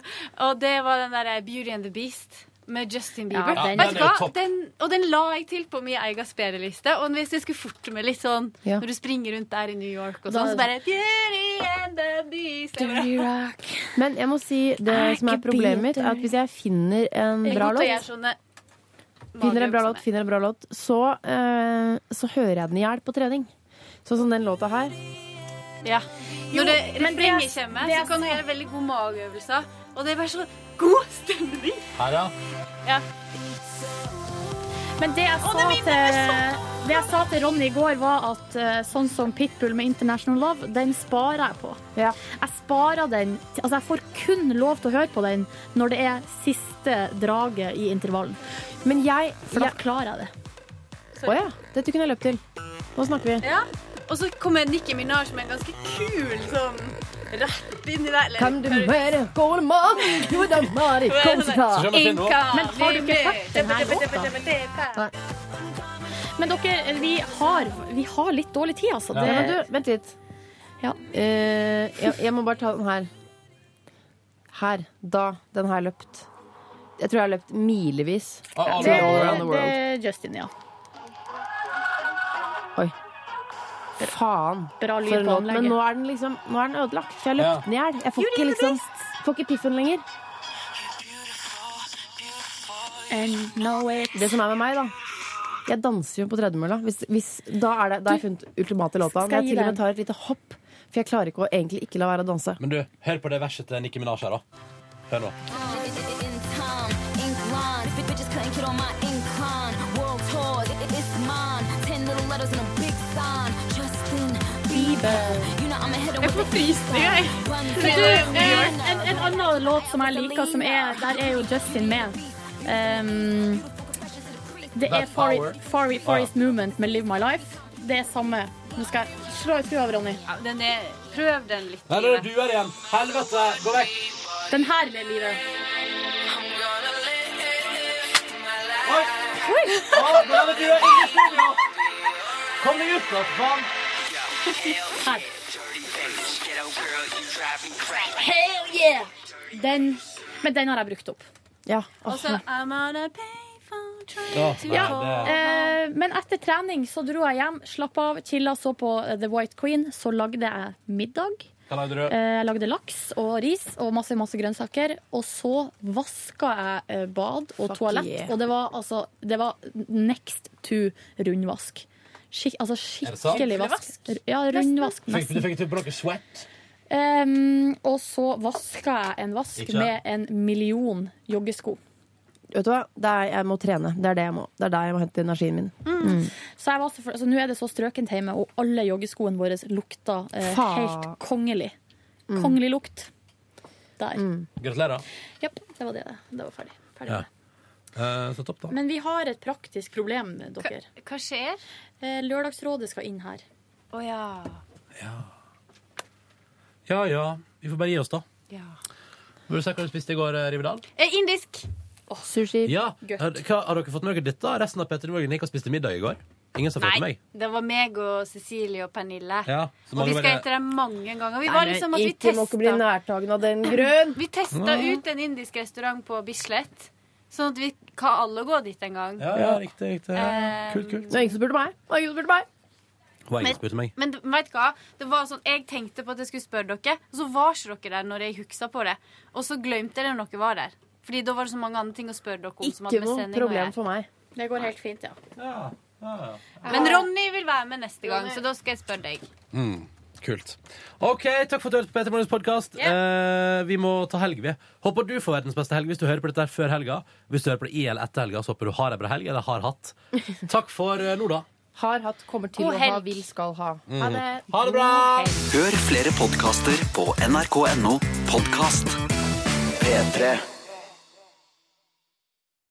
Speaker 13: Og det var den der eh, Beauty and the Beast. Med Justin
Speaker 3: Ja,
Speaker 13: Bieber.
Speaker 3: den-
Speaker 13: Vet
Speaker 3: den
Speaker 13: du
Speaker 3: er jo
Speaker 13: hva?
Speaker 3: topp.
Speaker 13: Den, og den la jeg til på min egen spilleliste. Og hvis jeg skulle forte meg litt sånn
Speaker 3: Ja.
Speaker 13: når du springer rundt der i New York og
Speaker 3: Da-
Speaker 13: sånn, så bare Beauty and the Beast.
Speaker 3: Men jeg må si det
Speaker 13: Er
Speaker 3: som
Speaker 13: Ah,
Speaker 3: er
Speaker 13: ikke
Speaker 3: problemet mitt, er
Speaker 13: bitter.
Speaker 3: at hvis jeg finner en
Speaker 13: Jeg
Speaker 3: bra
Speaker 13: går til å gjøre
Speaker 3: låt
Speaker 13: sånne
Speaker 3: Finner en bra låt, finner en bra låt så, eh, så hører jeg den i hjel på trening. Sånn som den låta her.
Speaker 13: Ja. Når
Speaker 3: Jo,
Speaker 13: det
Speaker 3: men det er-
Speaker 13: refrenget kommer,
Speaker 3: det
Speaker 13: så
Speaker 3: er
Speaker 13: kan du gjøre veldig gode mageøvelser. Og det er bare så god stemning.
Speaker 2: Her, ja.
Speaker 13: Ja.
Speaker 4: Men det jeg, sa til, det jeg sa til Ronny i går, var at eh, sånn som Pitbull med International Love, den sparer jeg på. Jeg sparer den til- Altså, jeg får kun lov til å høre på den når det er siste draget i intervallen.
Speaker 3: Men jeg
Speaker 4: For da
Speaker 3: jeg-
Speaker 4: klarer jeg det.
Speaker 3: Å ja. Dette kunne jeg løpt til. Nå snakker vi.
Speaker 13: Ja. Og så kommer Nikki Minaj med en ganske kul sånn rett inn i der. eller-
Speaker 3: Kan du være god mann? Du er da Mari Kongstad.
Speaker 4: Men har du ikke hørt denne låta? Men dere, vi har, vi har litt dårlig tid, altså.
Speaker 3: Ja, men du, vent litt.
Speaker 4: Ja.
Speaker 3: Eh, jeg, jeg må bare ta den her. Her. Da. Den har jeg løpt. Jeg tror jeg har løpt milevis.
Speaker 4: Ja,
Speaker 3: Til All Around the
Speaker 4: det
Speaker 3: World.
Speaker 4: er Justin, ja.
Speaker 3: Oi. Faen.
Speaker 4: Bra lyd
Speaker 3: For en
Speaker 4: på
Speaker 3: låt.
Speaker 4: anlegget.
Speaker 3: Men nå er den liksom Nå er den ødelagt, for jeg har løpt den i hjel. Jeg får ikke liksom Får ikke piffen lenger. Det som er med meg, da Jeg danser jo på tredemølla. Hvis, hvis, da, er det, da har jeg funnet ultimate låta.
Speaker 2: skal
Speaker 3: Men jeg
Speaker 2: jeg gi
Speaker 3: til og
Speaker 2: deg
Speaker 3: med tar et lite hopp, for jeg klarer ikke å egentlig ikke la være å danse.
Speaker 2: Men du, hør på det verset til Nikki Minaj her, da. Hør nå.
Speaker 4: Jeg får frysninger, jeg. Men du, eh, en, en annen låt som jeg liker, som er Der er jo Justin med. Um, det er
Speaker 13: That Power.
Speaker 4: Forest,
Speaker 3: Ah.
Speaker 4: Forest Movement med Live My Life. Det er samme. Nå skal jeg slå i skru av, Ronny.
Speaker 13: Ja, den er, prøv den litt.
Speaker 2: Her er det du her igjen. Helvete, gå vekk.
Speaker 4: Den her med livet.
Speaker 2: Oi! Å, da er det du er inne i studio. Kom deg ut, da, for faen.
Speaker 4: Her. Hell yeah! Den, men den har jeg brukt opp.
Speaker 3: Ja.
Speaker 13: Og
Speaker 11: Altså-
Speaker 13: så I'm on a payphone
Speaker 4: Ja,
Speaker 13: train to Home.
Speaker 4: eh, men etter trening så dro jeg hjem, slapp av, chilla, så på The White Queen. Så lagde jeg middag.
Speaker 2: Hva lagde
Speaker 4: Eh,
Speaker 2: du?
Speaker 4: Jeg lagde laks og ris og masse, masse grønnsaker. Og så vaska jeg eh, bad og
Speaker 13: Fuck
Speaker 4: toalett,
Speaker 13: yeah.
Speaker 4: og det var altså Det var next to rundvask. Skik, altså
Speaker 2: Er det sant?
Speaker 4: skikkelig vask.
Speaker 2: Rundvask?
Speaker 4: Ja, rundvask.
Speaker 2: Fikk, du
Speaker 4: Nesten.
Speaker 2: fikk du på noe sweat?
Speaker 4: Em, og så vaska jeg en vask
Speaker 3: Ikke sant?
Speaker 4: med en million joggesko.
Speaker 3: Vet du hva? Det er, jeg må trene. Det er det jeg må. Det er der jeg må hente energien min. Mm.
Speaker 4: Så jeg var så, for- altså, nå er det så strøkent hjemme, og alle joggeskoene våre lukta eh,
Speaker 3: Faen.
Speaker 4: helt kongelig. Kongelig lukt. Der.
Speaker 2: Gratulerer.
Speaker 4: Ja, det var det. Det var ferdig. ferdig.
Speaker 2: Ja. Eh, så topp, da.
Speaker 4: Men vi har et praktisk problem, dere. Eh,
Speaker 13: Hva, skjer?
Speaker 4: Lørdagsrådet skal inn her.
Speaker 13: Å ja.
Speaker 2: Ja ja, vi får bare gi oss, da.
Speaker 13: ja.
Speaker 2: Vil du si hva du spiste i går, eh, Rivedal?
Speaker 13: Eh, Indisk.
Speaker 3: Sushi.
Speaker 2: Ja. Har, hva, har dere fått med dere dette? Resten av Petter Morgen gikk og spiste middag i går. Ingen som har fått med
Speaker 13: Nei,
Speaker 2: meg.
Speaker 13: det var meg og Cecilie og Pernille.
Speaker 2: Ja, så
Speaker 13: og vi
Speaker 2: mange
Speaker 13: skal
Speaker 2: bare-
Speaker 13: etter dem mange ganger. Vi
Speaker 3: Nei,
Speaker 13: var
Speaker 3: men
Speaker 13: liksom at vi
Speaker 3: ikke må ikke bli
Speaker 13: testa
Speaker 3: nærtagen av den grunn.
Speaker 13: Vi testa ut en indisk restaurant på Bislett, sånn at vi kan alle gå dit en gang.
Speaker 2: Ja, ja, riktig, riktig.
Speaker 13: Eh,
Speaker 2: Kult, kult.
Speaker 3: Det var ingen som spurte meg. Det var ingen som spurte meg.
Speaker 2: Hva ingen som spurte meg?
Speaker 13: Men d- vet du hva? Det var sånn, Jeg tenkte på at jeg skulle spørre dere, og så var ikke dere der når jeg huksa på det. Og så glemte jeg det når dere var der. Fordi da var det så mange andre ting å spørre dere om. som hadde
Speaker 3: Ikke
Speaker 13: med
Speaker 3: noe
Speaker 13: sending å
Speaker 3: problem
Speaker 13: gjøre.
Speaker 3: for meg.
Speaker 4: Det går helt fint, ja.
Speaker 13: Men Ronny vil være med neste gang, så da skal jeg spørre deg.
Speaker 2: Mm, kult. OK, takk for at du hørte på Peter Morgens podkast. Eh, vi må ta helg, vi. Håper du får verdens beste helg hvis du hører på dette her før helga. Hvis du hører på det i eller etter helga, så håper du har ei bra helg, eller har hatt. Takk for eh, nå, da.
Speaker 3: Har hatt, kommer til
Speaker 15: God
Speaker 3: å ha, vil, skal ha. Ha
Speaker 2: Mm.
Speaker 3: det.
Speaker 2: Ha det bra!
Speaker 6: Hør flere podkaster på nrk.no podkast.
Speaker 2: P3.